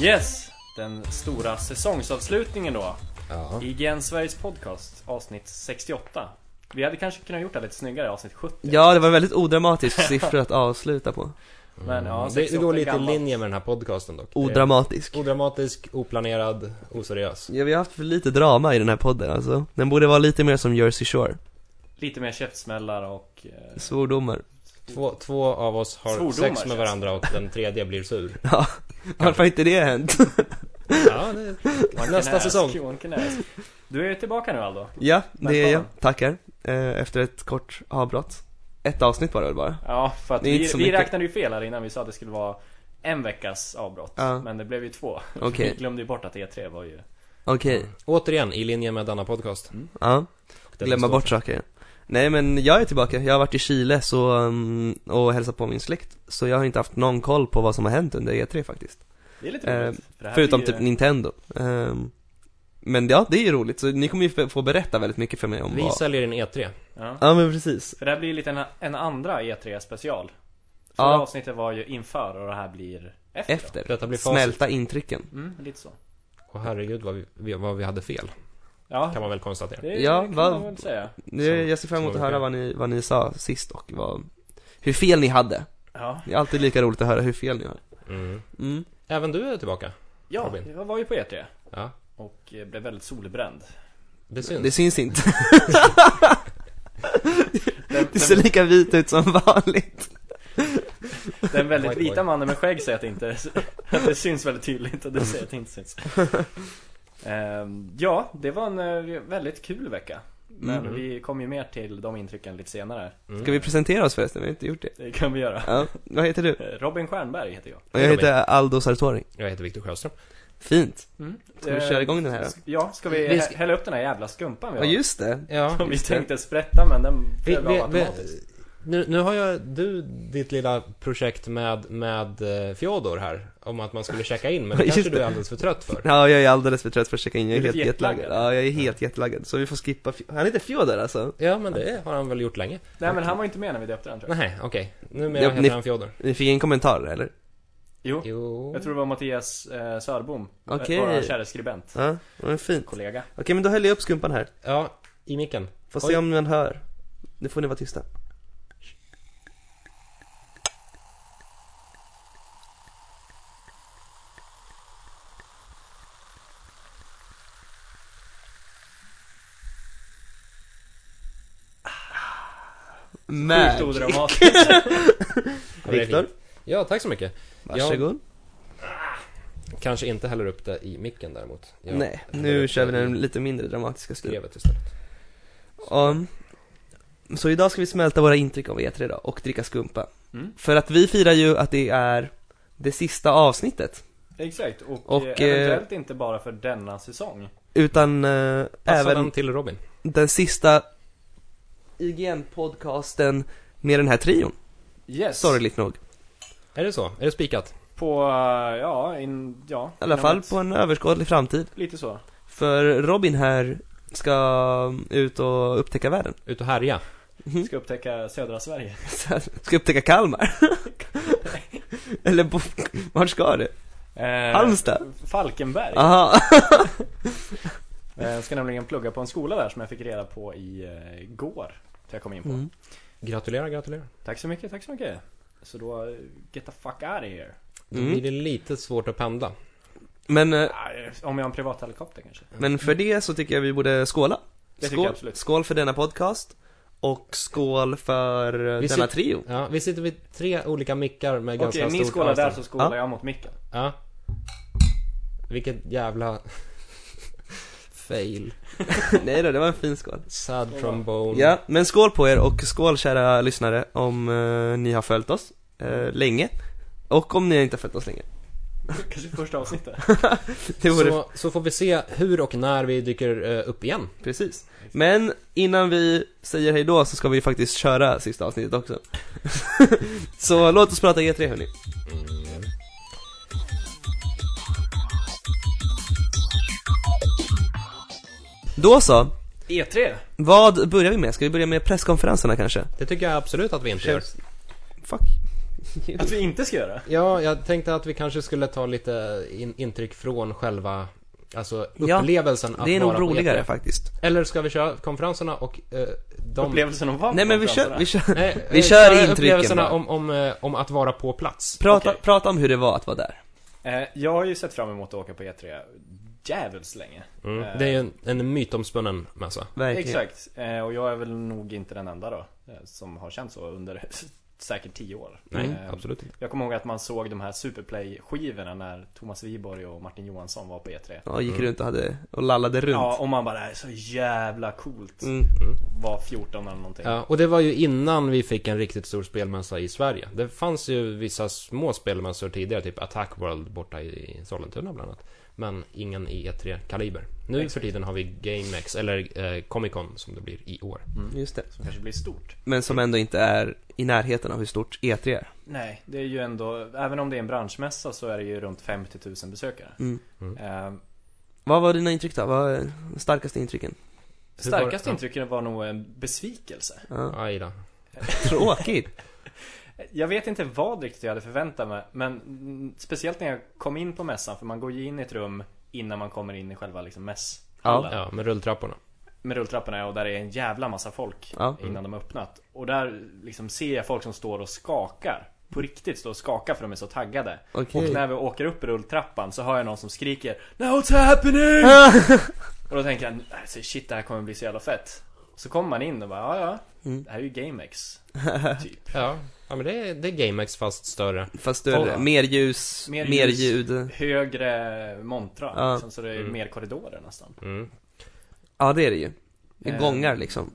Yes! Den stora säsongsavslutningen då. Ja. IGN Sveriges podcast, avsnitt 68. Vi hade kanske kunnat gjort det lite snyggare, avsnitt 70. Ja, det var en väldigt odramatisk siffra att avsluta på. Men Mm. ja, Mm. Det, det 68 går lite i gammalt. linje med den här podcasten dock. Det är Odramatisk. Odramatisk, oplanerad, oseriös. Ja, vi har haft för lite drama i den här podden alltså. Den borde vara lite mer som Jersey Shore. Lite mer käftsmällar och... Eh, Svordomar. Två, två av oss har Svordomar, sex känns med det. varandra och den tredje blir sur. Ja, varför har inte det hänt? Ja, det, one can nästa ask, säsong. one can ask. Du är tillbaka nu Aldo. Ja, det är jag. Tackar. Eh, Efter ett kort avbrott. Ett avsnitt var det väl bara? Ja, för att Det är inte vi, så vi mycket. räknade ju fel här innan vi sa att det skulle vara en veckas avbrott. Ja. Men det blev ju två. Okej. Vi glömde ju bort att E3 var ju... Okej, Återigen, i linje med denna podcast. ja. Det Glömma består. bort saker. Nej men jag är tillbaka, jag har varit i Chile så, um, och hälsat på min släkt. Så jag har inte haft någon koll på vad som har hänt under E3 faktiskt. Det är lite roligt. för det här Förutom blir ju- typ Nintendo. Ehm, men ja, det är ju roligt. Så ni kommer ju f- få berätta väldigt mycket för mig om Vi vad... säljer E en E3. ja. Ja men precis. För det här blir ju lite en, en andra E3 special. Förra Ja. avsnittet var ju inför och det här blir efter. då. Efter. Detta blir facit. Smälta intrycken. Mm, lite så. Och herregud vad vi- vi, vad vi hade fel. Ja, Kan man väl konstatera. det Ja, kan vad- man väl säga. Nu, Som- jag ser fram emot som att var höra fel. vad ni, vad ni sa sist och vad, hur fel ni hade. Ja, Det är alltid lika roligt att höra hur fel ni har. Mm. Mm. Även du är tillbaka. ja Robin. jag var ju på E3 Ja. och eh, blev väldigt solbränd. Det syns. Det syns inte. Den, Du ser den, lika vit ut som Mm. vanligt. den väldigt White boy. vita mannen med skägg säger att det inte att det syns väldigt tydligt och du säger att det inte syns. Ehm, ja, det var en eh, väldigt kul vecka. Men Mm. vi kommer ju mer till de intrycken lite senare. Mm. Ska vi presentera oss förresten? Vi har inte gjort det. Det kan vi göra. Ja, vad heter du? Eh, Robin Stjernberg heter jag. Och jag heter Aldo Sartori. Jag heter Viktor Sjöström. Fint. Mm. Ska vi köra igång den här då? Ja, ska vi, Vi ska- hä- hälla upp den här jävla skumpan vi Ja, har? just det. Ja. Som vi just det. tänkte sprätta men den Vi, flög av vi, vi, automatiskt. nu, nu har jag, du, ditt lilla projekt med, med eh, Fjodor här. Om att man skulle checka in, men det Just kanske du det. är alldeles för trött för. Ja, jag är alldeles för trött för att checka in. Jag är Är du helt jetlaggad. jetlaggad? Ja, jag är helt jetlaggad. Så vi får skippa Fj- Han heter Fjodor alltså? Ja, men det har han väl gjort länge. Nej men han var inte med när vi döpte den tror jag. Nej, okej. Numera Ja, heter ni- han Fjodor. Ni fick en kommentar eller? Jo, Jo. jag tror det var Mattias eh, Sörbom. Okej. Vår kära skribent. Ja, vad fint. Kollega. Okej, men då häller jag upp skumpan här. Ja, i micken. Får Oj. se om man hör. Nu får ni vara tysta. Sjukt Magic. odramatiskt. Ja, det är Viktor, fint. Ja, tack så mycket. varsågod. Kanske inte häller upp det i micken däremot. Jag Nej, häller nu upp kör det vi i den lite mindre dramatiska stilen. Brevet istället. Um, så idag ska vi smälta våra intryck av E3 då, och dricka skumpa. Mm. För att vi firar ju att det är det sista avsnittet, Exakt, och, Och, eh, eh, eventuellt inte bara för denna säsong. utan eh, Passa även den till Robin. den sista IGN-podcasten med den här trion, Yes. sorgligt nog. I Är det så? Är det spikat? På, eh, ja, in, ja. alla inom fall ett- på en överskådlig framtid. Lite så. För Robin här ska ut och upptäcka världen. Ut och härja. Mhm. Ska upptäcka södra Sverige. Ska upptäcka Kalmar. Eller bo- vart ska du? Eh, Halmstad? Falkenberg. Aha. Eh, Jag ska nämligen plugga på en skola där som jag fick reda på i eh, går. Så jag kom in på. Mm. Gratulerar, gratulerar. Tack så mycket, tack så mycket. Så då, eh, get the fuck out of here. Då Mm. blir det lite svårt att pendla. Men eh, Ah, eh, Om jag har en privathelikopter kanske. Men för det så tycker jag vi borde skåla. Det tycker skål, jag absolut. skål för denna podcast. Och skål för eh, Vi denna sit- trio. Ja, vi sitter vid tre olika mickar med ganska Okej, ni stort skålar där avstånd. så skålar Ja. jag mot micken. Ja. Vilket jävla... Fail. Nej då, det var en fin skål. Sad trombone. Ja, men skål på er och skål kära lyssnare om eh, ni har följt oss eh, länge. Och om ni inte har följt oss länge. Kanske första avsnittet. Det vore Så, så får vi se hur och när vi dyker eh, upp igen. precis. Men innan vi säger hej då så ska vi ju faktiskt köra sista avsnittet också. så låt oss prata E3 hörni. Mm. Då så. E3! Vad börjar vi med? Ska vi börja med presskonferenserna kanske? Det tycker jag absolut att vi inte gör. Fuck. Att vi inte ska göra? Ja, jag tänkte att vi kanske skulle ta lite in, intryck från själva Alltså Ja, upplevelsen att Det är vara nog på roligare E3. faktiskt. Eller ska vi köra konferenserna och eh, de... Upplevelsen av vad? Nej men vi kör, vi kör. Nej, Vi eh, kör köra intrycken Upplevelserna bara. om, om, eh, om att vara på plats. Prata, Okej. prata om hur det var att vara där. Eh, Jag har ju sett fram emot att åka på E3 jävligt länge. Eh, Det är ju en, en mytomspunnen massa. Verkligen. Exakt, Eh, och jag är väl nog inte den enda då eh, som har känt så under säkert tio år. Nej, Eh, absolut inte. Jag kommer ihåg att man såg de här Superplay-skivorna när Thomas Wiborg och Martin Johansson var på E E3. Ja, gick runt och hade, och lallade runt. Mm. Ja, och man bara, det här är så jävla coolt. Mm. Var 14 eller någonting. Ja, och det var ju innan vi fick en riktigt stor spelmässa i Sverige. Det fanns ju vissa små spelmässor tidigare, typ Attack World borta i Sollentuna bland annat. Men ingen i E3-kaliber. Nu för tiden har vi GameX, eller eh, Comic Con som det blir i år. Just det. Mm. Som kanske blir stort. Men som ändå inte är i närheten av hur stort E3 är. Nej, det är ju ändå, även om det är en branschmässa så är det ju runt 50 000 besökare. Mm. Eh, Vad var dina intryck då? Vad är de starkaste intrycken? starkaste ja. intrycket var nog en besvikelse. Ja. Aj då. Tråkigt. Jag vet inte vad riktigt jag hade förväntat mig men mm, speciellt när jag kom in på mässan för man går ju in i ett rum innan man kommer in i själva liksom mässhallen. Ja, med rulltrapporna. Med rulltrapporna och där är en jävla massa folk Ja. innan de har öppnat. Och där liksom ser jag folk som står och skakar. På riktigt står och skakar för de är så taggade. Okej. Och när vi åker upp i rulltrappan så hör jag någon som skriker Now it's happening! och då tänker jag alltså, shit det här kommer bli så jävla fett. Så kommer man in och bara ja ja, Mm. det här är ju GameX. typ. Ja, ja men det är, det är GameX fast större. Fast större. Ja. Mer ljus, Mer mer, ljus. ljud. högre montrar Ja. liksom, så det är mer korridorer nästan. Mm. Ja, det är det ju. Det Eh, är gångar liksom.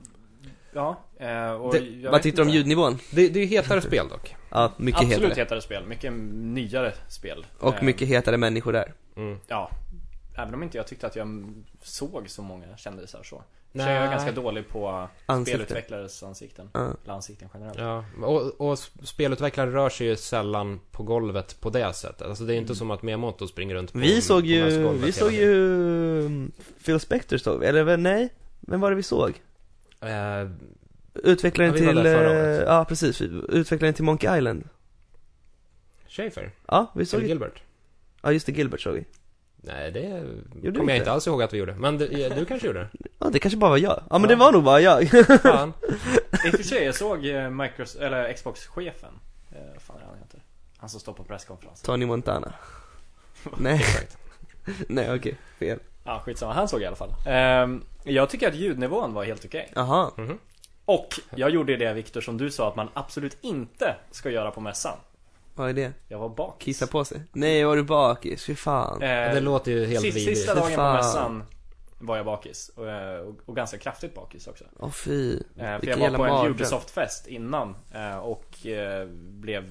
Ja, eh, och Det- jag Vad vet tyckte du om inte. ljudnivån? Det, det är ju hetare Mm. spel dock. Ja, mycket Absolut hetare. hetare spel, mycket nyare spel. Och Eh, mycket hetare människor där. Mm. Ja, även om inte jag tyckte att jag såg så många kändisar så. Nej. Nej. Jag är ganska dålig på Ansikte. spelutvecklarens ansikten. Ja. Eller ansikten generellt. Ja, och, och spelutvecklare rör sig ju sällan på golvet på det sättet. Alltså det är inte som att Miyamoto springer runt på Mm. Vi såg ju, mässgolvet vi hela såg tiden. ju mm, Phil Spector såg vi, eller vem- nej? Vem var det vi såg? Eh, Utvecklaren Ja, vi var till, där förra eh, året. ja precis, utvecklaren till Monkey Island Schaefer? Ja, vi såg, Eller Gilbert? ja just det, Gilbert såg vi Nej, det kommer du jag inte? inte alls ihåg att vi gjorde. Men du, ja, du kanske gjorde det? Ja det kanske bara var jag, ja men Ja. det var nog bara jag Fan. I och för sig, jag såg eh, Microsoft, eller Xbox-chefen. Eh, vad fan är han heter? Han som står på presskonferensen. Tony Montana Nej, Exakt. nej okej, fel Ja, skitsamma. Han såg jag i alla fall. Ehm, jag tycker att ljudnivån var helt okej. Jaha, Mhm. Och jag gjorde det Viktor som du sa att man absolut inte ska göra på mässan. vad är det? Jag var bakis. Kissa på sig? Nej, var du bakis? Fy fan Eh, Det låter ju helt sista, vidrigt. sista dagen på Fan. mässan var jag bakis. Och, eh, och, och ganska kraftigt bakis också. Åh fy, Eh, för jag vilken var jävla på en mardröm Ubisoft-fest innan eh, och eh, blev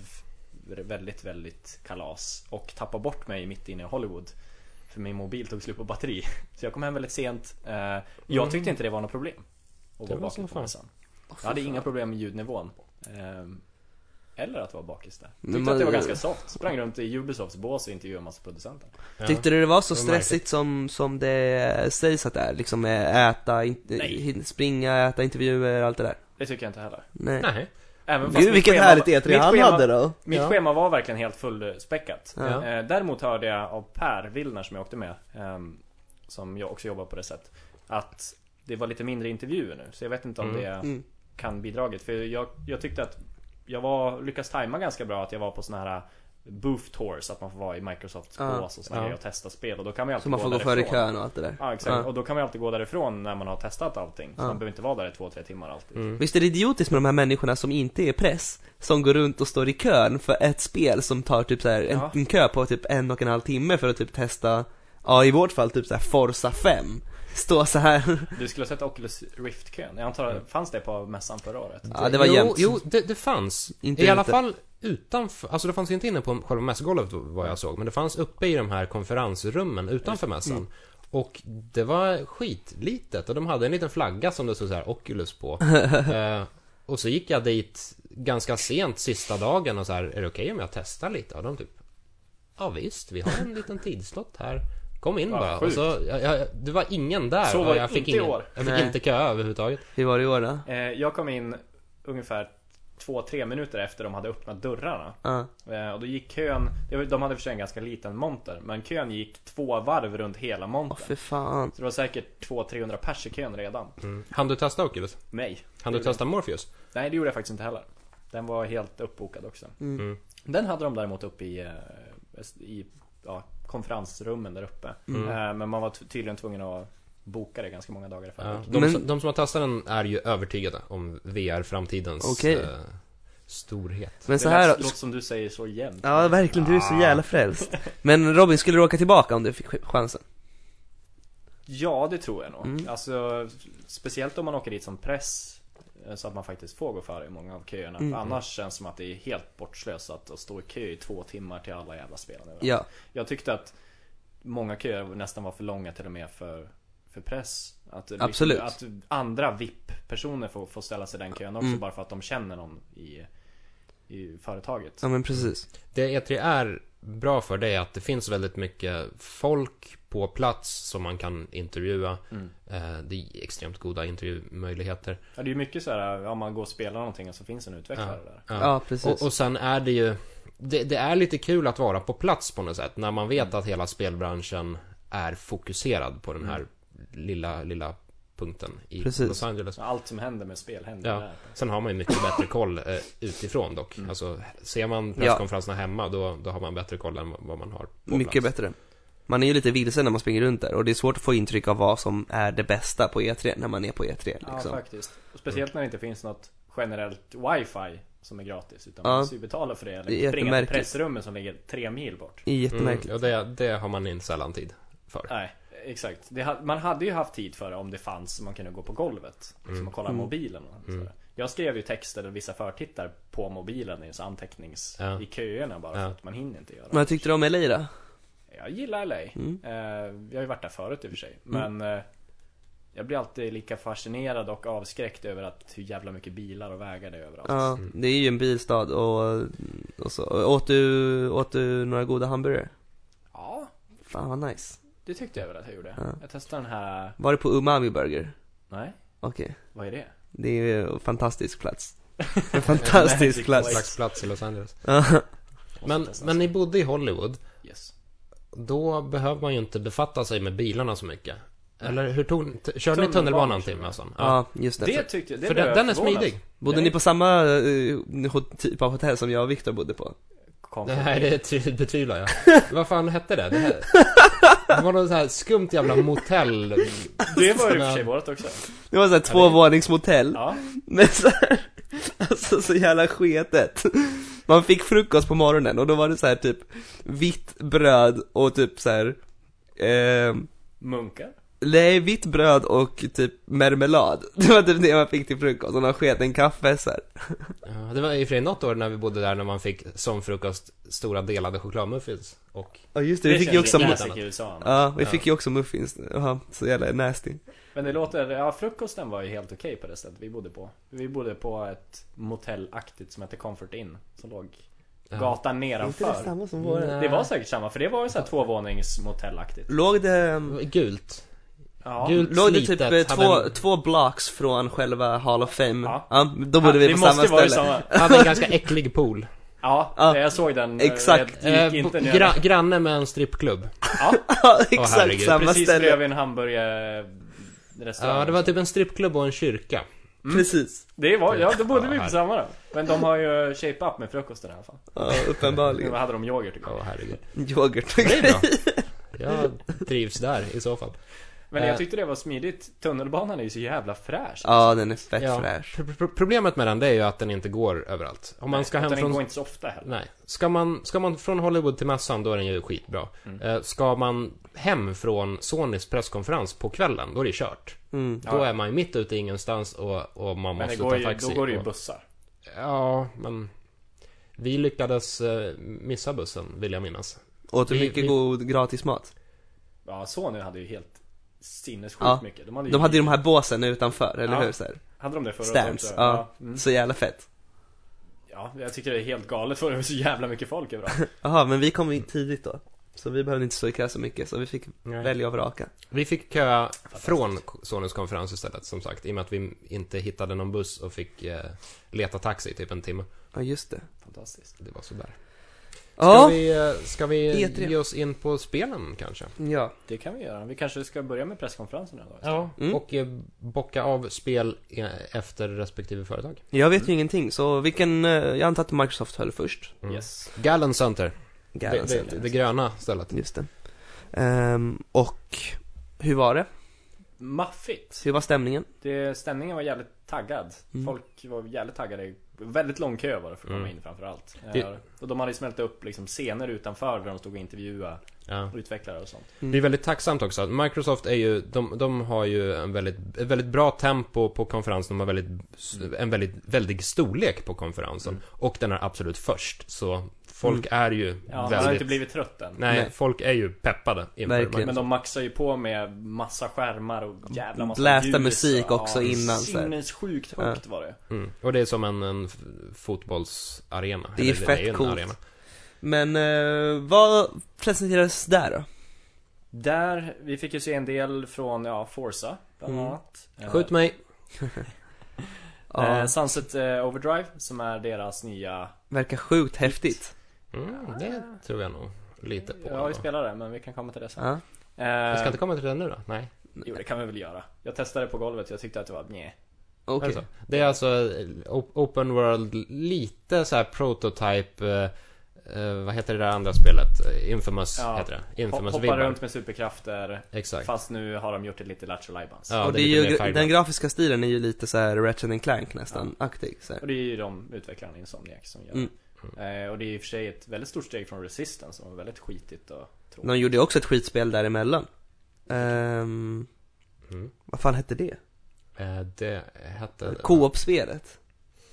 väldigt, väldigt kalas. Och tappade bort mig mitt inne i Hollywood. För min mobil tog slut på batteri. Så jag kom hem väldigt sent. Eh, jag Mm. tyckte inte det var något problem. Att Det vara var som bakis på fan. mässan. Jag hade inga problem med ljudnivån. Ehm, Eller att vara bakis där. Tyckte Men man- att det var ganska soft. Sprang runt i Ubisofts bås och intervjuade en massa producenter. Ja. Tyckte du det var så Det var märkligt. stressigt som, som det sägs att det är? Liksom eh, äta, in, Nej. hin- springa, äta intervjuer, allt det där? Det tycker jag inte heller. Nej. Nej. Även fast Gud mitt vilket schema- härligt E3 mitt han schema- hade då! Mitt Ja. schema var verkligen helt fullspäckat. Ja. Eh, Däremot hörde jag av Per Willner som jag åkte med, ehm, som jag också jobbar på det sätt, att det var lite mindre intervjuer nu. Så jag vet inte om Mm. det Mm. kan bidragit. För jag, jag tyckte att jag var, lyckas tajma ganska bra att jag var på såna här Booth tours, att man får vara i Microsofts Ah. Ja. bås och såna Ja. grejer och testa spel och då kan man ju alltid Så man får gå därifrån. före Ah. i kön och allt det där. Ja exakt, Ja. och då kan man ju alltid gå därifrån när man har testat allting. Så Ja. man behöver inte vara där i två, tre timmar alltid. Mm. Visst är det idiotiskt med de här människorna som inte är press? Som går runt och står i kön för ett spel som tar typ så här en, Ja. en kö på typ en och en halv timme för att typ testa Ja i vårt fall typ så här Forza 5 Stå så här Du skulle ha sett Oculus Rift-kön. Jag antar, Mm. fanns det på mässan förra året? Ja det var jo, jämnt Jo, det, det fanns. Inte I alla ute. fall utanför, alltså det fanns ju inte inne på själva mässgolvet vad jag såg, men det fanns uppe i de här konferensrummen utanför mässan. Och det var skitlitet och de hade en liten flagga som det stod så här Oculus på. eh, och så gick jag dit ganska sent sista dagen och så här, är det okej om jag testar lite? Och de typ, ja visst, vi har en liten tidslott här. Kom in Vad bara. Och sjukt. så, jag, jag, det var ingen där. Så var och det jag fick inte i ingen, år. Jag fick Nej. inte köa överhuvudtaget. Hur var det i år då? Eh, jag kom in ungefär två, tre minuter efter de hade öppnat dörrarna. Ja. Eh, Och då gick kön, det var- de hade för sig en ganska liten monter, men kön gick två varv runt hela Åh montern. för fan. Så det var säkert 200-300 pers i kön redan. Mm. Hann du testa Oculus? Nej. Hann du Det gjorde- testa Morpheus? Nej, det gjorde jag faktiskt inte heller. Den var helt uppbokad också. Mm. Mm. Den hade de däremot uppe i, eh, i ja, konferensrummen där uppe. Eh, Men man var t- tydligen tvungen att boka det ganska många dagar i Ja. förväg. De, Men- som- de som har testat den är ju övertygade om VR-framtidens Okej. eh, storhet. Men så det här lät- låter som du säger så jämt. Ja verkligen, du är så jävla frälst. Men Robin, skulle du åka tillbaka om du fick ch- chansen? Ja, det tror jag nog. Mm. Alltså, speciellt om man åker dit som press. eh, Så att man faktiskt får gå före i många av köerna. Mm. För annars känns det som att det är helt bortslösat att stå i kö i två timmar till alla jävla spel. överallt. Ja. Jag tyckte att många köer nästan var för långa till och med för, för press. Att, det Absolut. att andra VIP-personer får, får ställa sig i den kön också Mm. bara för att de känner någon i, i företaget. Ja men precis. Det E3 är bra för det är att det finns väldigt mycket folk på plats som man kan intervjua. Mm. Eh, det är extremt goda intervjumöjligheter. Ja, det är ju mycket så här, ja, man går och spelar någonting och så finns en utvecklare där. Ja. Ja precis. Och, och sen är det ju det, det är lite kul att vara på plats på något sätt när man vet att hela spelbranschen är fokuserad på den här lilla, lilla punkten i Precis. Los Angeles. Så Allt som händer med spel händer Ja. där. Sen har man ju mycket bättre koll eh, utifrån dock. Alltså, ser man presskonferenserna hemma då, då har man bättre koll än vad man har på Mycket plats. bättre. Man är ju lite vilsen när man springer runt där och det är svårt att få intryck av vad som är det bästa på E3 när man är på E3 liksom. Ja, faktiskt. Och speciellt när det inte finns något generellt wifi som är gratis. Utan Ja. man måste ju betala för det. Eller Det är springa till jättemärkligt. pressrummet som ligger tre mil bort. det är jättemärkligt. Mm, och det, det har man inte sällan tid för. Nej, exakt. Det, ha- man hade ju haft tid för det om det fanns så man kunde gå på golvet. Mm. Liksom och kolla mobilen och sådär. Jag skrev ju texter och vissa förtittar på mobilen i så antecknings... Ja. I köerna bara Ja. för att man hinner inte Mm. göra Vad tyckte du om LA då? Jag gillar LA. Mm. Eh, jag har ju varit där förut i och för sig. Men eh, jag blir alltid lika fascinerad och avskräckt över att hur jävla mycket bilar och vägar det är överallt. Ja, det är ju en bilstad och, och så. Åt du, åt du några goda hamburgare? Ja, Fan vad nice. det tyckte jag väl att jag gjorde. Ja. Jag testade den här... Var det på Umami Burger? Nej, Okej. vad är det? Det är ju en fantastisk plats. En Magic fantastisk plats. Slags plats i Los Angeles. Ja, Måste Men, testa. men ni bodde i Hollywood. Yes. Då behöver man ju inte befatta sig med bilarna så mycket. Eller hur tog t- Körde ni Tunnelbanan tunnelbanan en körde timme jag. alltså? ja just det. alltså. Det tyckte jag, det För blev den, jag den är förvånad. smidig. Bodde Nej. ni på samma eh, hot- typ av hotell som jag och Viktor bodde på? Kom Det från här mig. är ty- betvivlar jag. Vad fan hette det? Det, här, det var något så här skumt jävla motell. Det var ju i och Såna- för sig vårt också. Det var såhär det- tvåvåningsmotell. Ja. Men så här, alltså så jävla sketet. Man fick frukost på morgonen och då var det så här typ vitt bröd och typ så här. Eh, Munkar. nej, vitt bröd och typ marmelad. Det var typ det man fick till frukost och någon sketen kaffe så här. Ja, det var i och för sig något år när vi bodde där när man fick som frukost stora delade chokladmuffins. Och Ja just det, vi fick ju känns också lite mu- classic i USA. Ja, vi fick ju också muffins. Jaha, så jävla nasty. Men det låter, ja frukosten var ju helt okej på det stället vi bodde på. Vi bodde på ett motellaktigt som hette Comfort Inn. Som låg Ja. gatan nedanför. samma som våra. Det var säkert samma, för det var ju såhär tvåvåningsmotellaktigt. Låg det, mm, det var gult. Ja. Gult låg det typ slitet, eh, två, hade en, två blocks från själva Hall of Fame? Ja. Ja, då bodde Ja, vi det på måste samma vara i ställe. hade en ganska äcklig pool. Ja, Ja. jag såg den. eh, Exakt. Jag Eh, gick inte bo- ner. gra, granne med en strippklubb. Ja, Ja, exakt herregud. samma precis ställe. bredvid en hamburgerrestaurang. Ja, det var typ en strippklubb och en kyrka. Precis. Det var, ja då bodde Ja, vi på här. samma då. Men de har ju shape up med frukosten i alla fall. Ja, Vad uppenbarligen. hade de yoghurt Ja, igår? herregud. Yoghurt Det är bra. Jag trivs där i så fall. Men Eh. jag tyckte det var smidigt. Tunnelbanan är ju så jävla fräsch. Ja, den är fett Ja. fräsch. Pro- pro- Problemet med den det är ju att den inte går överallt. Om man ska Utan hem Den från går inte så ofta heller. Nej. Ska man, ska man från Hollywood till mässan, då är den ju skitbra. Mm. Eh, ska man hem från Sonys presskonferens på kvällen, då är det kört. Mm. Då Ja. är man ju mitt ute i ingenstans och, och Men man det måste går ta ju, taxi. då går det ju och, bussar. ja, men... Vi lyckades eh, missa bussen, vill jag minnas. Åt du Vi- mycket vi- god gratismat? Ja, Sony hade ju helt sinnessjukt Ja. mycket. De hade ju, De hade ju de här båsen utanför, eller Ja. hur? Så, här. hade de det förra året Stands, också? ja. Mm. så jävla fett. ja, jag tycker det är helt galet för det var så jävla mycket folk överallt. Jaha, men vi kom in tidigt då. Så vi behövde inte stå i kö så mycket, så vi fick Nej. välja och vraka. Vi fick köa från Sonys konferens istället, som sagt. I och med att vi inte hittade någon buss och fick eh, leta taxi i typ en timme. Ja, just det. Fantastiskt. Det var sådär. Ska Ja, vi, eh, ska vi E3. ge oss in på spelen kanske? ja. Det kan vi göra. Vi kanske ska börja med presskonferensen idag. Ja. Mm. Och eh, bocka av spel eh, efter respektive företag. Jag vet ju ingenting, så vilken, eh, jag antar att Microsoft höll först. Mm. Yes. Gallen Center. Det, Garden det, Center. det gröna stället. Just det. Ehm, och hur var det? Maffigt. Hur var stämningen? Det, stämningen var jävligt taggad. Mm. Folk var jävligt taggade. Väldigt lång kö var det för att komma Mm. in framförallt. Det- Eh, Och de hade ju smält upp liksom scener utanför där de stod och intervjuade Ja. utvecklare och sånt. Det är väldigt tacksamt också att Microsoft är ju, de, de har ju en väldigt, ett väldigt bra tempo på konferensen, de har väldigt, en väldigt, väldigt storlek på konferensen. Mm. Och den är absolut först, så folk är ju Ja, han har väldigt... inte blivit trött än. Nej, Nej. folk är ju peppade inför Verkligen. Men de maxar ju på med massa skärmar och jävla massa Blästa ljus och- musik också ja, innan, så här. Sinnessjukt högt var det. Mm. Och det är som en, en f- fotbollsarena. Det är Eller fett ju en coolt. arena. Men eh, vad presenterades där då? Där, vi fick ju se en del från, ja, Forza bland Mm. annat. Eh, Skjut mig! Ja, eh, Sunset eh, Overdrive som är deras nya verkar sjukt häftigt. Mm, det tror jag nog lite på. Jag har ju då. spelat det men vi kan komma till det sen. Ja. Jag ska Eh, inte komma till det nu då? Nej. jo det kan vi väl göra. Jag testade på golvet, jag tyckte att det var nej. Okej. Är det, så? det är alltså eh, op- open world, lite så här prototype, eh, eh, vad heter det där andra spelet? Eh, Infamous Ja. heter det. Hoppa Infamous vibbar. runt med superkrafter. Exakt. Fast nu har de gjort det lite lattjo lajbans. Ja, och det det är är lite mer ju, färgglatt. den grafiska stilen är ju lite så här Ratchet and Clank nästan, aktig så här. Och det är ju de utvecklarna i Insomniac som gör det. Mm. Eh, och det är ju i och för sig ett väldigt stort steg från Resistance som var väldigt skitigt och tråkigt. De gjorde ju också ett skitspel däremellan. Um, Mm. vad fan hette det? Eh, Det hette... Co-op-spelet?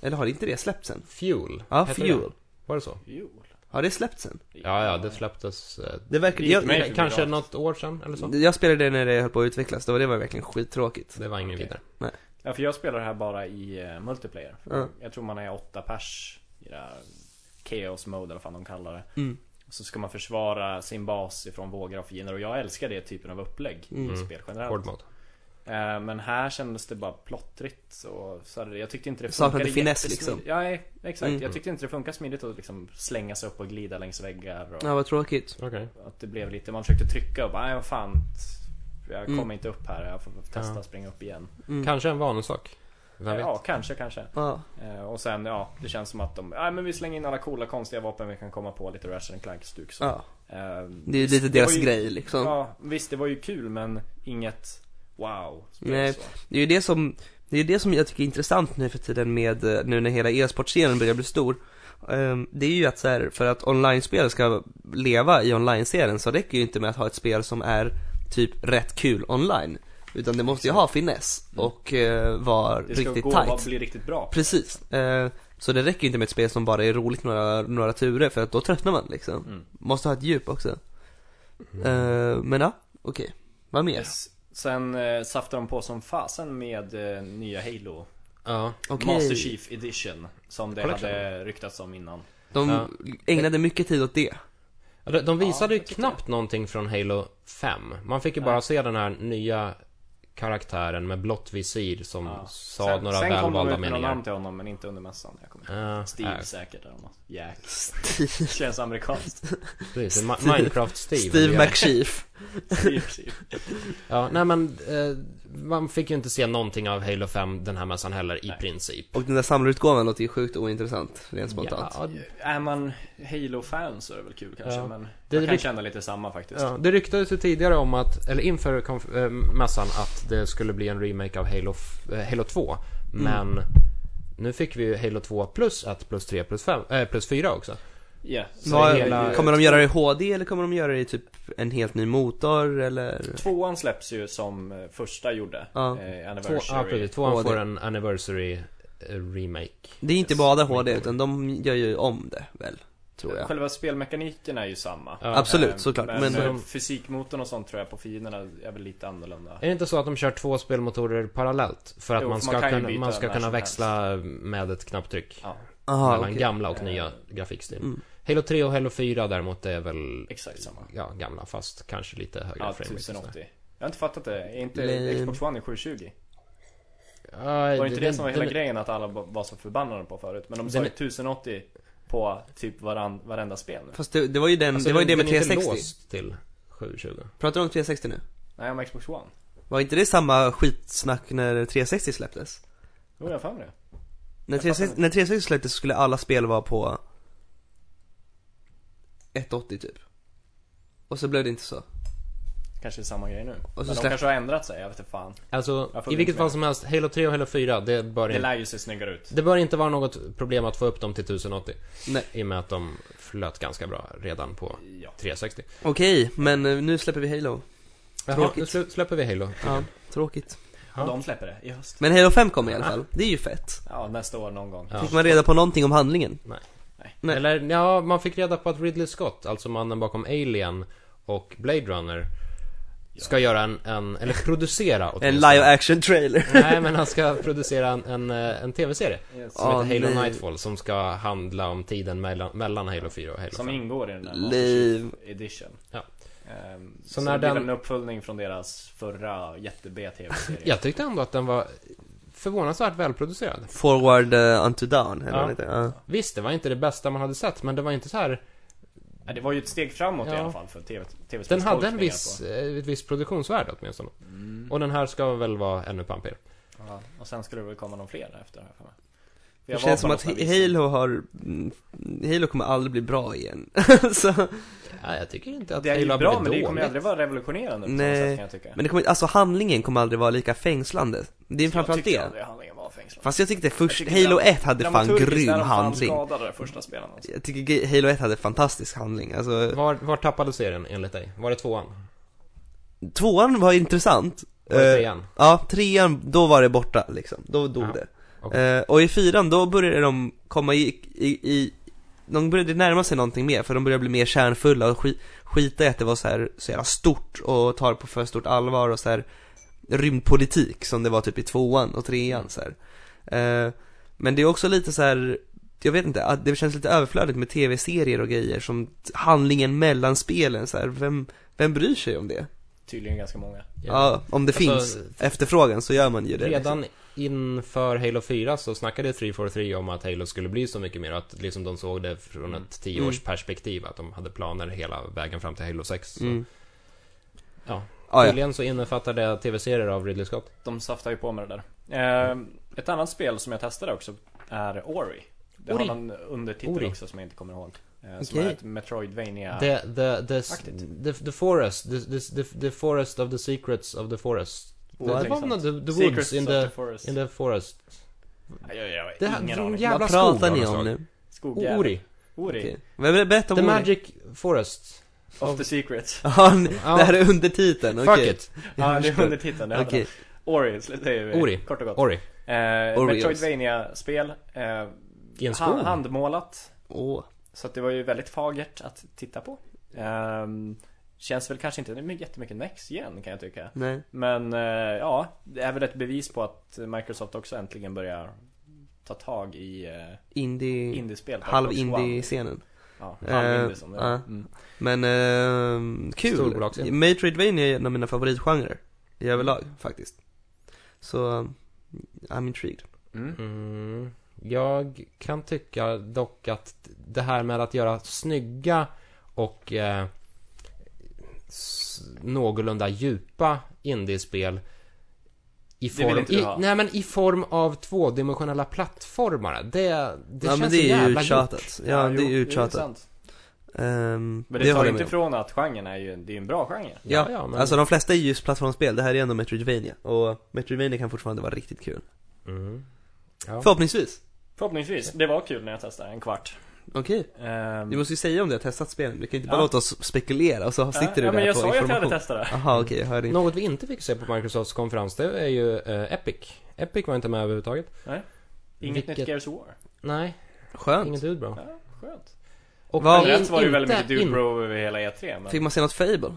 Eller har inte det släppts än? Fuel. Ja, hette Fuel. Det. Var det så? Jul. Har det släppts än? Ja, ja, det släpptes eh, Det verkar, Det gick jag, mig förbi kanske rakt. något år sedan eller så. jag spelade det när det höll på att utvecklas, då var det var verkligen skittråkigt. Det var ingen Okej. vidare. Ja, för jag spelar det här bara i eh, multiplayer. Ja. Jag tror man är åtta pers i det här Chaos mode eller vad fan de kallar det. Mm. Så ska man försvara sin bas ifrån vågor av fiender och jag älskar det typen av upplägg i Mm. spel generellt. Hård mode. Eh, Men här kändes det bara plottrigt och så hade det, jag tyckte inte det Saknade finess, jättesmidigt. liksom. Ja, e- exakt. Mm. Jag tyckte inte det funkade smidigt att liksom slänga sig upp och glida längs väggar och Ja, vad tråkigt. Okej. att det blev lite, man försökte trycka och bara, nej vad fan. Jag kommer Mm. inte upp här, jag får testa Ja. att springa upp igen. Mm. Kanske en vanesak. Vem vet? Ja, kanske, kanske. Ja. Eh, Och sen ja, det känns som att de, nej men vi slänger in alla coola konstiga vapen vi kan komma på, lite Ratchet Clank stuk så. ja. Eh, Det är ju lite det var deras ju- grej liksom. Ja, visst det var ju kul men inget wow. spel Nej. så. Det är ju det som, det är ju det som jag tycker är intressant nu för tiden med, eh, nu när hela e-sportscenen börjar bli stor. Ehm, Det är ju att så här, för att online-spel ska leva i online-serien så räcker ju inte med att ha ett spel som är typ rätt kul online. Utan det måste ju ha finess och eh, vara Mm. Det ska riktigt gå tight. och bli riktigt bra. Precis. Eh, Så det räcker ju inte med ett spel som bara är roligt några, några turer för att då tröttnar man liksom. Mm. Måste ha ett djup också. Eh, Men ja, okej. Vad mer? Yes. Sen eh, saftar de på som fasen med eh, nya Halo Ja. Okej. Master Chief Edition Som det Collection. hade ryktats om innan De Ja. ägnade mycket tid åt det. Ja, De de visade Ja, ju jag tyckte knappt någonting från Halo 5. Man fick ju bara se den här nya karaktären med blått visir som Ja. sa Sen- några Sen kom de välvalda ut med några namn meningar. Ah, till honom men inte under mässan jag kommer. ihåg. Ja, Äh. Steve ja, säkert eller något Jack Känns amerikanskt precis. Ma- Steve- Minecraft-Steve. Steve Ja. McChief. Steve, Steve. Ja, nej men eh, man fick ju inte se någonting av Halo 5 den här mässan heller i Nej. princip. Och den där samlarutgåvan låter ju sjukt ointressant, rent spontant. Ja, Är man Halo-fan så är det väl kul kanske Ja. men Det är Jag kan rikt- känna lite samma faktiskt ja, det ryktades ju tidigare om att, eller inför konf- eh, mässan, att det skulle bli en remake av Halo, f- eh, Halo 2. Mm. Men nu fick vi ju Halo 2 plus 1 plus 3 plus 5, eh, plus 4 också. Ja, så Vad- hela- Kommer de göra det i HD eller kommer de göra det i typ en helt ny motor eller? Tvåan släpps ju som eh, första gjorde Ja. eh, Två, ja, Anniversary precis. Tvåan HD. får en anniversary eh, remake. Det är inte Yes. bara HD utan de gör ju om det väl, tror jag. Själva spelmekaniken är ju samma Ja. Absolut, Eh, såklart. Men, Men- eh, fysikmotorn och sånt tror jag på fienderna är väl lite annorlunda eh, Är det inte så att de kör två spelmotorer parallellt? För att Jo, man för man kan ska, ju kunna, byta man ska när kunna som växla med ett knapptryck Ja, Aha, mellan okej. gamla och nya Eh, grafikstil. Mm. Halo 3 och Halo 4 däremot är väl Exakt samma. ja, gamla fast kanske lite högre Ja, frame rate och sådär. 1080. Jag har inte fattat det. Är inte Nej. Xbox One i 720? Ja, Var det inte det som var hela den- grejen att alla ba- var så förbannade på förut? Men de sa Den ju är- 1080 på typ varan, varenda spel nu. Fast det, det var ju den, Alltså, det var ju det den- med den är inte 360. låst till 720. Pratar du om 360 nu? Nej, om Xbox One. Var inte det samma skitsnack när 360 släpptes? Jo, jag har för mig det. När Jag fattar 360, inte. när 360 släpptes skulle alla spel vara på 180 typ. Och så blev det inte så. Kanske är samma grej nu. Men de släpp- kanske har ändrat sig, jag vet inte fan. Alltså, Jag får i vilket inte med. fall som helst, Halo 3 och Halo 4, det bör, Det inte, lär ju se snyggare ut. det bör inte vara något problem att få upp dem till 1080. Nej. I och med att de flöt ganska bra redan på Ja. 360. Okej, men eh, nu släpper vi Halo. Jaha, Tråkigt. nu slä- släpper vi Halo. Ja, tråkigt. Ja. De släpper det i höst. Men Halo 5 kommer i alla fall. Det är ju fett. Ja, nästa år någon gång. Ja. Fick man reda på någonting om handlingen? Nej. Eller, ja, man fick reda på att Ridley Scott, alltså mannen bakom Alien och Blade Runner, ska göra en, en eller producera En åtminstone. live action trailer. Nej, men han ska producera en, en, eh, en TV-serie Yes. som Ah, heter Halo nej. Nightfall, som ska handla om tiden mellan, mellan Halo 4 och Halo Som 5. ingår i den där Master Liv. Chief Edition. Ja. Ehm, Så så när det blir den- väl en uppföljning från deras förra jätte-B tv-serie. Jag tyckte ändå att den var förvånansvärt välproducerad. Forward uh, unto down, eller Ja. vad heter det? Ja. Visst, det var inte det bästa man hade sett, men det var inte så här... Ja, Äh, det var ju ett steg framåt i Ja. alla fall för tv tv Den hade en viss, eh, ett visst produktionsvärde åtminstone. Mm. Och den här ska väl vara ännu pampigare. Ja, och sen skulle det väl komma någon fler efter det här för mig. För Det jag var känns som på att någon sån här visning. Halo har, mm, Halo kommer aldrig bli bra igen. så, Ja, jag tycker inte att Det är ju Halo har bra blivit men det kommer ju dåligt. aldrig vara revolutionerande på Nej. Nej. sätt kan jag tycka. men det kommer, alltså handlingen kommer aldrig vara lika fängslande. Det är framförallt Jag tyckte det. aldrig handlingen var fängslande. Fast jag tyckte först, tycker Halo dram- 1 hade fan Dramaturgiskt är grym de fan handling. skadade det första spelen alltså. Jag tycker ge- Halo 1 hade fantastisk handling, alltså Var, var tappade serien enligt dig? Var det tvåan? Tvåan var intressant Var det Eh, trean? Ja, trean, då var det borta liksom, då dog Ja, det okej. Eh, Och i fyran, då började de komma i, i, i De började närma sig någonting mer, för de började bli mer kärnfulla och ski, skita i att det var så här så jävla stort och ta det på för stort allvar och så här Rymdpolitik som det var typ i tvåan och trean så här. Eh, Men det är också lite så här jag vet inte, att det känns lite överflödigt med tv-serier och grejer som t- handlingen mellan spelen så här, vem, vem bryr sig om det? Tydligen ganska många. Ja, om det liksom. Alltså, finns efterfrågan så gör man ju det. Redan inför Halo 4 så snackade 343 om att Halo skulle bli så mycket mer, att liksom de såg det från Mm. ett tioårsperspektiv, att de hade planer hela vägen fram till Halo 6. Så, Liksom. Mm. ja. Ah, ja. Tydligen så innefattar det tv-serier av Ridley Scott. De saftar ju på med det där. Eh, ett annat spel som jag testade också är Ori. Det Ori. har någon undertitel Ori. också som jag inte kommer ihåg. Eh, som Okej. är ett Metroidvania. The, the, the, Aktigt. the, the forest, the, the, the, the forest of the secrets of the forest. Någonting Det var sånt. något, the, the Secrets woods in of the, the forest. in the forest. Jag, jag, jag har Det här- ingen det är en aning. jävla Vad skog pratar av ni något om slag. nu? Skogjävel. Ori. Ori. Okej. Men ber- Berätta om The Ori. magic forest. Of the secret. Ja, n- Ja. det här är undertiteln, okej. Fuck it. Ja, det är undertiteln. Det hade Okej. den. Ori, det är ju Ori. kort och gott. Ori. Eh, Ori, Metroidvania-spel. Eh, I en han- skog. handmålat. Åh. Så att det var ju väldigt fagert att titta på. Ehm, känns väl kanske inte my- jättemycket Next igen kan jag tycka. Nej. Men eh, ja, det är väl ett bevis på att Microsoft också äntligen börjar ta tag i eh, Indie... indiespel. på Mm. halv Xbox One. indie-scenen. Ja, halv indie som det Eh, är. ja. Mm. Men, ehm, kul. Storbolagsscen. Metroidvania är en av mina favoritgenrer. I överlag, faktiskt. Så, um, I'm intrigued. Mm. Mm, jag kan tycka dock att det här med att göra snygga och eh, s- någorlunda djupa indiespel i Det vill form, inte du i, ha. nej, men i form av tvådimensionella plattformar. Det, det ja känns men så det är ju jävla uttjatat. gjort. Ja, Ja, det är jo, ju uttjatat. sant. Ehm, Men det, tar håller ju jag med inte om. ifrån att genren är ju, det är ju en bra genre. Ja, Ja, ja, men- alltså de flesta är ju plattformsspel, det här är ändå Metroidvania och Metroidvania kan fortfarande vara riktigt kul. Mm. Ja. Förhoppningsvis. Förhoppningsvis. Det var kul när jag testade en kvart. Okej. Ehm, Du måste ju säga om du har testat spelen, du kan ju inte bara Ja. låta oss spekulera och så sitter ja, du eh, ja, där men jag på sa ju att jag information. hade testat det. Jaha okej, jag Mm. hörde inte. Något vi inte fick se på Microsofts konferens, det är ju eh, Epic. Epic var inte med överhuvudtaget. Inget Vilket- nytt Gears of War. Nej, Skönt. inget ut bra. Ja, skönt. Och Vad- in- Generellt var det ju väldigt inte- mycket Dubro över hela E3 men... Fick man se något Fable?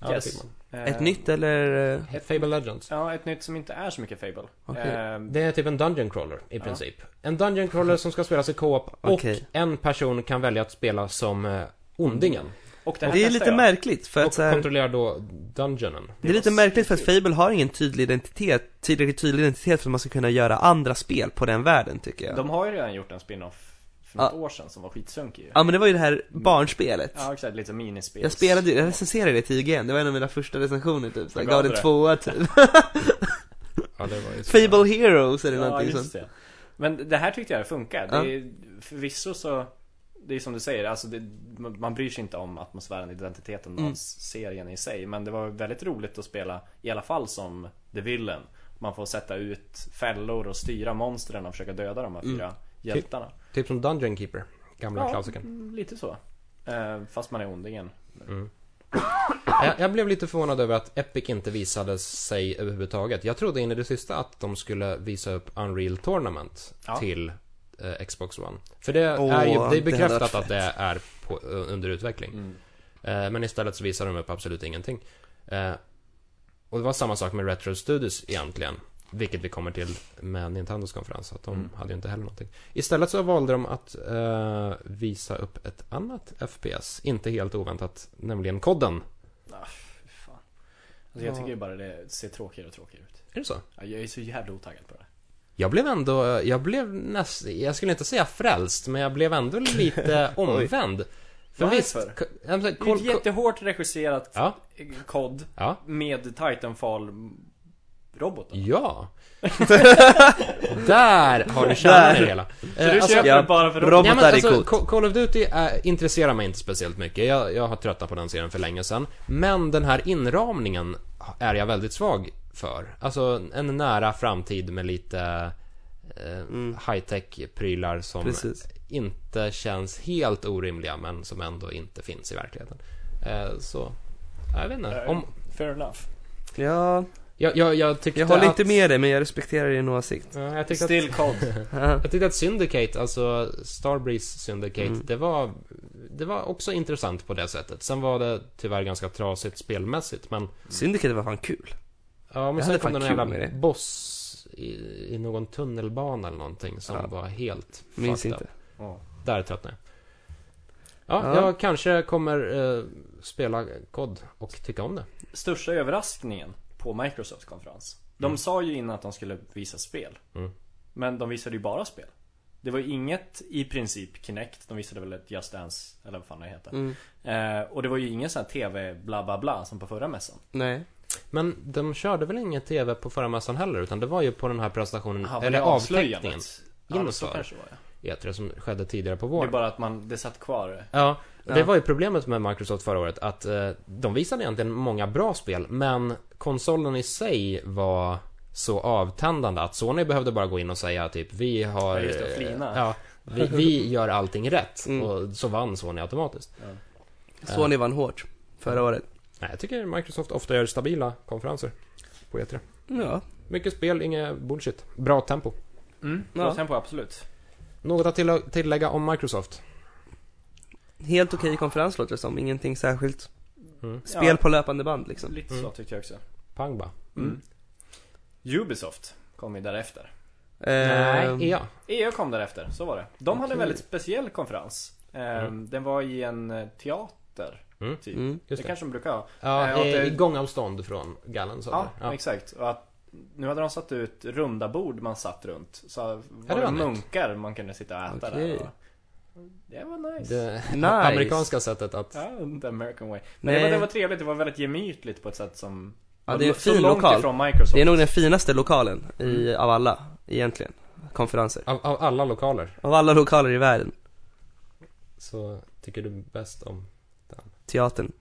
Ja, Yes. det fick man. Eh, Ett nytt eller? eh, He- Fable Legends. Ja, ett nytt som inte är så mycket Fable. Okej. Eh, Det är typ en Dungeon Crawler i Ja. princip. En Dungeon Crawler som ska spelas i co-op och Okej. en person kan välja att spela som eh, ondingen. och det här Det är testar lite jag. märkligt för Och att så här, kontrollerar då Dungeonen. Det är lite märkligt för att Fable har ingen tydlig identitet, tillräckligt tydlig identitet för att man ska kunna göra andra spel på den världen tycker jag. De har ju redan gjort en spin-off för något år sedan som var skitsunkig ju. Ja men det var ju det här barnspelet. Ja, exakt. Lite minispel. Jag spelade ju- jag recenserade det till IGN, det var en av mina första recensioner typ, så jag Vad gav gav den du det? tvåa typ. Ja, det var ju så. Fable Heroes eller Ja, någonting just sånt. det. Men det här tyckte jag funkar. Ja. Det är, förvisso så, det är som du säger, alltså det, man man bryr sig inte om atmosfären, identiteten Mm. av serien i sig. Men det var väldigt roligt att spela, i alla fall som The Villain. Man får sätta ut fällor och styra monstren och försöka döda de här Mm. fyra hjältarna. Typ som Dungeon Keeper. Gamla klassikern. mm, lite så. Eh, Fast man är ondingen. Mm. Jag, jag blev lite förvånad över att Epic inte visade sig överhuvudtaget. Jag trodde in i det sista att de skulle visa upp Unreal Tournament Ja. till eh, Xbox One. För det Åh, är ju det det är hade bekräftat varit att det är på, under utveckling. Mm. Eh, men istället så visar de upp absolut ingenting. Eh, och det var samma sak med Retro Studios egentligen. Vilket vi kommer till med Nintendos konferens. Att de Mm. hade ju inte heller någonting. Istället så valde de att eh, visa upp ett annat FPS. Inte helt oväntat. Nämligen kodden. Ah, fy fan. Alltså jag Ja. tycker ju bara det ser tråkigare och tråkigare ut. Är det så? Ja, Jag är så jävla otaggad på det. Jag blev ändå, jag blev näst, jag skulle inte säga frälst, men jag blev ändå lite omvänd. För Varför? visst, k- alltså, jag menar, Det är kol, ett kol, jättehårt regisserat eh, ja, kod ja, med Titanfall Eh, roboten. ja. Där har du kärnan i det hela. Så du Eh, alltså, köper ja. den bara för Rob- roboten? Ja, men Robotar är alltså, coolt. Co- Call of Duty är, intresserar mig inte speciellt mycket. Jag, jag har tröttnat på den serien för länge sedan. Men den här inramningen är jag väldigt svag för. Alltså en nära framtid med lite eh, high-tech-prylar som Precis. inte känns helt orimliga men som ändå inte finns i verkligheten. Eh, så, jag vet inte. Om, Fair enough. Ja, jag, jag, jag tyckte jag håller att, inte med dig men jag respekterar din åsikt. Ja, Jag tyckte att Still kod. Jag tyckte att Syndicate, alltså Starbreeze Syndicate, Mm. det var Det var också intressant på det sättet. Sen var det tyvärr ganska trasigt spelmässigt men Syndicate var fan kul. Ja men Jag sen hade kom fan det någon kul jävla med det. boss i, i någon tunnelbana eller någonting som Ja. var helt Minns fucked up. inte. Där tröttnade jag. Ja, Ja. jag kanske kommer eh, spela kod och tycka om det. Största överraskningen på Microsofts konferens. De sa ju innan att de skulle visa spel. Mm. Men de visade ju bara spel. Det var ju inget i princip Kinect. De visade väl ett Just Dance eller vad fan det heter. Mm. Eh, och det var ju ingen sån här TV bla bla bla som på förra mässan. Nej. Men de körde väl ingen TV på förra mässan heller utan det var ju på den här presentationen, Aha, var eller det avslöjandet? avteckningen. Ja, det så Inför. kanske det var ja. E3 som skedde tidigare på Det våren. är bara att man, det satt kvar. Ja, det Ja. var ju problemet med Microsoft förra året att eh, de visade egentligen många bra spel men konsolen i sig var så avtändande att Sony behövde bara gå in och säga typ vi har... Ja, just det, eh, flina. ja, vi, vi gör allting rätt Mm. och så vann Sony automatiskt. Sony vann hårt förra året. Nej, jag tycker Microsoft ofta gör stabila konferenser på E3. Ja. Mycket spel, inget bullshit. Bra tempo. Mm, Ja. ja. tempo absolut. Något att till- tillägga om Microsoft? Helt okej konferens låter det som, ingenting särskilt. Mm. Spel Ja. på löpande band liksom. Lite så Mm. tyckte jag också. Pang bara. Mm. Ubisoft kom ju därefter. Ehm, Nej, Eh, ja. EU kom därefter, så var det. De hade en Okej. väldigt speciell konferens. Ehm, Mm. Den var i en eh, teater, Mm. typ. Mm. Det, Just det. kanske de brukar ha. Ja, Eh, och det- i, i gångavstånd från gallen så Ja, att säga. exakt. Och att, nu hade de satt ut runda bord man satt runt. Så det var var det nytt. munkar man kunde sitta och äta Okej. där. Och, det var nice. Det Nice. amerikanska sättet att Ja, the American way. Men det Nej. var, det var trevligt, det var väldigt gemytligt på ett sätt som... Eh, Ja, det är en så fin långt lokal. ifrån Microsoft. Det är nog den finaste lokalen i, av alla, egentligen. Konferenser. Av, av alla lokaler Av alla lokaler i världen. så tycker du bäst om... Teatern.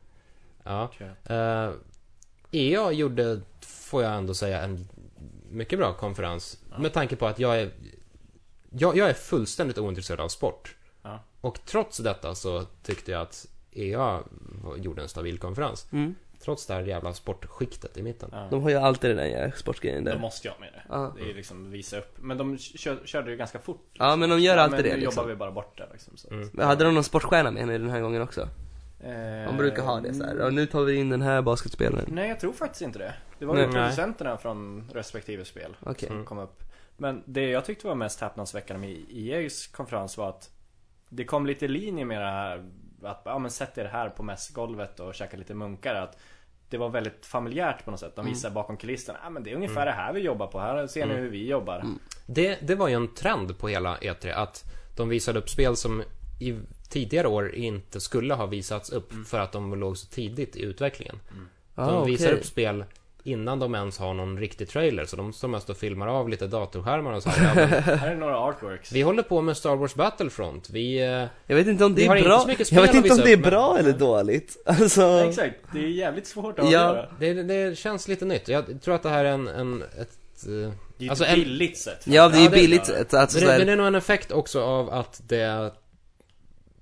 Ja. Eh, EA gjorde, får jag ändå säga, en mycket bra konferens. Med tanke på att jag är... Jag, jag är fullständigt ointresserad av sport. Ja. Och trots detta så tyckte jag att EA var- gjorde en stabil konferens. Mm. Trots det här jävla sportskiktet i mitten. Ja. De har ju alltid den där sportgrejen Då där. måste jag ha med det. Ja. Det är ju liksom visa upp. Men de kö- körde ju ganska fort. Ja, men de gör alltid men Nu det, liksom. jobbar vi bara bort det liksom. Så. att- Mm. Men Hade de någon sportstjärna med henne den här gången också? Eh, De brukar ha det så här. och nu tar vi in den här basketspelaren. Mm. Nej, jag tror faktiskt inte det. Det var Nej. ju producenterna från respektive spel Okej. Mm. som kom upp. Men det jag tyckte var mest häpnadsväckande med EA's konferens var att det kom lite i linje med det här att ja, men sätt er här på mässgolvet och käka lite munkar. Att det var väldigt familjärt på något sätt. De Mm. visar bakom kulisserna. Ja, men det är ungefär det här vi jobbar på. Här ser ni hur vi jobbar. Det, det var ju en trend på hela E3 att de visade upp spel som i tidigare år inte skulle ha visats upp för att de låg så tidigt i utvecklingen. De Ah, visar okej. upp spel innan de ens har någon riktig trailer så de står mest och filmar av lite datorskärmar och så här. Ja, men Här är några artworks. vi håller på med Star Wars Battlefront. Vi... eh, Jag vet inte om det Vi har är inte bra, så mycket spel jag vet att inte om visa det är upp, men- bra eller dåligt. Alltså, Exakt, det är jävligt svårt att Ja. avgöra. Det, det känns lite nytt. Jag tror att det här är en... en ett, eh, Det är ju Alltså, ett en- billigt sätt. för ja att det är ju göra billigt men, sätt att det, men det Alltså, sådär, är nog en effekt också av att det...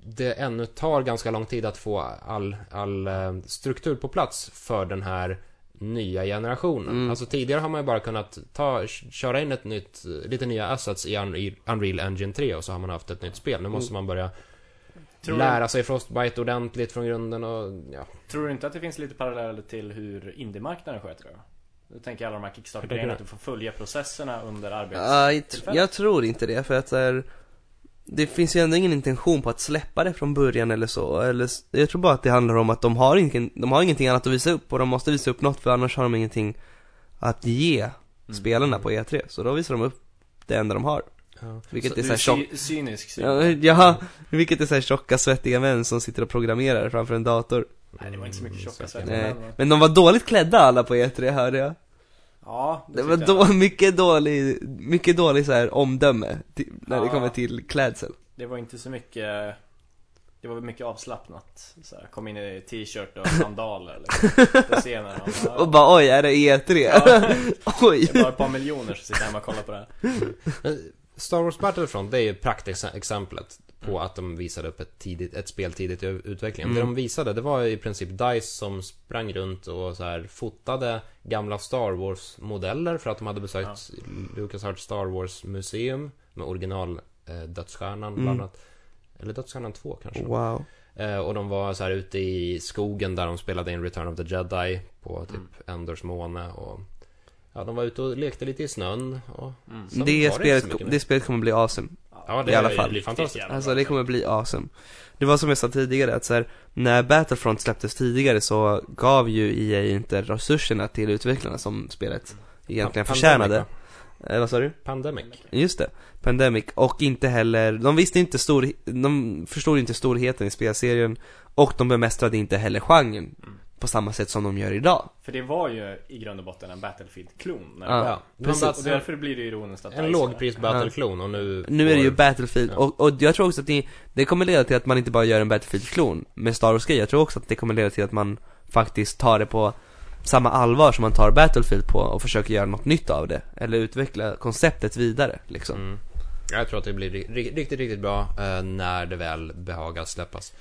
Det ännu tar ganska lång tid att få all, all eh, struktur på plats för den här nya generationen. Mm. Alltså tidigare har man ju bara kunnat ta, köra in ett nytt, eh, lite nya assets i Unreal- Unreal Engine 3 och så har man haft ett nytt spel. Nu måste Mm. man börja Tror- lära sig Frostbite ordentligt från grunden och ja. Tror du inte att det finns lite paralleller till hur indiemarknaden sköter det? Jag tänker alla de här Kickstarter-grejerna, att du får följa processerna under arbetet. Ja, jag, tr- jag tror inte det för att såhär, det finns ju ändå ingen intention på att släppa det från början eller så, eller s- jag tror bara att det handlar om att de har, ingen, de har ingenting annat att visa upp och de måste visa upp något för annars har de ingenting att ge Mm. spelarna på E3, så då visar de upp det enda de har. Ja. Vilket Så är du såhär tjock, cy- cynisk. syn. ja, ja, vilket är såhär tjocka svettiga män som sitter och programmerar framför en dator. Nej, det var inte så mycket Mm, tjocka Nej. svettiga Men de var dåligt klädda alla på E3 hörde jag. Ja, Det var tyckte jag. då, mycket dålig, mycket dålig så här omdöme till, när det Ja. kommer till klädsel. Det var inte så mycket... Det var mycket avslappnat. Så här, kom in i t-shirt och sandaler liksom, på scenen. Och bara, Och bara oj, är det E3? oj! det är bara ett par miljoner som sitter hemma och kollar på det här. Men Star Wars Battlefront, det är ju praktexemplet på att de visade upp ett, tidigt, ett spel tidigt i utvecklingen. Det de visade, det var i princip DICE som sprang runt och så här fotade gamla Star Wars-modeller för att de hade besökt LucasArts Star Wars-museum med original eh, Dödsstjärnan bland Mm. Oh. annat. Eller Dödsstjärnan 2 kanske. Wow. Eh, och de var så här ute i skogen där de spelade in Return of the Jedi på typ Enders måne och... Ja, de var ute och lekte lite i snön och... Mm. sen var Det inte så spelet, mycket mer. det spelet kommer bli awesome. Ja, det I alla är fall. fall. fantastiskt. Riktigt Alltså det kommer bli awesome. Det var som jag sa tidigare att så här, när Battlefront släpptes tidigare så gav ju EA inte resurserna till utvecklarna som spelet egentligen Pan- förtjänade. Pandemic, Eh, vad sa du? va? Pandemic. Just det, Pandemic och inte heller, de visste inte stor, de förstod inte storheten i spelserien och de bemästrade inte heller genren på samma sätt som de gör idag. För det var ju i grund och botten en Battlefield-klon. när det Ja, var. Ja, det precis. var Och en, bat- därför blir det ju ironiskt att en Dice- lågpris battle-klon och nu... Nu är det ju får- Battlefield Ja. och, och jag tror också att det, det kommer leda till att man inte bara gör en Battlefield-klon med Star Wars-grejer, jag tror också att det kommer leda till att man faktiskt tar det på samma allvar som man tar Battlefield på och försöker göra något nytt av det. Eller utveckla konceptet vidare liksom. Mm. Jag tror att det blir ri- ri- riktigt, riktigt bra eh, när det väl behagar släppas.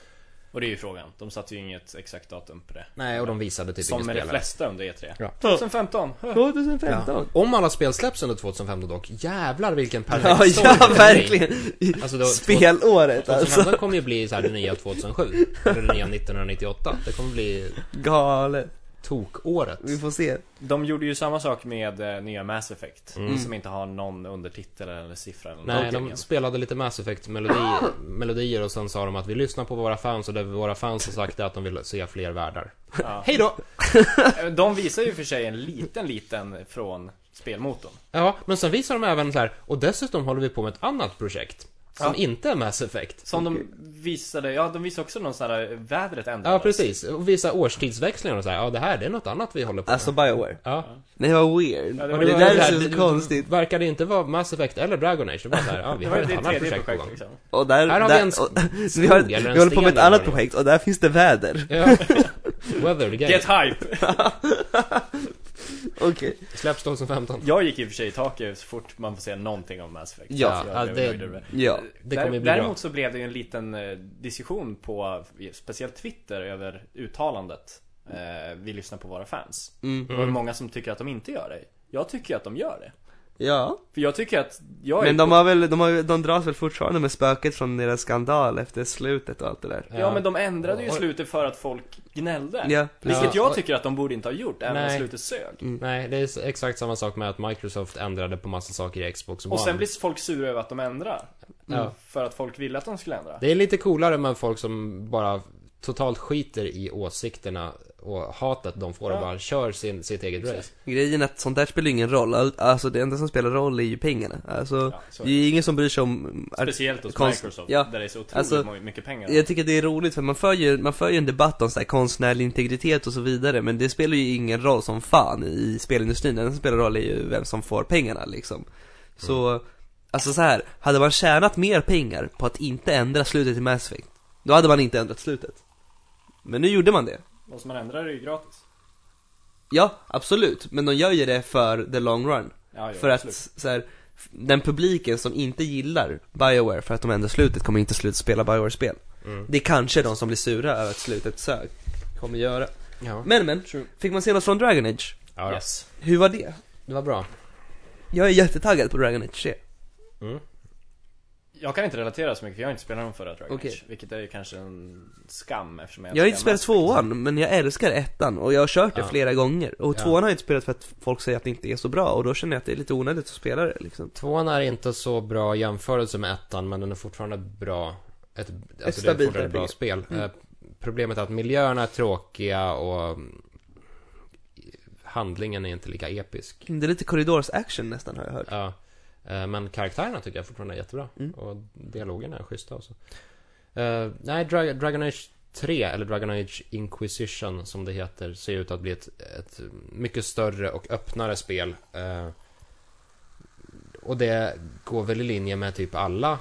Och det är ju frågan. De satte ju inget exakt datum på det. Nej, och de visade typ Som ingen med de spelare. flesta under E E3. Ja. 2015. Huh. 2015? Om alla spel släpps under 2015 dock, jävlar vilken perfekt story Ja, ja Alltså, det blir. verkligen! Alltså då, Spelåret alltså! 2015 kommer ju bli så här det nya 2007, eller det nya 1998. Det kommer bli Galet. tokåret. Vi får se. De gjorde ju samma sak med eh, nya Mass Effect. Mm. Som inte har någon undertitel eller siffra eller Nej, någonting de ens. spelade lite Mass Effect-melodier melodier och sen sa de att vi lyssnar på våra fans och det våra fans har sagt är att de vill se fler världar. Ja. Hej då! Eh, De visar ju för sig en liten, liten från spelmotorn. Ja, men sen visar de även så här, och dessutom håller vi på med ett annat projekt. Som Ja. inte är Mass Effect. Som de visade, ja de visade också någon sån här eh, vädret ändrades. Ja, precis. Och visa årstidsväxlingar och så här, ja det här det är något annat vi håller på med. Alltså Bioware. ja. Nej vad weird. Ja, det det, var- det det där var- är det- så det- konstigt. Verkade inte vara Mass Effect eller Dragon Age, det var så här, ja vi Det har var ju ett det annat projekt, tredje på projekt gång. liksom. Och där, Här har vi där, en och, skog vi, har, eller en vi håller på med ett sten annat eller vad projekt och där finns det väder. Ja. Weather the game. Get hype! Okej. Släpps 2015. Jag gick i och för sig i taket så fort man får se någonting om Mass Effect. Ja, Så ja, jag blev det- nöjd över det. Ja. Det Där- kommer ju bli Däremot bra. så blev det ju en liten eh, diskussion på eh, speciellt Twitter över uttalandet eh, Vi lyssnar på våra fans. Mm. Och det är många som tycker att de inte gör det. Jag tycker ju att de gör det. Ja, För jag tycker att jag är men de har väl, de, har, de dras väl fortfarande med spöket från deras skandal efter slutet och allt det där Ja men de ändrade ju slutet för att folk gnällde. Ja, Vilket Ja. jag tycker att de borde inte ha gjort, även om Nej. slutet sög. Nej, det är s- exakt samma sak med att Microsoft ändrade på massa saker i Xbox One. Och sen blir folk sura över att de ändrar. Ja. För att folk ville att de skulle ändra. Det är lite coolare med folk som bara totalt skiter i åsikterna och hatet de får och Ja. bara kör sin, sitt eget race. Grejen är att sånt där spelar ingen roll, All- alltså det enda som spelar roll är ju pengarna Alltså, Ja, så är det är ju ingen som bryr sig om Speciellt hos konst- Microsoft, ja. där det är så otroligt Alltså, mo- mycket pengar. Jag tycker det är roligt för man för ju, man för ju en debatt om så här konstnärlig integritet och så vidare men det spelar ju ingen roll som fan i spelindustrin, det enda som spelar roll är ju vem som får pengarna liksom Så, alltså så här, hade man tjänat mer pengar på att inte ändra slutet i Mass Effect, då hade man inte ändrat slutet Men nu gjorde man det Och som man ändrar är det ju gratis. Ja, absolut, men de gör ju det för the long run Ja, ja, För att absolut. så här, f- den publiken som inte gillar Bioware för att de ändrar slutet kommer inte sluta spela Bioware-spel. Mm. Det är kanske de som blir sura över att slutet sög kommer göra. Ja. Men men, fick man se något från Dragon Age? Ja, då. Yes. Hur var det? Det var bra. Jag är jättetaggad på Dragon Age 3. Jag kan inte relatera så mycket för jag har inte spelat de förra Dragon Okej. Age. Vilket är ju kanske en skam eftersom jag Jag har inte älskar spelat Mass Effect. tvåan, men jag älskar ettan och jag har kört det Ja. flera gånger. Och Ja. tvåan har jag inte spelat för att folk säger att det inte är så bra och då känner jag att det är lite onödigt att spela det liksom. Tvåan är inte så bra i jämförelse med ettan, men den är fortfarande bra. Ett, alltså det är stabilt fortfarande ett bra RPG. spel. Eh, Problemet är att miljöerna är tråkiga och mm, handlingen är inte lika episk. Det är lite korridors-action nästan har jag hört. Ja. Eh, Men karaktärerna tycker jag fortfarande är jättebra. Mm. Och dialogerna är schyssta också. Eh, nej, Dra- Dragon Age 3, eller Dragon Age Inquisition som det heter, ser ut att bli ett, ett mycket större och öppnare spel. Eh, och det går väl i linje med typ alla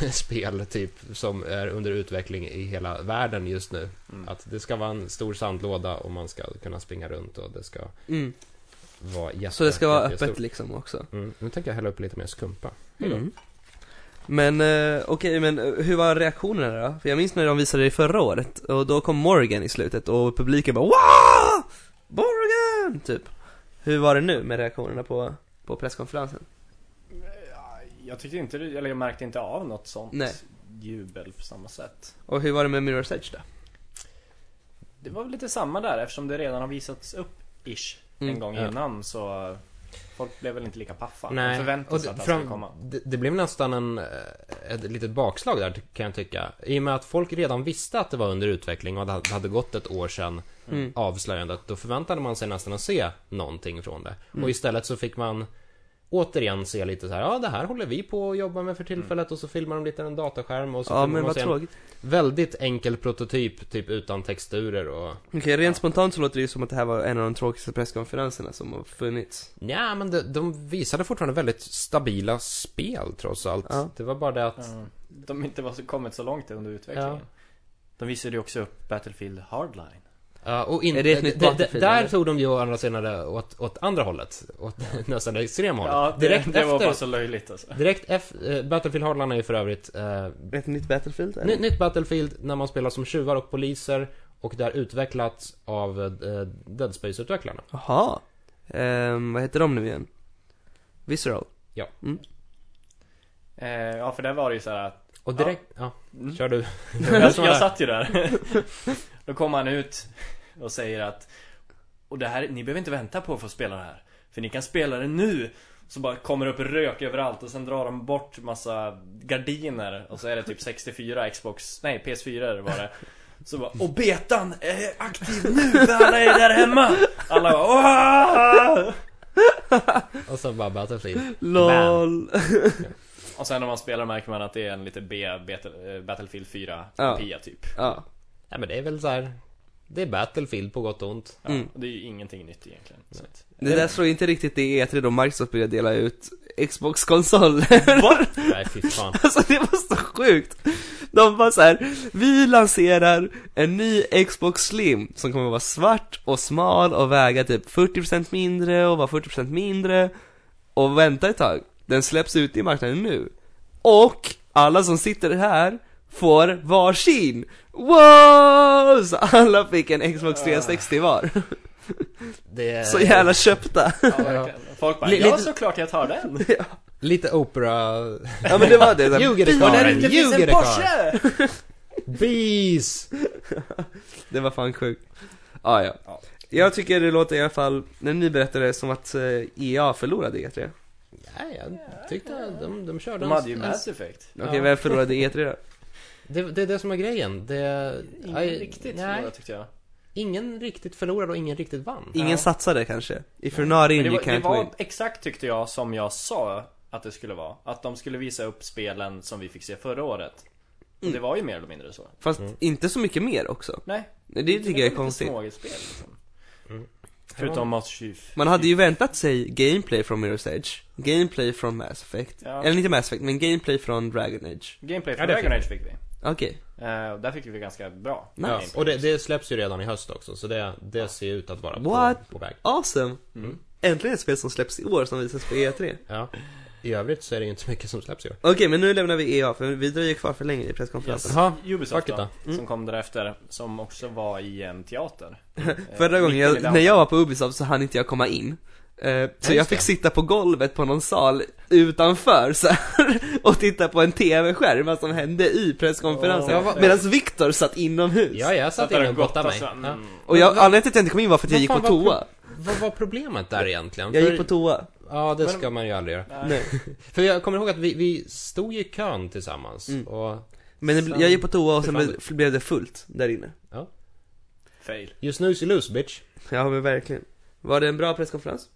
spel typ som är under utveckling i hela världen just nu. Mm. Att det ska vara en stor sandlåda och man ska kunna springa runt och det ska Mm. vara jätte, Så det ska vara jättestort. öppet liksom också. Mm, nu tänker jag hälla upp lite mer skumpa. Hejdå. Mm. Men eh, okej, men eh, hur var reaktionerna då? För jag minns när de visade det förra året och då kom Morgan i slutet och publiken bara Wow! Morgan! Typ. Hur var det nu med reaktionerna på, på presskonferensen? Jag tyckte inte, det- eller jag märkte inte av något sånt Nej. jubel på samma sätt. Och hur var det med Mirror's Edge då? Det var väl lite samma där eftersom det redan har visats upp, ish, en Mm. gång Ja. innan så Folk blev väl inte lika paffa. De Nej, förväntade sig att han skulle komma. det, det blev nästan en, eh, ett litet bakslag där ty- kan jag tycka. I och med att folk redan visste att det var under utveckling och att det hade gått ett år sedan Mm. avslöjandet. Då förväntade man sig nästan att se någonting från det. Mm. Och istället så fick man återigen se lite så här, ja det här håller vi på att jobba med för tillfället och så filmar de lite en dataskärm och så Mm. Ja filmar men man vad sig en tråkigt. väldigt enkel prototyp, typ utan texturer och Okej, rent spontant så låter det ju som att det här var en av de tråkigaste presskonferenserna som har funnits. Ja, men de, de visade fortfarande väldigt stabila spel trots allt. Ja. Det var bara det att... Ja, Mm. De inte var så, kommit så långt under utvecklingen. Ja. De visade ju också upp Battlefield Hardline. Ja, och in, Är det ett d- nytt d- Battlefield, Där eller? tog de ju å andra sidan det åt, åt andra hållet. Åt nästan det extrema hållet. Ja, det, direkt det var efter... bara så löjligt alltså. Direkt efter... eh, Battlefield Hardline är ju för övrigt... Eh, Ett nytt Battlefield? eller? ny, nytt Battlefield när man spelar som tjuvar och poliser. Och det är utvecklat av eh, Dead Space-utvecklarna. Jaha. Ehm, vad heter de nu igen? Visceral? Eh, ja, för där var det ju så här att... Och direkt... Ja, Mm. kör du. Jag, jag satt ju där. Då kom han ut och säger att... Och det här, ni behöver inte vänta på att få spela det här. För ni kan spela det nu. Så bara kommer det upp rök överallt och sen drar de bort massa gardiner. Och så är det typ 64 Xbox... Nej, PS4 var det. Så bara, och betan är aktiv nu för alla är där hemma! Alla bara, "Åh!" Och så bara Battlefield. LOL! Och sen när man spelar märker man att det är en lite B Battle- eh, Battlefield 4 Ja. kopia typ. ja. Nej, men det är väl så här... Det är Battlefield på gott och ont. Ja, Mm. och Det är ju ingenting nytt egentligen. Så att, Det där slår inte riktigt det E3 då Microsoft började dela ut Xbox-konsoler. Nej, fy fan. Alltså det var så sjukt. De bara så här, vi lanserar en ny Xbox Slim som kommer att vara svart och smal och väga typ 40% mindre och vara 40% mindre. Och vänta ett tag, den släpps ut i marknaden nu. Och alla som sitter här får varsin. Wow! Så alla fick en Xbox 360 var. Det, Så jävla köpta. Ja, verkligen. Folk bara, Li- ja lite- såklart jag tar den! Lite opera... Ja men det var det. där. Ljuger det Bilen- Karin? Det finns Ljuger en det, Porsche! Bees! Det var fan sjukt. Ah, ja. Ja. Jag tycker det låter i alla fall, när ni berättade det, som att eh, EA förlorade E E3. Nej, jag tyckte att de, de körde De en- hade ju en- Mass Effect. Okej, Ja. vem förlorade E3 då? Det, det är det som är grejen. Det, Ingen aj, riktigt nej, förlorad tyckte jag. Ingen riktigt förlorade och ingen riktigt vann. Ingen Ja. satsade kanske? If you're not in Men det you var, det can't win. var exakt tyckte jag som jag sa att det skulle vara. Att de skulle visa upp spelen som vi fick se förra året. Och det var ju mer eller mindre så. Fast inte så mycket mer också. Nej. Det tycker jag är Mm. var konstigt. Lite smågespel liksom. Förutom Mass Chief. Man hade ju väntat sig gameplay från Mirror's Edge, gameplay från Mass Effect, Ja. eller inte Mass Effect, men gameplay från Dragon Age. Gameplay Ja, från det Dragon fick Age fick vi. Okej, Eh, där fick vi ganska bra Nice. Ja, gameplay. och det, det släpps ju redan i höst också, så det, det ser ut att vara på, What? på väg. awesome! Mm. Äntligen ett spel som släpps i år som visas på E E3. Okej, Ja. I övrigt så är det ju inte så mycket som släpps i år. men nu lämnar vi EA för vi dröjer kvar för länge i presskonferensen. Jaha, Ubisoft Fuck då, it som kom därefter, som också var i en teater. Eh, Förra gången, mitt i jag, downtown. när jag var på Ubisoft så hann inte jag komma in. Eh, så Ja, jag just fick det. sitta på golvet på någon sal utanför så här, och titta på en TV-skärm, vad som hände i presskonferensen. Åh, vad fett. Medan Viktor satt inomhus. Ja, jag satt där inne och gottade gottade mig. sig. Ja. Mm. Och jag, anledningen till att jag inte kom in var för att jag Vad gick på fan var toa. Vad var problemet där egentligen? Jag För- gick på toa. Ja, det Men- ska man ju aldrig göra. Nej. För jag kommer ihåg att vi, vi stod ju i kön tillsammans Mm. och Men det, bl- jag gick på toa och sen Sen- blev, blev det fullt där inne. Fail. you snooze you lose bitch. Ja men verkligen. Var det en bra presskonferens?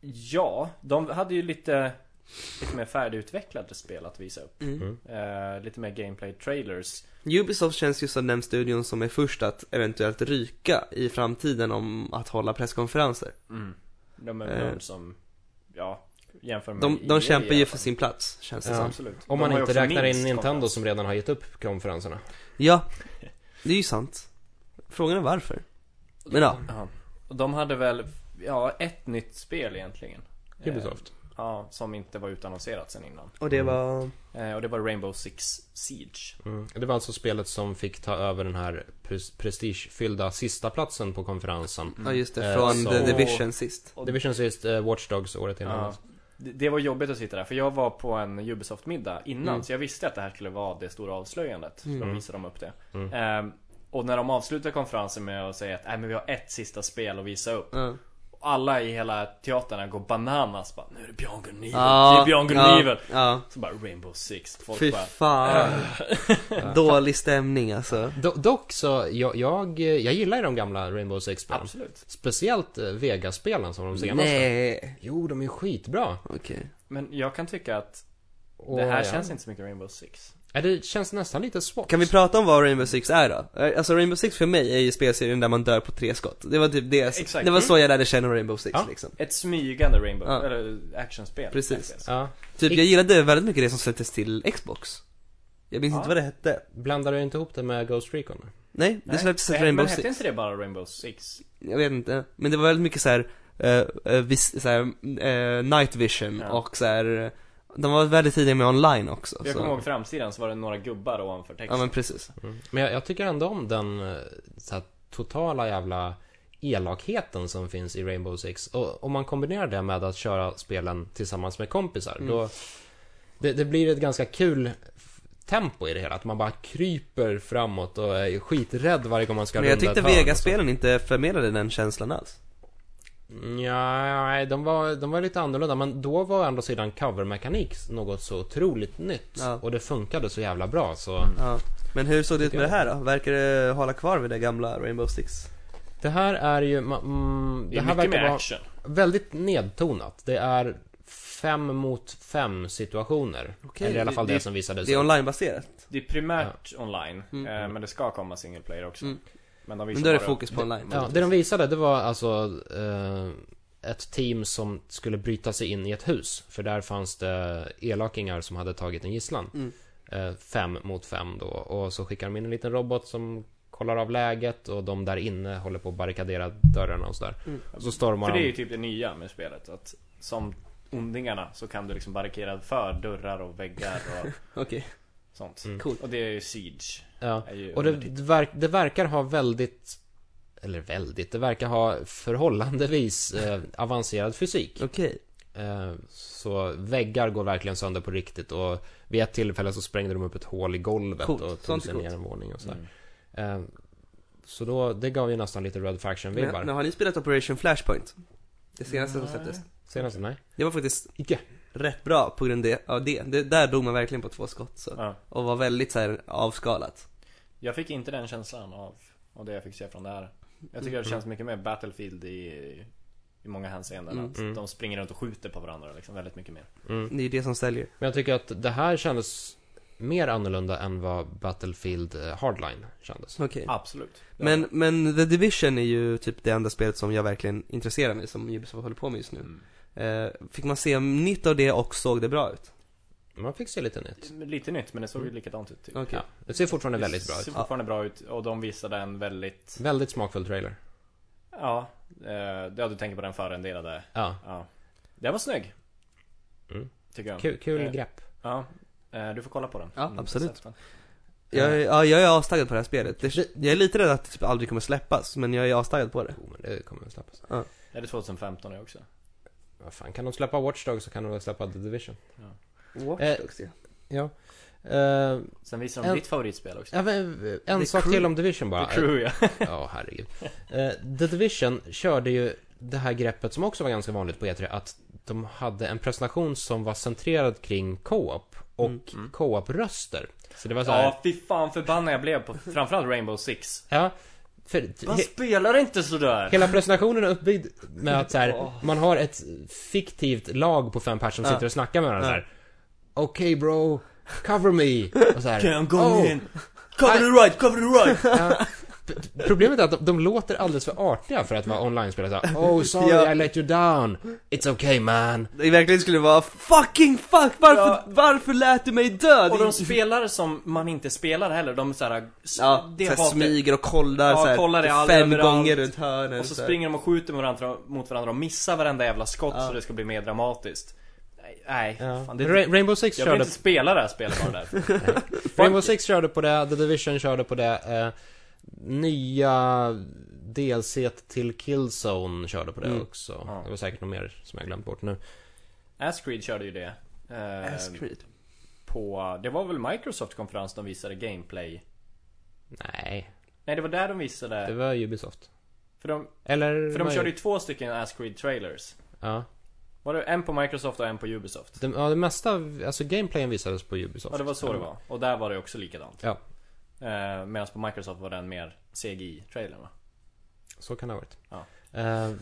Ja, de hade ju lite, lite mer färdigutvecklade spel att visa upp. Mm. Eh, lite mer gameplay trailers. Ubisoft känns ju som den studion som är först att eventuellt ryka i framtiden om att hålla presskonferenser. De är Eh. de som, ja, jämför med E De, EA de kämpar i ju alla för fall. sin plats, känns det Ja. som. Absolut. Om De man har ju inte också räknar in minst Nintendo konferens. som redan har gett upp konferenserna. Ja, det är ju sant. Frågan är varför. Men ja, Ja. Och de hade väl, ja, ett nytt spel egentligen. Eh, Ubisoft. Ja, som inte var utannonserat sen innan. och det var... Eh, och det var Rainbow Six Siege. Mm. Det var alltså spelet som fick ta över den här pres- prestigefyllda sista platsen på konferensen. Mm. Ja just det, Eh, från så- The Division sist. Och- Det Division sist, uh, Watch Dogs året innan. Ja. Det det var jobbigt att sitta där, för jag var på en Ubisoft-middag innan Mm. så jag visste att det här skulle vara det stora avslöjandet. Så då visade de upp det. Mm. Ehm, och när de avslutar konferensen med att säga att Nej, men vi har ett sista spel att visa upp. Ja. Och alla i hela teatern går bananas. Bara, nu är det Björn Gurnivel, Ja, det är Björn Gurnivel. ja, ja. Så bara Rainbow Six. Folk Fy bara, fan. Dålig stämning alltså. Do- dock så, jag, jag, eh, jag gillar ju de gamla Rainbow Six-spelen. absolut. Speciellt eh, Vegas-spelen som de senaste. Nej. Jo, de är skitbra. Okej. Men jag kan tycka att Och, det här ja. känns inte så mycket Rainbow Six. Ja, det känns nästan lite svårt. Kan vi prata om vad Rainbow Six är då? Eh, Alltså Rainbow Six för mig är ju spelserien där man dör på tre skott. Det var typ det, Exakt. Mm. det var så jag lärde känna Rainbow Six Ja. liksom. Ett smygande Rainbow, Ja. eller actionspel. Precis. egentligen. Ja. Typ jag gillade väldigt mycket det som släpptes till Xbox. Jag minns Ja. inte vad det hette. Blandar du inte ihop det med Ghost Recon? Nej, det Nej, släpptes till nej, Rainbow men Six. hette inte det bara Rainbow Six? Jag vet inte, men det var väldigt mycket såhär, uh, vis, så här, eh, night vision Ja. och såhär, de var väldigt tidiga med online också Jag så. kommer ihåg framsidan så var det några gubbar ovanför Alltså- Ja texten. men precis. Mm. Men jag, jag tycker ändå om den eh, så här, totala jävla elakheten som finns i Rainbow Six. Och om man kombinerar det med att köra spelen tillsammans med kompisar, Mm. då... Det, det blir ett ganska kul f- tempo i det hela. Att man bara kryper framåt och är skiträdd varje gång man ska Men jag runda tyckte ett hörn och så. Vegas-spelen inte förmedlade den känslan alls. Nja, nej, de var, de var lite annorlunda men då var å andra sidan covermekanik något så otroligt nytt Ja. och det funkade så jävla bra så Ja. Men hur såg det ut med det Mm. Tycker här då? Verkar det hålla kvar vid det gamla Rainbow Six? Det här är ju, ma- mm, det det är här mycket verkar mer vara action. väldigt nedtonat. Det är fem mot fem situationer. Okej, Eller i alla det- fall det, det- som visades Det är upp. onlinebaserat. Det är primärt online, eh, men det ska komma single player också. Mm. Men, de visar Men då är det bara- fokus på online. Ja, det de visade det var alltså eh, ett team som skulle bryta sig in i ett hus. För där fanns det elakingar som hade tagit en gisslan. Mm. Eh, fem mot fem då. Och så skickar de in en liten robot som kollar av läget och de där inne håller på att barrikadera dörrarna och sådär. Mm. Och så stormar För det är ju de. typ det nya med spelet. Att som ondingarna så kan du liksom barrikera för dörrar och väggar och Okej, sånt. Mm. coolt. Och det är ju Siege. Ja. Är ju Och det, under- det, verk, det verkar ha väldigt eller väldigt, det verkar ha förhållandevis eh, avancerad fysik. Okej. Eh, så väggar går verkligen sönder på riktigt och vid ett tillfälle så sprängde de upp ett hål i golvet Coolt, och tog sånt är sig coolt. ner en våning och sådär. Mm. Eh, så då, det gav ju nästan lite Red Men, men Faction-vibbar. har ni spelat Operation Flashpoint? Det senaste som Nej. släpptes. Senast, nej? Det var faktiskt Icke. rätt bra på grund av det. det där dog man verkligen på två skott så. Mm. Ja. Och var väldigt så här avskalat. Jag fick inte den känslan av, av det jag fick se från det här. Jag Mm. tycker det känns mycket mer Battlefield i, i många hänseenden. Mm. Att Mm. de springer runt och skjuter på varandra liksom väldigt mycket mer. Mm. Det är ju det som säljer. Men jag tycker att det här kändes mer annorlunda än vad Battlefield eh, Hardline kändes. Okej. Absolut. Men, men The Division är ju typ det enda spelet som jag verkligen intresserar mig som Ubisoft håller på med just nu. Mm. Eh, fick man se nytt av det och såg det bra ut? Man fick se lite nytt. Lite nytt men det såg ju likadant ut typ. Okej. Mm. Ja, det ser fortfarande väldigt bra Det ut. ser fortfarande bra ut och de visade en väldigt, Väldigt smakfull trailer. ja, eh, ja du tänker på den förendelade. Ja, Ja. Den var snygg. Mm. Tycker jag. kul, kul Eh, grepp. Ja. Eh, Du får kolla på den. Ja, Mm, absolut. sett den. Jag, är- ja, jag är avstaggad på det här spelet. Det, jag är lite rädd att det typ aldrig kommer släppas, men jag är avstaggad på det. Jo, men det kommer väl släppas. Är det 2015 det också? Vad fan, kan de släppa Watch Dogs så kan de väl släppa The Division. Watch Dogs, ja. Ja. Eh, Sen visade de En- ditt favoritspel också. ja, men, eh, en The sak Crew. till om Division bara. Eh, The Crew ja. Ja, herregud. Eh, The Division körde ju det här greppet som också var ganska vanligt på E3, att de hade en presentation som var centrerad kring co-op och Mm. Mm. co-op-röster. Så det var så här, Ja, fy fan förbannad jag blev på framförallt Rainbow Six. ja för, Man he, spelar inte sådär! hela presentationen är uppbyggd med att så här, Åh. man har ett fiktivt lag på fem personer som Ja. sitter och snackar med varandra så Ja. här. Okej bro, cover me! Och så här, Can go "Oh, in! Cover the right, cover the right! Ja. P- Problemet är att de, de låter alldeles för artiga för att vara online-spelare. Så här, Oh sorry Ja. I let you down. It's okay man. Det verkligen skulle vara 'Fucking fuck! Varför, Ja. varför lät du mig dö?' Och Det är- de spelar som man inte spelar heller, de såhär... Ja, det så här hatar- smyger och kollar Ja, så här, kollar i all- fem överallt. gånger runt hörnen Och så så här. springer de och skjuter mot varandra, mot varandra och missar varenda jävla skott Ja. så det ska bli mer dramatiskt. Nej, nej fan, det, Ra- Rainbow Six jag vill körde, inte spela det här spelet bara därför. Rainbow Six körde på det, The Division körde på det, eh, nya DLC till Killzone körde på det Mm. också. Ja. Det var säkert något mer som jag glömt bort nu. Ascreed körde ju det. Eh, Ascreed. på, det var väl Microsoft konferens de visade gameplay? Nej, Nej, det var där de det visade. var Ubisoft. För de, Eller? för de körde ju två stycken Ascreed trailers. Ja. Var det en på Microsoft och en på Ubisoft? Det, ja, det mesta, av- alltså gameplayen visades på Ubisoft. Ja, det var så det var. Och där var det också likadant. Ja, Eh, Medan på Microsoft var den mer CGI-trailern va? så kan det ha varit. Ja. Eh,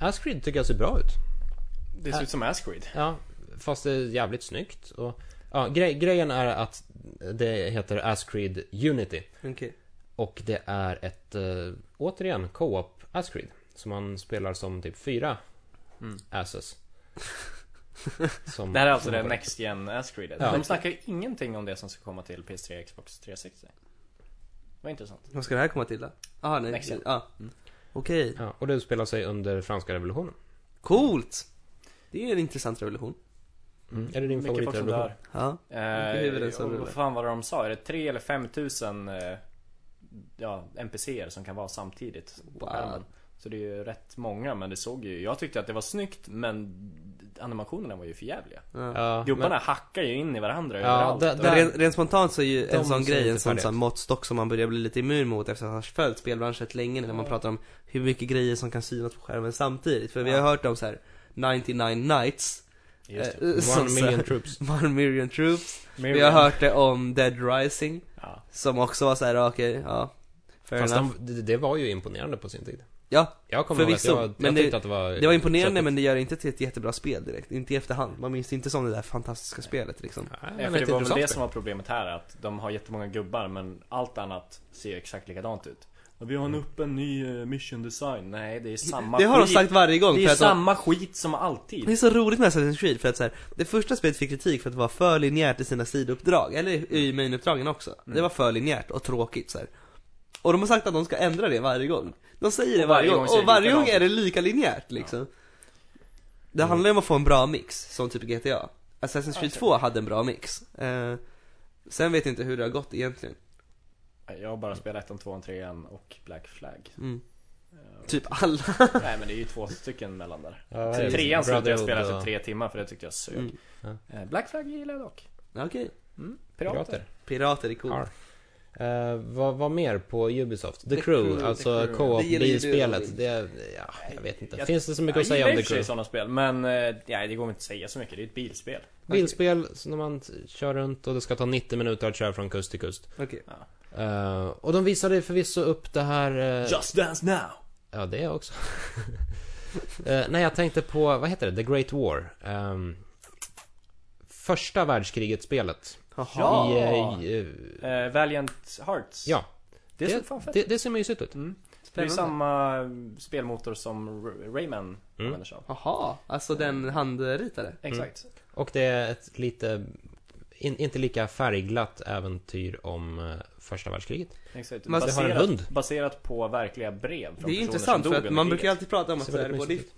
Ascrid tycker jag ser bra ut. Det ser ut som Ascreed. Ja, fast det är jävligt snyggt. Och, ja, grej, grejen är att det heter Ascreed Unity. Okej. Och det är ett, eh, återigen, co-op Ascreed. Som man spelar som typ fyra Mm. asses. Som- Det här är alltså som det man- Next Gen Ascreed. Ja. De snackar ju ingenting om det som ska komma till PS3 Xbox 360. Vad intressant. Vad ska det här komma till då? Ah, nej. Next gen. Ja. Mm. Okej. Ja, och det utspelar sig under franska revolutionen. Coolt! Det är en intressant revolution. Är det din Mycket folk som favoritrevolution? dör. Ja. Mycket Eh, huvuden som och rullar. vad fan var det de sa? Är det 3 eller 5 tusen eh, ja, NPCer som kan vara samtidigt? på Wow. skärmen? Så det är ju rätt många men det såg ju... Jag tyckte att det var snyggt men animationerna var ju för jävliga. ja. Ja, Gubbarna men- hackar ju in i varandra Ja, överallt. där- Och- där- Rent, rent spontant så är ju De en sån ser grej inte en sån, färdiga sån ut. måttstock som man börjar bli lite immun mot efter att ha följt spelbranschen rätt länge när man Ja. pratar om hur mycket grejer som kan synas på skärmen samtidigt. För vi har Ja. hört om så här 99 nights. Just det. eh, som One så här- million troops. One million troops. Vi har Miriam. hört det om Dead Rising. Ja. Som också var så här, okej, ja. Fair Fast enough. de, det- det var ju imponerande på sin tid. Ja, Jag kommer ihåg att Förvisso, jag, jag men det- tyckte att det var... det var imponerande köttigt. men det gör inte till ett jättebra spel direkt. Inte i efterhand. Man minns inte som det där fantastiska spelet liksom. Nej, men Nej, för ett det var väl intressant det spel. som var problemet här, att de har jättemånga gubbar men allt annat ser ju exakt likadant ut. Och vi har en upp en ny eh, mission design. Nej, det är samma Det har de skit. sagt varje gång. Det för är att de- samma skit som Det är alltid. så roligt med Assassin's Creed för att så här, det första spelet fick kritik för att vara för linjärt i sina sidouppdrag, eller i mainuppdragen också. Mm. Det var för linjärt och tråkigt så här. Och de har sagt att de ska ändra det varje gång. De säger det Och varje varje gång, gång säger och varje gång likadant. Mm. är det lika linjärt liksom. Det handlar ju om att få en bra mix, som typ GTA. Assassin's Creed Okej. 2 hade en bra mix. Eh, sen vet jag inte hur det har gått egentligen. Jag har bara spelat ettan, tvåan, trean och Black Flag. Mm. Eh, Typ alla. Nej men det är ju två stycken mellan där. Ja, det är Trean slutade jag Brotherhood spela efter och- tre timmar för det tyckte jag sög. Mm. Eh, Black Flag gillar jag dock. Okej. Mm. Pirater. Pirater. Pirater är coolt. Ja. Eh, vad, vad mer på Ubisoft? The, The Crew, Crew, The alltså Crew. co-op Det gillar ju du, bilspelet. Robin. Det, ja, jag vet inte. Jag- Finns det så mycket Jag att säga gillar om i The och för sig Crew? sådana spel men eh, nej, det går inte att säga så mycket. Det är ett bilspel. Bilspel så när man t- kör runt och det ska ta 90 minuter att köra från kust till kust. Okej. Eh, och de visade förvisso upp det här... eh, Just Dance Now! Ja, det också. uh, nej, jag tänkte på, vad heter det? The Great War. Ehm, första världskriget-spelet. Jaha. Ja. I, eh, eh, Eh, Valiant Hearts. ja, Det såg fan fett det, det ser mysigt ut. Mm. Det är ju Spännande. samma eh, spelmotor som R- Rayman Mm. använder sig av. Jaha, alltså den handritade? Exakt. Och det är ett lite, in, inte lika färgglatt äventyr om eh, första världskriget. Exakt. Man- Mm. Det har en hund. baserat på verkliga brev från Det är personer som intressant för dog under att man kriget. brukar ju alltid prata om Det att ser så här, väldigt både i, mysigt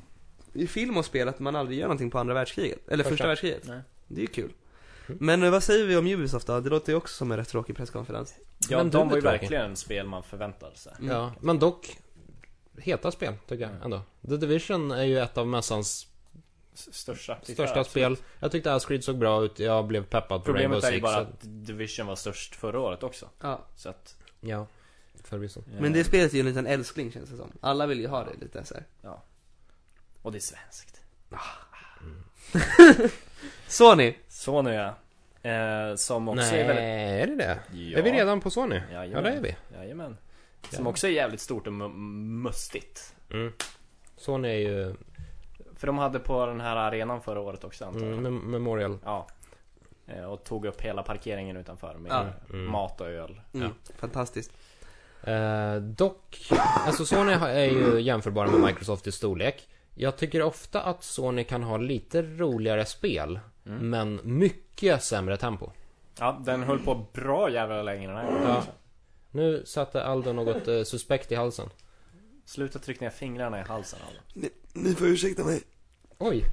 ut. i film och spel att man aldrig gör någonting på andra världskriget. Eller första, Första. världskriget. Nej. Det är ju kul. Mm. Men eh, vad säger vi om Ubisoft då? Det låter ju också som en rätt tråkig presskonferens. Ja, Men de du var ju är tråkig. verkligen spel man förväntar sig. Mm. Ja, men dock heta spel, tycker Mm. jag ändå. The Division är ju ett av mässans S- Största. största spel. Jag tyckte Ascrid såg bra ut, jag blev peppad på Problemet Rainbow är ju Six. bara så- att Division var störst förra året också. Ja. Så att, Ja, förvisso. eh, Men det spelet är ju en liten älskling känns det som. Alla vill ju ha det lite så här. Och det är svenskt. Sony! Så nu ja. Eh, som också Nej, är väldigt... är det det? Ja. Är vi redan på Sony? Jajamän. Ja, det är vi. Jajamän. Som Jajamän. också är jävligt stort och mu- mustigt. Mm. Sony är ju För de hade på den här arenan förra året också antar jag. mm, mem- Memorial. Ja. Eh, Och tog upp hela parkeringen utanför med Ja. Mm. mat och öl. Mm. Fantastiskt. Eh, dock, alltså Sony har- är ju jämförbara med Microsoft i storlek. Jag tycker ofta att Sony kan ha lite roligare spel, men mycket sämre tempo. Ja, den höll på bra jävla länge den här gången. Ja. Nu satte Aldo något eh, suspekt i halsen. Sluta trycka ner fingrarna i halsen alla. Ni, får ursäkta mig. Oj!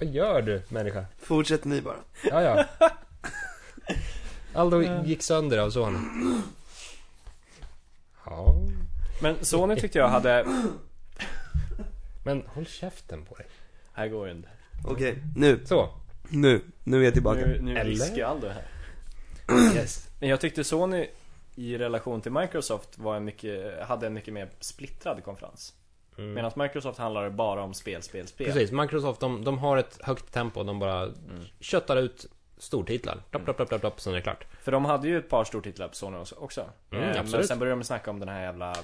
Vad gör du, människa? Fortsätt ni bara. Ja, ja. Aldo gick sönder av sonen. Ja. Men Sony tyckte jag hade... Men håll käften på dig. Här går ju inte. Okej, nu, Så. nu, nu är jag tillbaka. Nu, nu Eller? viskar jag aldrig här. Yes. Men jag tyckte Sony i relation till Microsoft var en mycket, hade en mycket mer splittrad konferens. Mm. Medan Microsoft handlade bara om spel, spel, spel. Precis, Microsoft de, de har ett högt tempo. De bara Mm. köttar ut stortitlar. Dopp, dopp, dopp, dopp, dopp, sen är det klart. För de hade ju ett par stortitlar på Sony också- också. Mm, Eh, men absolut. sen började de snacka om den här jävla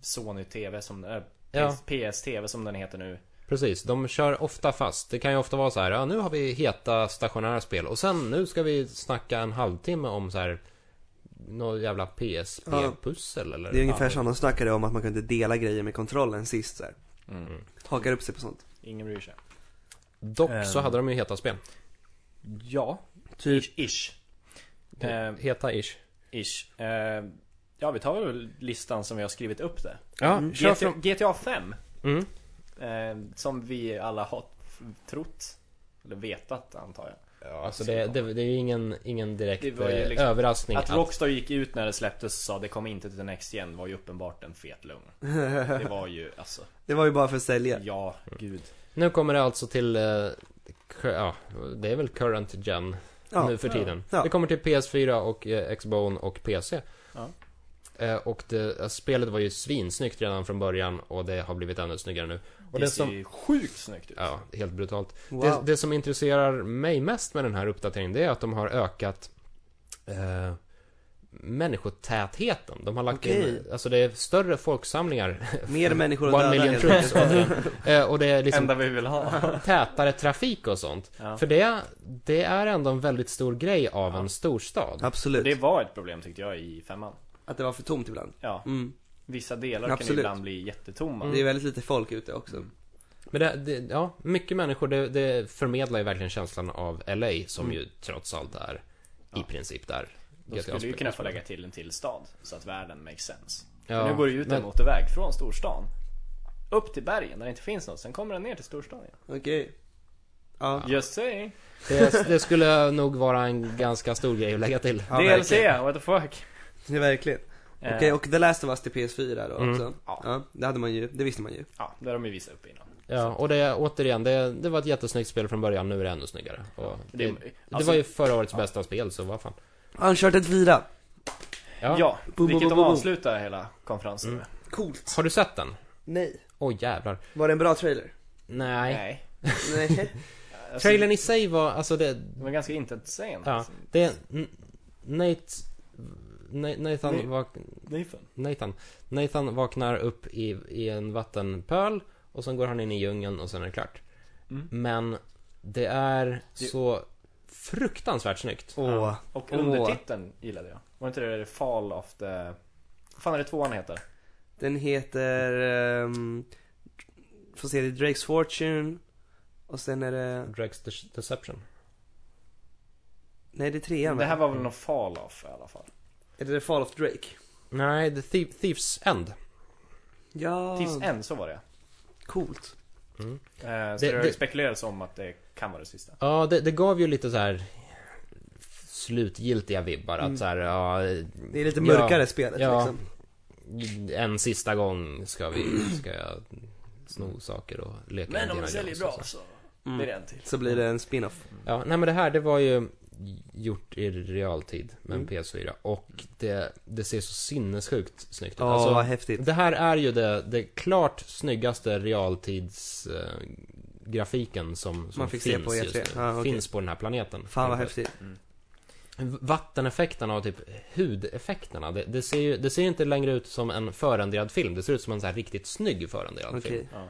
Sony TV som... Äh, Ja. PS-TV som den heter nu. Precis, de kör ofta fast. Det kan ju ofta vara så här, ja nu har vi heta stationära spel och sen nu ska vi snacka en halvtimme om så här något jävla PSP-pussel eller Det är ungefär Ja. som de snackade om att man kunde dela grejer med kontrollen sist så här. Mm. Hakar upp sig på sånt. Ingen bryr sig. Dock så Ehm. hade de ju heta spel. Ja. Typ. Ish. Ish. Eh, Eh, Heta-ish. ish. Eh, ja, vi tar väl listan som vi har skrivit upp där. Ja, Mm. kör GTA, från... GTA 5. Mm. Eh, som vi alla har f- trott. Eller vetat antar jag. Ja, alltså det, det, det är ju ingen, ingen direkt Det var ju eh, liksom- överraskning Att Rockstar gick ut när det släpptes och sa det kommer inte till Next Gen var ju uppenbart en fet lögn. Det var ju alltså, Det var ju bara för att sälja. ja gud. Nu kommer det alltså till... eh, cur- Ja, det är väl current gen Ja. nu för Ja. tiden. Ja. Det kommer till PS4 och eh, Xbone och PC. Ja. Eh, och det, eh, spelet var ju svinsnyggt redan från början och det har blivit ännu snyggare nu. Och Det, det, ser som... ju sjukt snyggt ut. Ja, helt brutalt. Wow. Det, det som intresserar mig mest med den här uppdateringen, det är att de har ökat eh, människotätheten. De har lagt Okej. in, alltså det är större folksamlingar. Mer människor att One döda million helt troops. enkelt. eh, och det är Det liksom enda vi vill ha. tätare trafik och sånt. Ja. För det, det är ändå en väldigt stor grej av en storstad. Absolut. Det var ett problem tyckte jag i femman. Att det var för tomt ibland. Ja, Mm. vissa delar kan Absolut. Mm. ibland bli jättetomma. Det är väldigt lite folk ute också. Men det, det, ja, mycket människor, det, det förmedlar ju verkligen känslan av LA som ju trots allt är i princip där. Mm. Då GTA skulle du ju spelar. kunna få lägga till en till stad så att världen makes sense. Ja, För nu går det ju ut en men- motorväg från storstan upp till bergen där det inte finns något, sen kommer den ner till storstan igen. Okej. Ja. Just saying. Det, det skulle nog vara en ganska stor grej att lägga till. ja DLC, verkligen. what the fuck. Ja, verkligen. Eh, Okej, och The Last of Us till PS4 då Mm. också? Ja. Ja, det hade man ju, det visste man ju. Ja, det har de ju visat upp innan. Ja, och det, återigen, det, det var ett jättesnyggt spel från början, nu är det ännu snyggare. Och Det, det, det alltså- var ju förra årets bästa spel, så vad fan. Uncharted 4, Ja. Mm. Ja, boom, vilket boom, de boom. avslutar hela konferensen med. coolt. Har du sett den? Nej. Åh jävlar. Var det en bra trailer? Nej. Nej. Nej. Alltså, Trailern i sig var, alltså det, Det var ganska intetsägande. ja, det, N- Nate, Na- Nej. Nathan, vak, Nathan. Nathan, Nathan vaknar upp i, i en vattenpöl och sen går han in i djungeln och sen är det klart. Mm. Men det är Det- så fruktansvärt snyggt. Åh. Ja. Och Åh. undertiteln gillade jag. Var inte det Fall of the... Vad fan är det tvåan heter? Den heter, ehm, får se det är Drake's Fortune, och sen är det, Drake's De- Deception. nej det är trean Det här va? var väl någon Fall of i alla fall. Är det The Fall of Drake? Nej, The Thie- Thieves End. Ja, Tills än så var det. coolt. Eh, Så det, Det- har ju det- spekulerats om att det kan vara det sista. Ja, det, det gav ju lite så här slutgiltiga vibbar. Mm. Att så här, ja, Det är lite Ja. mörkare spelet Ja. liksom. en sista gång ska vi, ska jag sno saker och leka Indiana Jones och så. så Mm. blir det en till. Så blir det en spin-off. Ja, nej men det här det var ju gjort i realtid med en Mm. PS4 och det, det ser så sinnessjukt snyggt ut. Alltså, Ja, Alltså, vad häftigt. det här är ju det, det klart snyggaste realtidsgrafiken grafiken som, som Man fick se finns på E3. just nu. Ja, okej. Finns på den här planeten. Fan vad häftigt. V- Vatteneffekterna och typ hudeffekterna. Det, det, ser ju, det ser ju inte längre ut som en förenderad film. Det ser ut som en så här riktigt snygg förenderad Okej. film. Ja.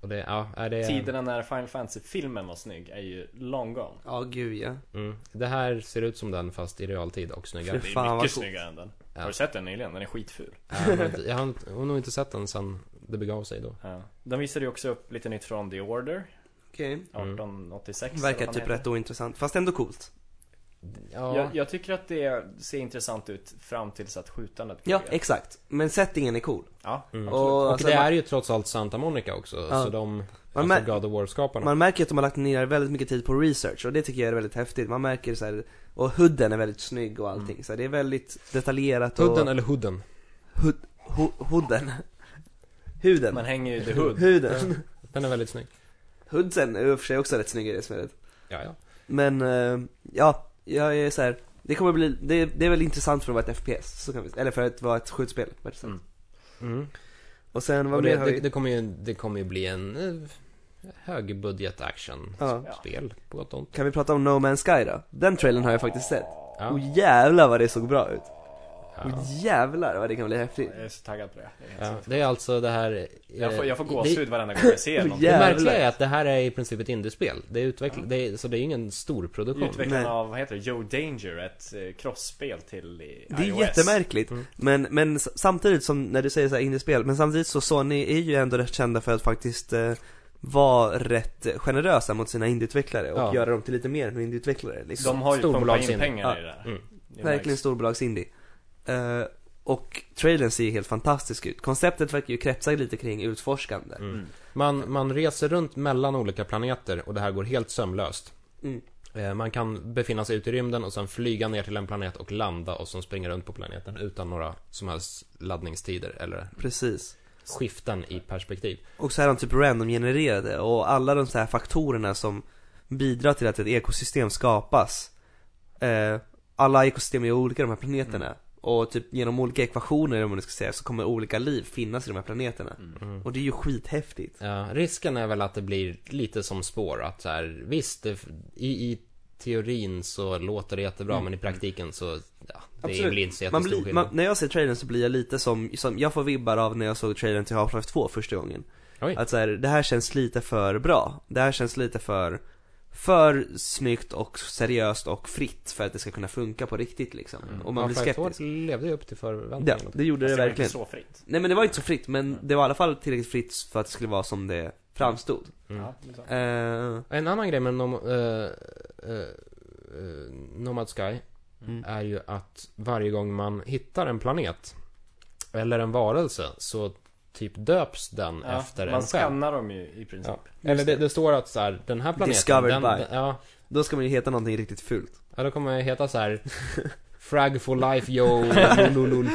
Och det, ja, är det, Tiderna när Final Fantasy-filmen var snygg är ju long gone. Ja, gud ja. mm, det här ser ut som den fast i realtid och Det snyggare. är Fan, vad mycket coolt. snyggare än den. Ja. Har du sett den nyligen? Den är skitful. Ja, jag har inte- jag har inte- jag har nog inte sett den sen det begav sig då. Ja. Den visade ju också upp lite nytt från The Order, Okej. 1886. eller Mm. Verkar vad typ den heter. rätt ointressant, fast ändå coolt. Ja, Jag, jag tycker att det ser intressant ut fram tills att skjutandet Ja, börjar. exakt. Men settingen är cool. ja. mm. och- Och, alltså, det man- är ju trots allt Santa Monica också, Ja. så de, Man alltså mär- God of War-skaparna. Man märker att de har lagt ner väldigt mycket tid på research och det tycker jag är väldigt häftigt. Man märker så här, och hooden är väldigt snygg och Mm. allting. Så här, det är väldigt detaljerat och... Hudden eller Hudden? Hood, ho, hooden. Huden. Man hänger ju the hood. Huden. Den är väldigt snygg. Hoodsen är i och för sig också rätt snygg i det spelet. Ja, ja. Men, eh, ja, jag är så här. Det kommer bli, det, det är väl intressant för att vara ett FPS, så kan vi, eller för att vara ett skjutspel. var det så. Mm. Mm. Och sen, vad Och mer det, har det, vi? det, kommer ju, det kommer ju bli en eh, högbudget action-spel, Ja. på gott och ont. Kan vi prata om No Man's Sky då? Den trailern har jag faktiskt sett. Ja. Och jävlar vad det såg bra ut. Och Ja. jävlar vad det kan bli häftigt. Jag är så taggad på det. det är helt Ja. sjukt. Det är alltså det här... eh, Jag får, jag får det- gåshud varenda gång jag ser Åh, någon. Det jävlar. märkliga är att det här är i princip ett indiespel. Det är utveckling, det är, så det är ingen stor produktion. Utvecklaren Nej. av, vad heter det, Joe Danger, ett eh, crossspel till i Det är iOS. jättemärkligt. Mm. Men, men s- samtidigt som när du säger så här indiespel, men samtidigt så Sony är ju ändå rätt kända för att faktiskt eh, vara rätt generösa mot sina indieutvecklare och Ja. göra dem till lite mer än indieutvecklare liksom. De har ju pumpat in Storbolagsinne. pengar Ja. i det där. Mm. Det Verkligen märks. storbolagsindie. Eh, och trailern ser ju helt fantastisk ut. Konceptet verkar ju kretsa lite kring utforskande. Mm. Man, man reser runt mellan olika planeter och det här går helt sömlöst. Mm. Eh, Man kan befinna sig ute i rymden och sen flyga ner till en planet och landa och sen springa runt på planeten utan några som helst laddningstider eller Precis. skiften i perspektiv. Och så är de typ random-genererade och alla de så här faktorerna som bidrar till att ett ekosystem skapas eh, Alla ekosystem är olika de här planeterna och typ genom olika ekvationer om man ska säga så kommer olika liv finnas i de här planeterna Mm. Mm. Och det är ju skithäftigt Ja, risken är väl att det blir lite som spår att så här, visst, det, i, i teorin så låter det jättebra men i praktiken så, ja, det Mm. Absolut. är väl inte så man jättestor blir, man, skillnad. När jag ser trailern så blir jag lite som, som, jag får vibbar av när jag såg trailern till Half-Life 2 första gången Oj. Att så här, det här känns lite för bra. Det här känns lite för, för snyggt och seriöst och fritt för att det ska kunna funka på riktigt liksom. Mm. Och man blir Half-Life 2 skeptisk. levde ju upp till Ja, förväntningarna. det gjorde Fast det var inte verkligen. Alltså, så fritt. Nej men det var inte så fritt, men det var i alla fall tillräckligt fritt för att det skulle vara som det framstod. Mm. Ja, det är så. Eh, En annan grej med nom- eh, eh, eh, Nomad Sky Mm. är ju att varje gång man hittar en planet eller en varelse så typ döps den Ja, efter en man själv. skannar dem ju i princip. Ja. Eller det, det står att så här, den här planeten... Discovered den, by. Den, ja, då ska man ju heta någonting riktigt fult. ja, då kommer jag heta så här Frag for life yo, lululul.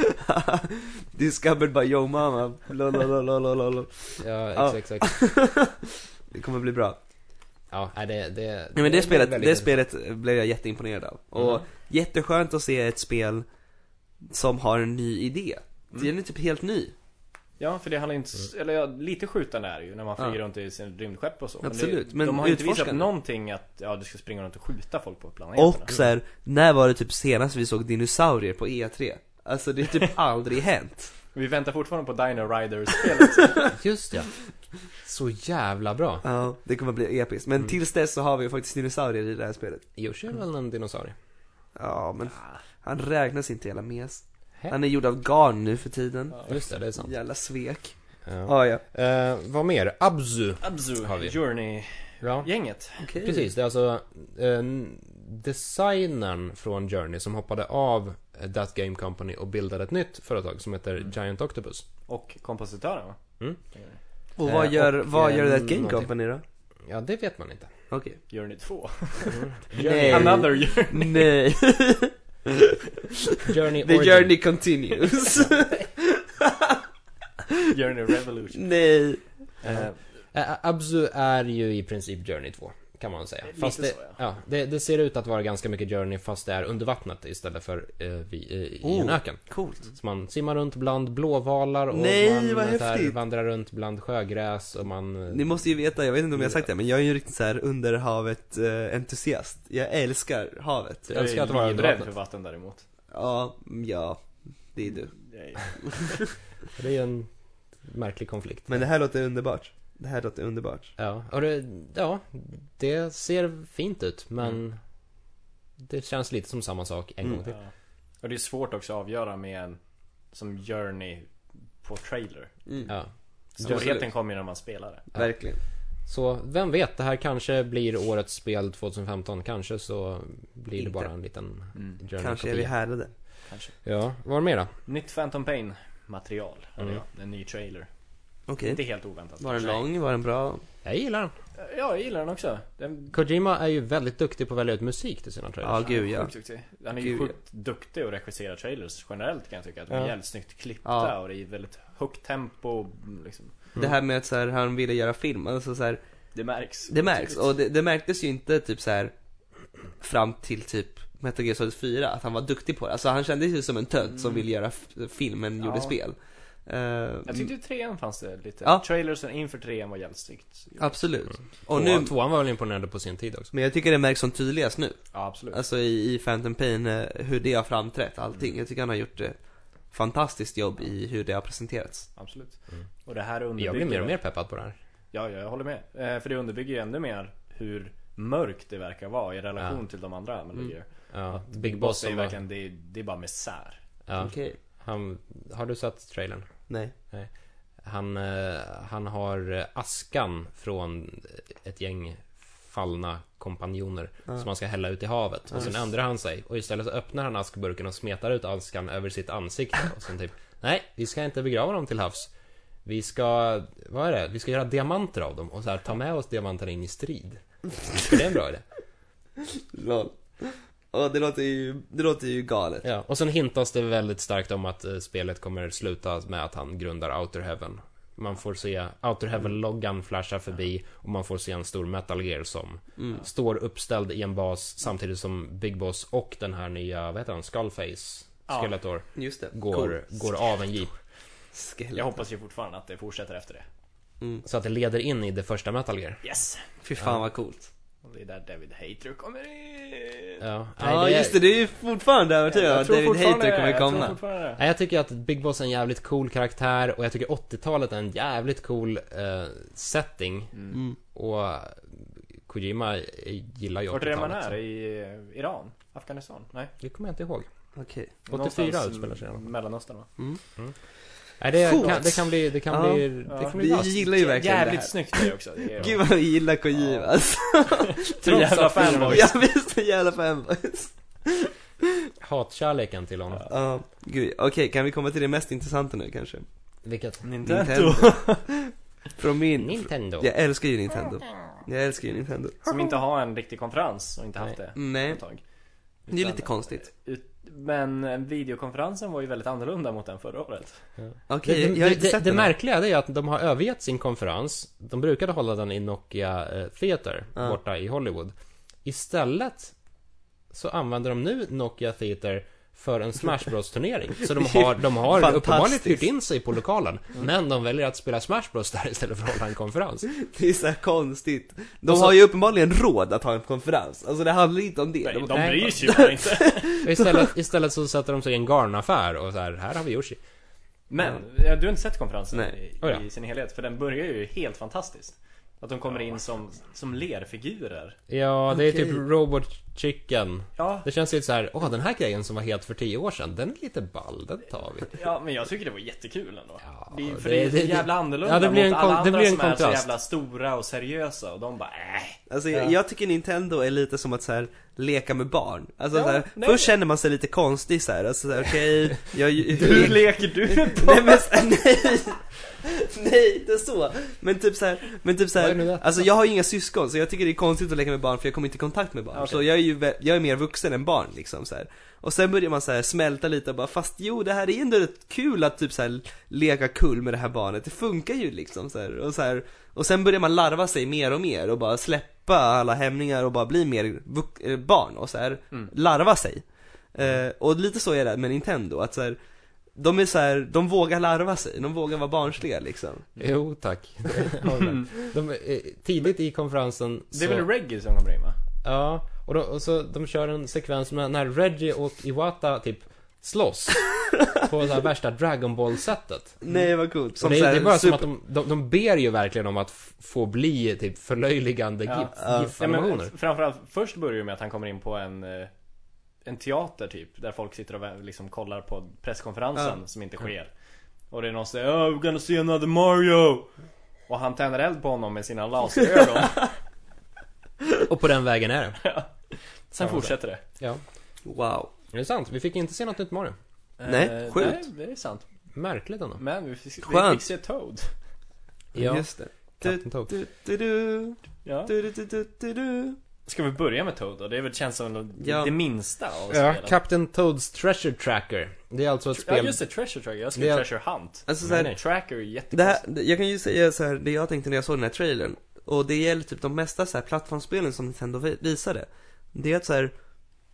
Discovered by yo mama, lolololololol. Ja, Ja. exakt, exakt. Det kommer bli bra. Ja, nej, det, det, Nej men det spelet, väldigt Mm. det spelet eh, blev jag jätteimponerad av. Och jätteskönt att se ett spel som har en ny idé. Mm. Den är typ helt ny. Ja, för det handlar inte... Eller ja, lite skjutande är det ju när man flyger Ja. runt i sin rymdskepp och så. Absolut, det, men de har ju inte visat utforskande. någonting att ja, du ska springa runt och skjuta folk på planeterna. Och så här, när var det typ senast vi såg dinosaurier på E3? Alltså det har typ aldrig hänt. Vi väntar fortfarande på Dino Riders-spelet. intressant. Just ja. Så jävla bra. Ja, det kommer bli episkt. Mm. Men tills dess så har vi ju faktiskt dinosaurier i det här spelet. Yoshi är väl en dinosaurie? Ja, men han räknas inte jävla mes. Ah. Hä? Han är gjord av garn nu för tiden. Just det, det är sant. Jävla svek. Ah, Ja. Ja, ja. Eh, vad mer? Abzu. Abzu, Har vi. Journey-gänget. Ja. Okej. Precis, det är alltså eh, designern från Journey som hoppade av eh, That Game Company och bildade ett nytt företag som heter Mm. Giant Octopus. Och kompositören va? Mm. Och vad Eh, gör, och, vad gör eh, det här Game någonting. Company då? Ja, det vet man inte. Okej. Journey 2. Nej. Eh, Another Journey. Nej. Journey The Origin. journey continues. Journey Revolution. Nej. Eh, Eh, Abzu är ju i princip Journey 2, kan man säga. Lite Fast det, så, ja. det, det ser ut att vara ganska mycket Journey fast det är under vattnet istället för eh, vi, i, i en Oh. öken. Coolt. Så man simmar runt bland blåvalar och Nej, man vad så här häftigt. vandrar runt bland sjögräs och man... eh, Ni måste ju veta, jag vet inte om jag har sagt det, men jag är ju riktigt så här under havet eh, entusiast. Jag älskar havet. Jag älskar att vara jag är under livrädd för vattnet. vatten däremot. Ja, ja. Det är du. Nej. Det är ju en märklig konflikt. Men det här låter underbart. Det här låter underbart. Ja, och det, ja, det ser fint ut men Mm. det känns lite som samma sak en gång till. Ja. Och det är svårt också att avgöra med en som Journey på trailer. Mm. Ja. Storheten Absolut. kommer ju när man spelar det. Verkligen. Så vem vet, det här kanske blir årets spel 2015. Kanske så blir det Inte. bara en liten journey Kanske är vi härdade. Kanske. Ja, vad mer då? Nytt Phantom Pain material. eller Mm. Ja, en ny trailer. Okej. Inte helt oväntat. Var den lång? Var den bra? Jag gillar den. Ja, jag gillar den också. Den Kojima är ju väldigt duktig på att välja ut musik till sina Ja, trailers. gud ja. Sjukt duktig. Han är ju Gud, sjukt duktig att regissera trailers generellt kan jag tycka. Att de är Ja. jävligt snyggt klippta Ja. och det är väldigt högt tempo. Liksom. Det här med att så här, han ville göra film, alltså så här, Det märks. det märks. Och det, det märktes ju inte typ så här fram till typ Metal Gear Solid 4, att han var duktig på det. Alltså han kändes ju som en tönt som ville göra f- film men Ja. gjorde spel. Eh, Jag tyckte i trean fanns det lite. Ja. Trailersen inför trean var jävligt snyggt. Ja, absolut. Och Och nu, nu... Tvåan var väl imponerande på sin tid också. men jag tycker det märks som tydligast nu. absolut. Alltså i, i Phantom Pain, eh, hur det har framträtt, allting. Jag tycker han har gjort eh, fantastiskt jobb i hur det har presenterats. Absolut. Och det här underbygger... Jag blir mer och mer peppad på det här. Ja, ja, jag håller med. Eh, för det underbygger ju ännu mer hur mörkt det verkar vara i relation till de andra Mm. Metal Gear. Ja, Big Boss är som ju var... verkligen, det är, det är bara misär. Ja, Okej. han... Har du sett trailern? Nej. Nej. Han, eh, han har eh, askan från ett gäng fallna kompanjoner som han ska hälla ut i havet. Och sen ändrar han sig och istället så öppnar han askburken och smetar ut askan över sitt ansikte. Och sen typ, nej, vi ska inte begrava dem till havs. Vi ska, vad är det? Vi ska göra diamanter av dem och så här, ta med oss diamanterna in i strid. Det är en bra idé. Lol. Ja, det låter ju, det låter ju galet. Ja, och sen hintas det väldigt starkt om att eh, spelet kommer sluta med att han grundar Outer Heaven. Man får se Outer Heaven-loggan flasha förbi och man får se en stor Metal Gear som står uppställd i en bas samtidigt som Big Boss och den här nya, vad heter han, Skullface Ja. Skeletor Just det. Cool. går, går av en jeep. Skelett. Jag hoppas ju fortfarande att det fortsätter efter det. Så att det leder in i det första Metal Gear. Yes! Mm. Fy fan vad coolt. Och det är där David Hater kommer in. Ja, Ja nej, det- just det, du är ju fortfarande övertygad om Jag att tror David fortfarande Hater det, kommer jag tror komma. fortfarande det. Nej, jag tycker att Big Boss är en jävligt cool karaktär och jag tycker 80-talet är en jävligt cool eh, setting. Mm. Mm. Och Kojima eh, gillar ju 80-talet. Vart är det man är? så. I eh, Iran? Afghanistan? Nej? Det kommer jag inte ihåg. Okej. 84 utspelar sig i alla fall. Mellanöstern va? Nej, det, Coolt. kan, det kan bli... Det kan Ja. bli... Det kan bli Vi vasst. gillar ju verkligen Jävligt det här. snyggt det också. Det är, Gud vad vi gillar Kojima alltså. Trots jävla att filmen- fanboys. Jag visste jävla fanboys. Hatkärleken till honom. Ja, gud. Okej, kan vi komma till det mest intressanta nu kanske? Vilket? Nintendo. Från min... Nintendo. Jag älskar ju Nintendo. Jag älskar ju Nintendo. Som inte har en riktig konferens och inte haft det Mm, Nej. ett tag. Det är Utan- eh, lite konstigt. Ut, Men eh, videokonferensen var ju väldigt annorlunda mot den förra året. Okej, det, det, jag har inte det, sett det den här. märkliga det är att de har övergett sin konferens. De brukade hålla den i Nokia eh, Theater Ja. borta i Hollywood. Istället så använder de nu Nokia Theater för en Smash Bros turnering. Så de Det är har, de har fantastiskt. uppenbarligen hyrt in sig på lokalen. Men de väljer att spela Smash Bros där istället för att hålla en konferens. Det är så här konstigt. De Och så- har ju uppenbarligen råd att ha en konferens. Alltså det handlar inte om det. Nej, de de... nej. bryr sig ju bara inte. Och Istället, istället så sätter de sig i en garnaffär och så här, här har vi Yoshi. Men eh, du har inte sett konferensen Nej. i, Oh, ja. i sin helhet? För den börjar ju helt fantastiskt. Att de kommer in som, som lerfigurer. Ja, det är typ Okej. Robot Chicken. Ja, Det känns lite så här, åh den här grejen som var het för tio år sedan, den är lite ball, den tar vi. ja, men jag tycker det var jättekul ändå. Ja, det, är- för det- det, är så det- jävla det- annorlunda ja, det blir mot en alla kon- det andra blir en som är så kontrast. jävla stora och seriösa och de bara äh. Alltså jag, Ja. jag tycker Nintendo är lite som att så här leka med barn. Alltså Ja, så här, nej. först känner man sig lite konstig så här. Alltså så här, okej, jag... Hur leker du med Nej men s- nej! Nej, inte så! Men typ såhär, men typ så Vad är nu här, detta? alltså jag har ju inga syskon så jag tycker det är konstigt att leka med barn för jag kommer inte i kontakt med barn. Okej. Så jag är ju, vä- jag är mer vuxen än barn liksom så här. Och sen börjar man så här smälta lite och bara, fast jo det här är ändå rätt kul att typ så här leka kul med det här barnet, det funkar ju liksom så här. Och så här, och sen börjar man larva sig mer och mer och bara släppa alla hämningar och bara bli mer vux- eh, barn och så här larva sig. Eh, och lite så är det med Nintendo, att så här, de är så här, de vågar larva sig, de vågar vara barnsliga liksom. Jo tack. de, eh, tidigt i konferensen så, Det är väl reggae som kommer in va? Ja, och, då, och så de kör en sekvens med när Reggie och Iwata typ slåss. på det här värsta Dragon Ball-sättet. Nej vad coolt. Och det, så här det är bara super- som att de, de, de ber ju verkligen om att f- få bli typ förlöjligande Ja. gif- Ja. Nej, men GIF-animationer. framförallt, först börjar det med att han kommer in på en eh, En teater typ, där folk sitter och vä- liksom kollar på presskonferensen som inte sker Och det är någon som säger oh, we're gonna see another Mario Och han tänder eld på honom med sina laserögon Och på den vägen är det. Sen Ja, fortsätter det Ja. Wow. Det är sant, vi fick inte se något nytt Mario. Nej, Eh, sjukt. Nej, det är sant Märkligt ändå. Men vi fick, vi Skönt. fick se Toad Ja, Just det. Captain Toad. Du, du, du, ja. du, du, du, du, du, du. Ska vi börja med Toad då? Det är väl känns som Ja. det minsta av Ja, spelen Captain Toads Treasure Tracker. Det är alltså ett Ja spel... just det, Treasure Tracker, jag skrev Det är- Treasure Hunt Alltså Nej, såhär, nej. Tracker är det jättekonstigt här, jag kan ju säga så här, det jag tänkte när jag såg den här trailern, och det gäller typ de mesta så här plattformsspelen som Nintendo vi- visade. Det är att så här,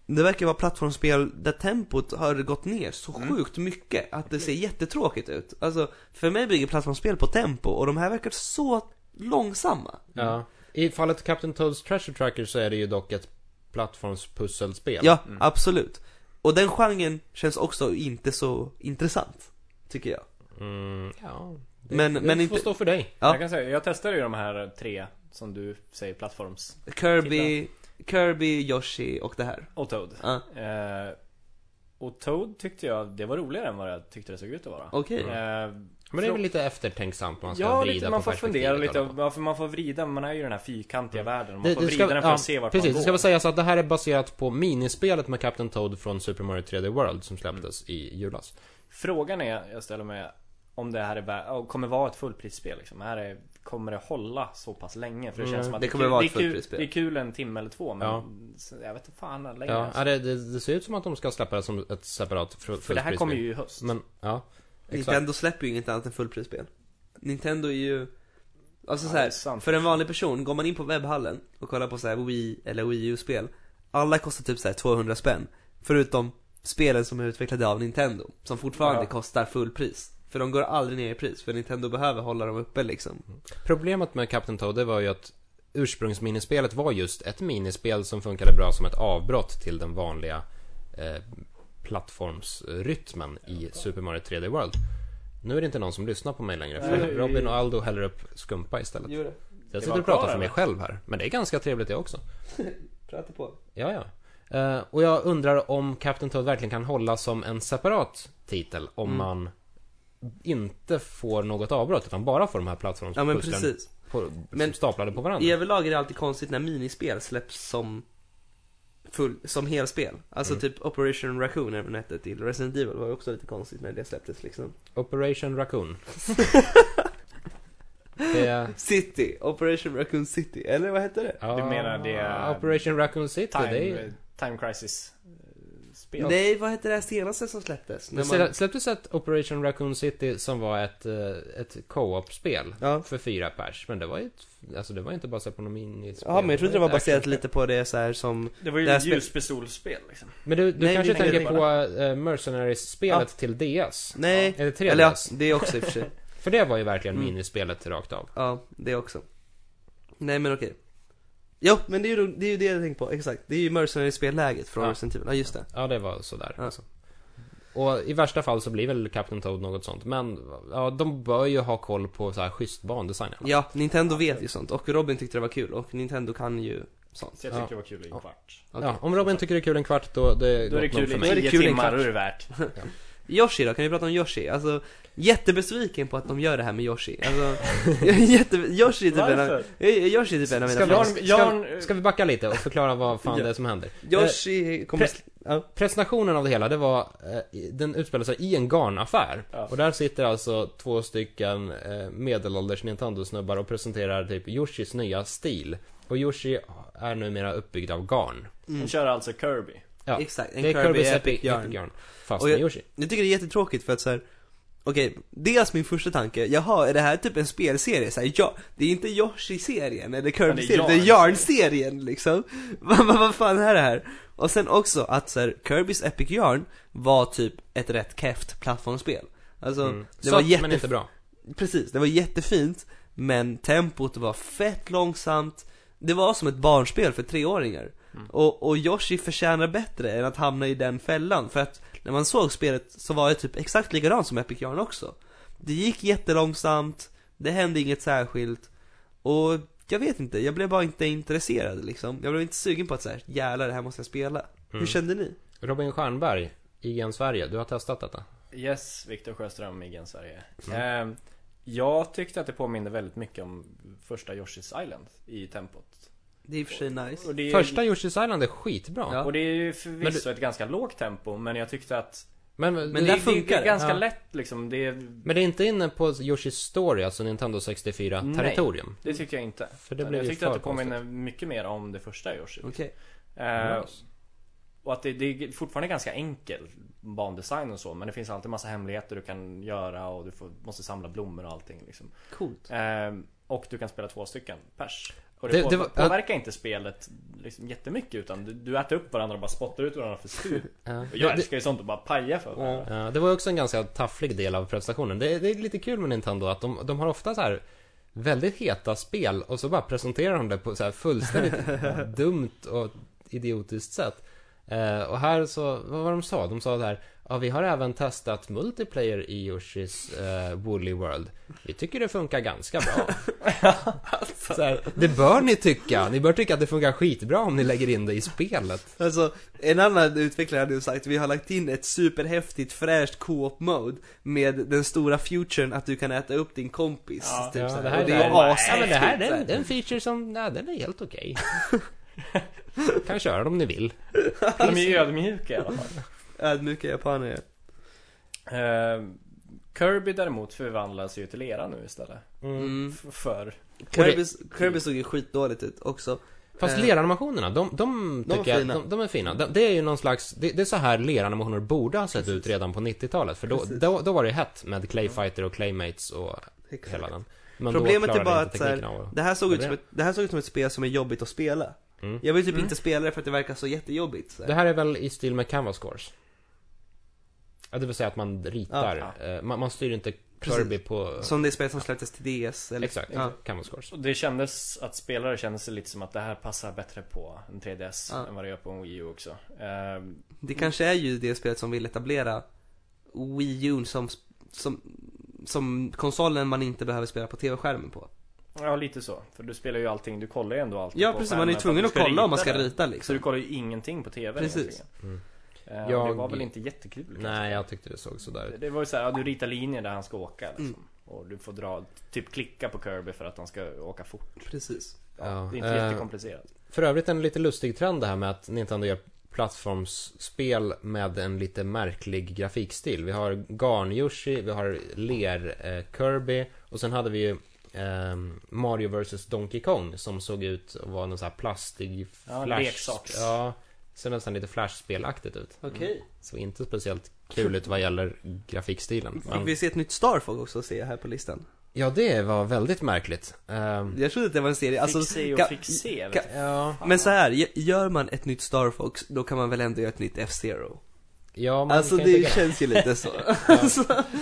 det verkar vara plattformsspel där tempot har gått ner så Mm. sjukt mycket att det ser jättetråkigt ut. Alltså, för mig bygger plattformsspel på tempo och de här verkar så långsamma. Ja. I fallet Captain Toads Treasure Tracker så är det ju dock ett plattformspusselspel. Ja, absolut. Och den genren känns också inte så intressant, tycker jag. Mm, ja. Det, Men- det men får inte- stå för dig. Ja. Jag kan säga, jag testade ju de här tre som du säger plattforms Kirby, Kirby, Yoshi och det här. och Toad. Ja, Eh, och Toad tyckte jag, det var roligare än vad jag tyckte det såg ut att vara. okej. Eh, Men det är frå- väl lite eftertänksamt man ska ja, vrida lite, på man får fundera perspektivet lite, och hålla på. ja, för man får vrida, man är ju i den här fyrkantiga världen. Man Mm. Det- får det vrida ska- den för ja, att se vart Precis, det man ska går. väl sägas att det här är baserat på minispelet med Captain Toad från Super Mario 3D World som släpptes i julas. Frågan är, jag ställer mig, om det här är, vä- ja, kommer vara ett fullprisspel liksom. Här är, kommer det hålla så pass länge? För det känns Mm. som att Det är kommer kul- vara det är ett kul- fullprisspel. Det är kul en timme eller två, men Ja. så jag vet inte fan längre. Ja, alltså. ja det, det, det ser ut som att de ska släppa det som ett separat fr- för det här fullprisspel. kommer ju i höst. Men, ja. Exakt. Nintendo släpper ju inget annat än fullprisspel. Nintendo är ju, alltså Ja, så det är här, sant. för en vanlig person, går man in på webbhallen och kollar på så här Wii eller Wii U-spel, alla kostar typ så här 200 spänn. Förutom spelen som är utvecklade av Nintendo, som fortfarande Ja. kostar fullpris. För de går aldrig ner i pris, för Nintendo behöver hålla dem uppe liksom. Problemet med Captain Toad det var ju att ursprungsminispelet var just ett minispel som funkade bra som ett avbrott till den vanliga eh, plattformsrytmen i Super Mario 3D World. Nu är det inte någon som lyssnar på mig längre för Nej. Robin och Aldo häller upp skumpa istället. Jag sitter var och pratar kvar, för mig eller? själv här, men det är ganska trevligt det också. Prata på. Ja, ja. Eh, och jag undrar om Captain Toad verkligen kan hålla som en separat titel om Mm. man inte får något avbrott utan bara får de här Ja men plattformspusslen precis. på, Men- staplade på varandra. I överlag är det alltid konstigt när minispel släpps som full, som helspel. Alltså Mm. typ Operation Raccoon är nätet till Resident Evil var ju också lite konstigt när det släpptes liksom. Operation Raccoon. det, City, Operation Raccoon City, eller vad hette det? ja, Du menar det- Operation Raccoon City, det Time, är, time Crisis eh, spel. Nej, vad hette det här senaste som släpptes? Det När man... släpptes ett Operation Raccoon City som var ett, eh, ett co-op-spel Ja. för fyra pers. Men det var ju ett, alltså det var inte baserat på någon minispel. Ja, men jag trodde det var baserat Action- lite på det så här som... Det var ju Det här ett spel- ljuspistolspel liksom. Men du, du Nej, kanske det är tänker inte på eh, Mercenaries-spelet till DS? Nej. Eller 3DS? Eller ja, det också i och för sig. För det var ju verkligen Mm. minispelet rakt av. Ja, det också. Nej men okej. Jo, men det är ju det, är ju det jag tänkte på, exakt. Det är ju Mercenary-spelläget från Ja. Resident Evil, ja just det. Ja, det var sådär. Ja. Alltså. Och i värsta fall så blir väl Captain Toad något sånt. Men ja, de bör ju ha koll på så här schysst bandesign. i alla fall. Ja, Nintendo vet ju sånt och Robin tyckte det var kul och Nintendo kan ju sånt. Så jag tyckte Ja. det var kul i en Ja. kvart. Okej. Ja, om Robin tycker det är kul en kvart då, det Då är det kul gott nog för i mig. Då är det tio kul i en timmar, kvart. då är det värt. Yoshi då, kan vi prata om Yoshi? Alltså, jättebesviken på att de gör det här med Yoshi. Alltså, jag är jätte... Yoshi är typ en av, Varför? Yoshi är typ en av mina Ska vi, Jarn- fans. ska, Jarn- ska vi backa lite och förklara vad fan Ja. det är som händer? Yoshi kommer... Eh, Pre- Ja. Presentationen av det hela, det var, eh, i- den utspelade sig i en garnaffär. Ja. Och där sitter alltså två stycken eh, medelålders Nintendo-snubbar och presenterar typ Yoshis nya stil. Och Yoshi är numera uppbyggd av garn. De kör alltså Kirby. Ja. Exakt, en det är Kirby Kirby's Epic Epic Yarn. Epic Yarn. Fast Och med Yoshi. Jag tycker det är jättetråkigt för att så här. Okej, dels min första tanke, jaha är det här typ en spelserie? Så här, ja, det är inte Yoshi-serien eller Kirby-serien, det är Yarn-serien liksom. Vad vad- vad fan är det här? Och sen också att så här, Kirby's Epic Yarn var typ ett rätt keft plattformsspel. Alltså, Mm. det Sött, var men jätte... inte bra. Precis, det var jättefint, men tempot var fett långsamt. Det var som ett barnspel för treåringar. Och, och Yoshi förtjänar bättre än att hamna i den fällan. För att när man såg spelet så var det typ exakt likadant som Epic Yarn också. Det gick jättelångsamt, det hände inget särskilt. Och jag vet inte, jag blev bara inte intresserad liksom. Jag blev inte sugen på att säga jävlar det här måste jag spela. Hur Mm. kände ni? Robin Stjernberg, IGN Sverige, du har testat detta? Yes, Viktor Sjöström, IGN Sverige. Mm. Eh, jag tyckte att det påminde väldigt mycket om första Yoshi's Island i tempot. Det är i och för sig nice. Och det är, Första Yoshi's Island är skitbra. Ja. och det är ju Men förvisso ett ganska lågt tempo, men jag tyckte att Men, Men det, där funkar det är det. ganska Ja. lätt liksom. Det, men det är inte inne på Yoshi's Story, alltså Nintendo 64-territorium. det tyckte jag inte. För det blev jag ju tyckte för Mm. att det påminner mycket mer om det första Yoshi. Okej. Eh, Och att det, det är fortfarande ganska enkel bandesign och så men det finns alltid massa hemligheter du kan göra och du får, måste samla blommor och allting liksom. Coolt. Eh, och du kan spela två stycken pers. Och Det- det, på, det var- påverkar inte spelet liksom jättemycket utan du, du äter upp varandra och bara spottar ut varandra för stup. Ja. Och jag Det- älskar ju sånt och bara paja för varandra. Ja, det var också en ganska tafflig del av presentationen. Det, är- det är lite kul med Nintendo att de, de har ofta så här väldigt heta spel och så bara presenterar de det på så här fullständigt dumt och idiotiskt sätt. Eh, och här så, vad var de sa? De sa det här, ja vi har även testat multiplayer i Yoshis eh, Woolly World. Vi tycker det funkar ganska bra. Alltså. så här, det bör ni tycka. Ni bör tycka att det funkar skitbra om ni lägger in det i spelet. Alltså, en annan utvecklare hade ju sagt vi har lagt in ett superhäftigt fräscht co-op mode med den stora futuren att du kan äta upp din kompis. Ja, typ ja, så här. det här och det är- är ju Ja, men ashäftigt. det här så den, här. den feature som, nej, den är helt okej. kan köra om ni vill. De är ju ödmjuka i alla fall. Ödmjuka japaner Eh, Kirby däremot förvandlas ju till lera nu istället. mm. F- för Kirby, Kirby såg Mm. ju skitdåligt ut också. Fast Eh. leranimationerna, de, de, De var tycker jag, fina. de, de är fina. De, det är ju någon slags, det, det är så här leranimationer borde ha sett ut redan på 90-talet. För då, Precis. då, då var det hett med Clayfighter och Claymates och hela den. Men Problemet då är klarade bara inte att så här- tekniken av att- Det här såg ut Det är som ett, det här såg ut som ett spel som är jobbigt att spela. Mm. Jag vill typ Mm. inte spela det för att det verkar så jättejobbigt. Så här. Det här är väl i stil med Canvas Scores? Ja, det vill säga att man ritar, eh, man, man styr inte Kirby på... Som det spel som släpptes till DS eller Exakt, Ja. Canvas Scores. Och det kändes att spelare kände sig lite som att det här passar bättre på en 3DS Ja. än vad det gör på en Wii U också. Ehm, Det kanske är ju det spelet som vill etablera Wii U som, som, som konsolen man inte behöver spela på tv-skärmen på. ja, lite så. För du spelar ju allting, du kollar ju ändå allting Ja på precis, skärmen man är ju för tvungen du att kolla om man ska det. rita Så liksom. du kollar ju ingenting på TV Precis. egentligen. Mm. Ehm, och Det Jag- var väl inte jättekul kanske. Nej, jag tyckte det såg sådär ut. Det- Det var ju såhär, ja, du ritar linjer där han ska åka liksom. Mm. Och du får dra, typ klicka på Kirby för att han ska åka fort. Precis. Ja, Ja, det är inte eh, jättekomplicerat. För övrigt en lite lustig trend det här med att Nintendo gör plattformsspel med en lite märklig grafikstil. Vi har Garn-Yoshi, vi har Ler-Kirby och sen hade vi ju ehm, Mario vs Donkey Kong som såg ut att vara någon sån här plastig Ja, flash... leksaks. Ja, Ser nästan lite flashspelaktigt ut. Okej. Så inte speciellt kul ut vad gäller grafikstilen. Fick Men, vi se ett nytt Star Fox också se här på listan? ja, det var väldigt märkligt. Ehm, Jag trodde att det var en serie, alltså, fick se och liksom. kan- fick se. vet kan- du. ja, Men så här, ge- gör man ett nytt Star Fox, då kan man väl ändå göra ett nytt F-Zero? ja, man Alltså kan ju det tycka- känns ju lite så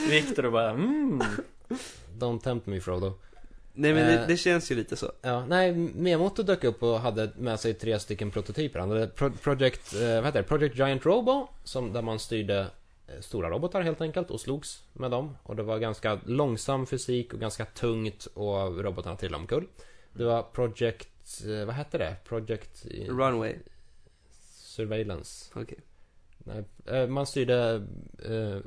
Victor och bara mm. Don't tempt me Frodo. Nej men det, Eh. det känns ju lite så Ja, nej, Miyamoto dök upp och hade med sig tre stycken prototyper. Han hade Pro- Project, eh, vad heter det? Project Giant Robo, som, där man styrde eh, stora robotar helt enkelt och slogs med dem. Och det var ganska långsam fysik och ganska tungt och robotarna trillade omkull. Det var Project, eh, vad hette det? Project eh, Runway, Surveillance. okej Nej, eh, man styrde eh,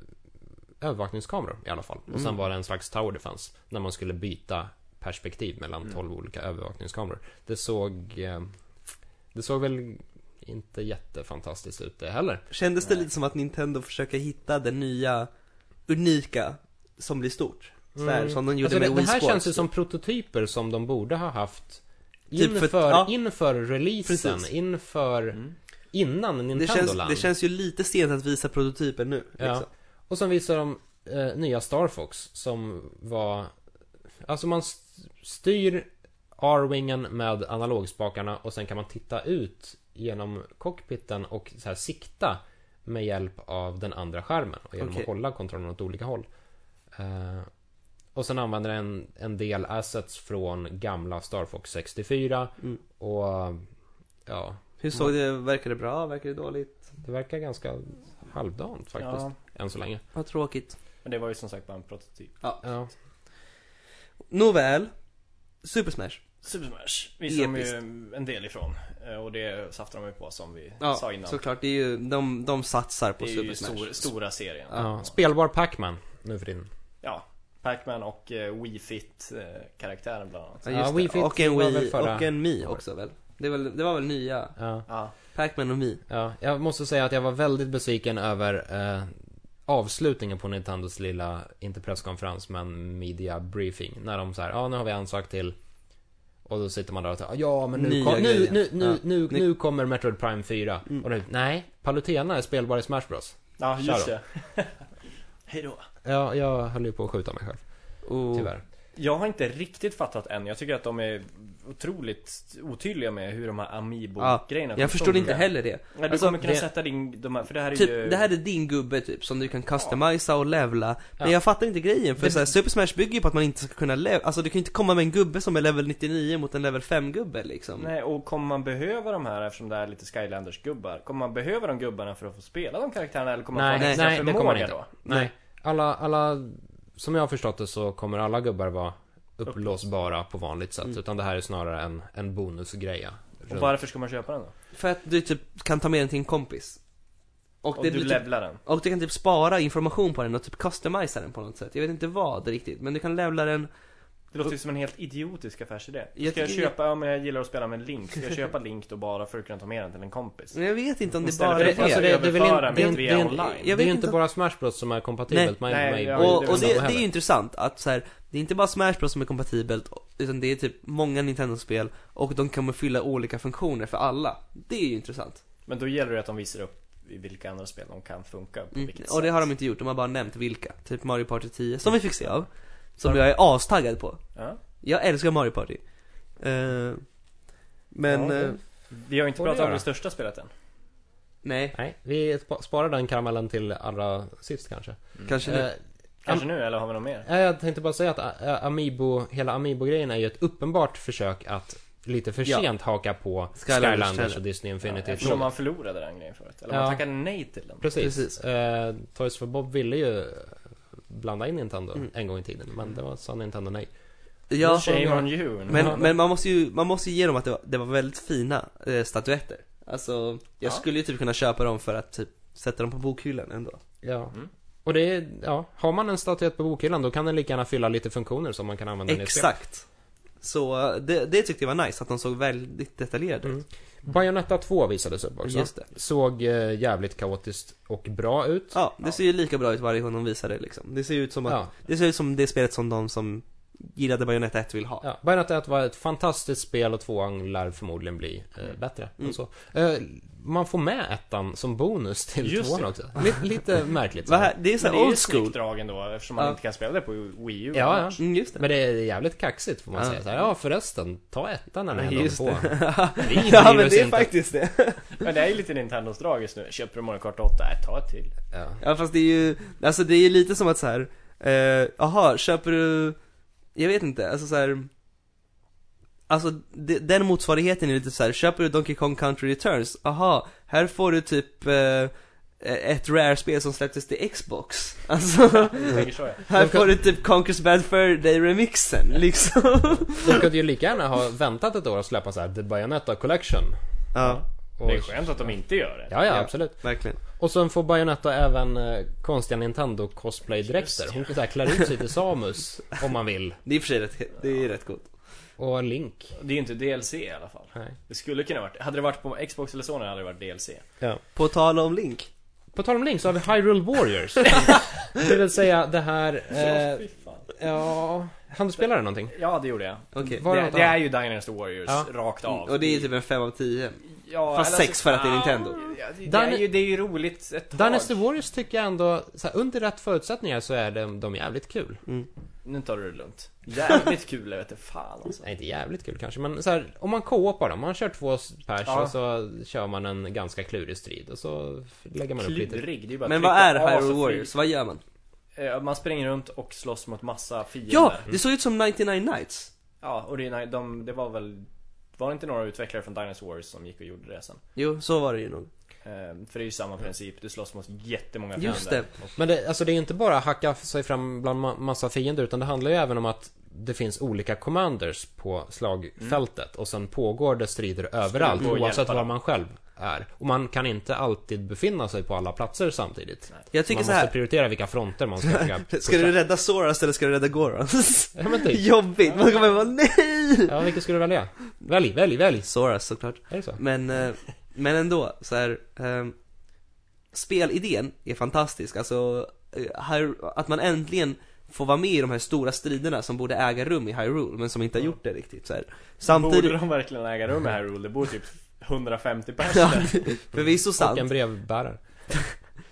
övervakningskameror i alla fall. Och sen Mm. var det en slags tower defense. När man skulle byta perspektiv mellan Mm. 12 olika övervakningskameror. Det såg... Eh, det såg väl inte jättefantastiskt ut det heller. Kändes det Nej. lite som att Nintendo försöker hitta det nya, unika, som blir stort? Så här, Mm. Som de gjorde Alltså, med det, Wii det här Sports. känns ju som prototyper som de borde ha haft Typ för- inför, ja. inför releasen, Precis. inför... Mm. Innan Nintendo det, känns, Land. det känns ju lite sent att visa prototypen nu Ja. liksom. Och sen visar de eh, nya Star Fox som var... Alltså man st- styr R-wingen med analogspakarna och sen kan man titta ut genom cockpiten och så här sikta med hjälp av den andra skärmen och genom Okej. att hålla kontrollen åt olika håll. Eh, och sen använder den en del assets från gamla Star Fox 64 Mm. och ja, Hur såg Mm. det, verkar det bra, verkar det dåligt? det verkar ganska halvdant faktiskt Ja, än så länge. Vad tråkigt men det var ju som sagt bara en prototyp. Ja. Nåväl Super Smash Super Smash visar de Episkt. ju en del ifrån. Eh, Och det saftar de ju på som vi Ja, sa innan. såklart, det är ju, de, de satsar på det är Super ju Smash stor, stora serien. Ja. Spelbar Pac-Man nu för tiden. Ja, Pac-Man och eh, Wii Fit-karaktären bland annat. Ja, Ja, just Wii det. Fit Och en var väl Wii förra och en Mi året. också väl? Det var, det var väl nya? Ja. Ja, Pac-Man och Mi? Ja, jag måste säga att jag var väldigt besviken över eh, avslutningen på Nintendos lilla, inte presskonferens, men media briefing. När de så här, ja nu har vi ansökt till och då sitter man där och säger ja men nu, Nya kom, nu, grejer." nu, nu, Ja. nu, Ni- nu kommer Metroid Prime 4. Och nu, nej, Palutena är spelbar i Smash Bros. ja just Kör det. Hejdå. Ja, jag höll ju på att skjuta mig själv, Oh. tyvärr. Jag har inte riktigt fattat än. Jag tycker att de är otroligt otydliga med hur de här Amiibo-grejerna Jag förstår inte funkar. heller det. Nej, du Alltså, kommer kunna det- sätta din, de här, för det här är ju... Typ, det här är din gubbe typ, som du kan customisa och levla Men Ja. jag fattar inte grejen, för Det- så här, Super Smash bygger ju på att man inte ska kunna levla Alltså du kan ju inte komma med en gubbe som är level 99 mot en level 5-gubbe liksom Nej, och kommer man behöva de här eftersom det är lite Skylanders-gubbar? Kommer man behöva de gubbarna för att få spela de karaktärerna eller kommer man Nej, få en nej, extra nej, det förmåga kommer man inte. då? Nej, alla, alla, som jag har förstått det så kommer alla gubbar vara upplåsbara på vanligt Mm. sätt. Utan det här är snarare en, en bonusgreja. Och runt- varför ska man köpa den då? För att du typ kan ta med den till en kompis Och, Och det du blir typ, levlar den? och du kan typ spara information på den och typ customisa den på något sätt Jag vet inte vad riktigt, men du kan levla den Det låter ju som en helt idiotisk affärsidé. Ska Jag jag, tycker- köpa, ja men jag gillar att spela med Link, ska jag köpa Link då bara för att kunna ta med den till en kompis? Men jag vet inte om det Istället bara för är att alltså, det det, det är väl överföra in, det, är- mitt det, via är en- online. det Jag är vet ju inte- inte bara Smash Bros som är kompatibelt med Nej, med- ja, med- det Och, är och väl det, så det är ju intressant att så här, det är inte bara Smash Bros som är kompatibelt, utan det är typ många Nintendo-spel och de kommer fylla olika funktioner för alla. Det är ju intressant. Men då gäller det att de visar upp i vilka andra spel de kan funka på Mm. vilket Och det sätt. Mm. har de inte gjort, de har bara nämnt vilka. Typ Mario Party 10, som vi fick se av. Som jag är astaggad på. Ja. Jag älskar Mario Party. Eh, men, Ja, det- eh, Vi har ju inte Får det pratat om göra. det största spelet än. nej, Nej, vi spa- sparar den karamellen till allra sist kanske. Mm. kanske Eh, nu. Kanske nu, eller har vi något mer? ja, jag tänkte bara säga att eh, Amiibo, hela Amiibo-grejen är ju ett uppenbart försök att lite för Ja. sent haka på Skylanders Skylanders, trailer. och Disney Infinity. Ja, Tråd. eftersom man förlorade den grejen förut. Eller man Ja. tackade nej till den. Precis. Precis. Eh, Toys for Bob ville ju blanda in Nintendo Mm. en gång i tiden, men det var sa Nintendo nej. Ja, Shame on you. men, men man måste ju, man måste ju ge dem att det var, det var väldigt fina eh, statuetter. Alltså, jag Ja. skulle ju typ kunna köpa dem för att typ sätta dem på bokhyllan ändå. Ja. Mm. Och det är, ja, har man en statyett på bokhyllan då kan den lika gärna fylla lite funktioner som man kan använda den i ett spel. Exakt. Så eh, det, det tyckte jag var nice, att de såg väldigt detaljerade ut. Mm. Bayonetta 2 visades upp Mm. också. Just det. Såg eh, jävligt kaotiskt och bra ut. Ja, det Ja. ser ju lika bra ut varje gång de visar det liksom. Det ser ju ut som att, Ja. det ser ut som det spelet som de som gillade Bayonetta 1 vill ha. Ja, Bayonetta 1 var ett fantastiskt spel och tvåan lär förmodligen bli Mm. eh, bättre. Och så. Eh, man får med ettan som bonus till Just tvåan det. också. Lite, lite märkligt. så Vad här. här- det är så Men här det är ju old ett snyggt school. drag ändå eftersom man Ja. inte kan spela det på Wii U Ja, ja. annars. Mm, just det. Men det är jävligt kaxigt får man Ja. säga. Så här, ja förresten, ta ettan när ni ändå Just på. Vi ja bryr men oss det är inte. faktiskt det. Men det är ju lite Nintendos drag just nu. Köper du Mario Kart 8? Äh, ta ett till. Ja. Ja fast det är ju, alltså det är ju lite som att så här. eh, aha, köper du, jag vet inte, alltså så här. Alltså det, den motsvarigheten är lite så här. köper du Donkey Kong Country Returns, aha, här får du typ eh, ett rare-spel som släpptes till Xbox. Alltså, Jag tänker så ja. här får du typ Conquer's Bad Fur Day-remixen liksom. De kunde ju lika gärna ha väntat ett år och släppa så här The Bayonetta Collection. Ja, Och, Det är skönt att de inte gör det. ja, ja, absolut. verkligen. Och sen får Bayonetta även eh, konstiga Nintendo cosplay-dräkter. Hon kan så här klär ut sig till Samus om man vill. Det är i och för sig rätt, det är rätt coolt. Och Link. Det är ju inte DLC i alla fall. Nej. Det skulle kunna varit, hade det varit på Xbox eller Sony hade det varit DLC. Ja. På tal om Link. På tal om Link så har vi Hyrule Warriors. det vill säga det här... Ja, Eh, fy fan. ja... Han spelade någonting? Ja, det gjorde jag. Okej. Var Det, något det annat? är ju Dynasty Warriors, Ja. rakt av. Och det är typ en 5 av 10. Ja, Fast eller sex för att det är Nintendo. Ja, det, det, Dyn- är ju, det är ju roligt ett tag. Dynasty Warriors tycker jag ändå, så här, under rätt förutsättningar så är de, de jävligt kul. Nu tar du det lugnt. Jävligt kul, jag vet inte fan alltså. Nej, inte jävligt kul kanske, men så här, om man co-opar dem, man kör två pers Ja. och så kör man en ganska klurig strid och så lägger man upp lite. Klurig, det är ju bara att Men vad trycka är av så Hyrule fly- Warriors? Vad gör man? Eh, Man springer runt och slåss mot massa fiender. Mm. Ja, det såg ut som 99 Nights. Ja, och det, är- de, det var väl... Var det inte några utvecklare från Dynasty Warriors som gick och gjorde det sen? Jo, så var det ju nog. Ehm, För det är ju samma princip, du slåss mot jättemånga fiender. Just det. Men det, alltså, det är ju inte bara hacka sig fram bland ma- massa fiender, utan det handlar ju även om att det finns olika commanders på slagfältet och sen pågår det strider överallt Mm. gå och oavsett hjälpa var dem. man själv är. Och man kan inte alltid befinna sig på alla platser samtidigt. Jag tycker man så måste här. prioritera vilka fronter man ska försöka Ska du rädda Soras eller ska du rädda Gorons? Ja, men typ. Jobbigt, man kommer vara nej! Ja, vilken skulle du välja? Välj, välj, välj! Soras såklart. Är det så? Men, eh, men ändå, så här. ehm, spelidén är fantastisk, alltså eh, här, att man äntligen får vara med i de här stora striderna som borde äga rum i Hyrule, men som inte har gjort det riktigt så här. Borde Samtidigt, de verkligen äga rum här Rule? Det bor typ 150 Ja, personer. förvisso sant. Och en brevbärare.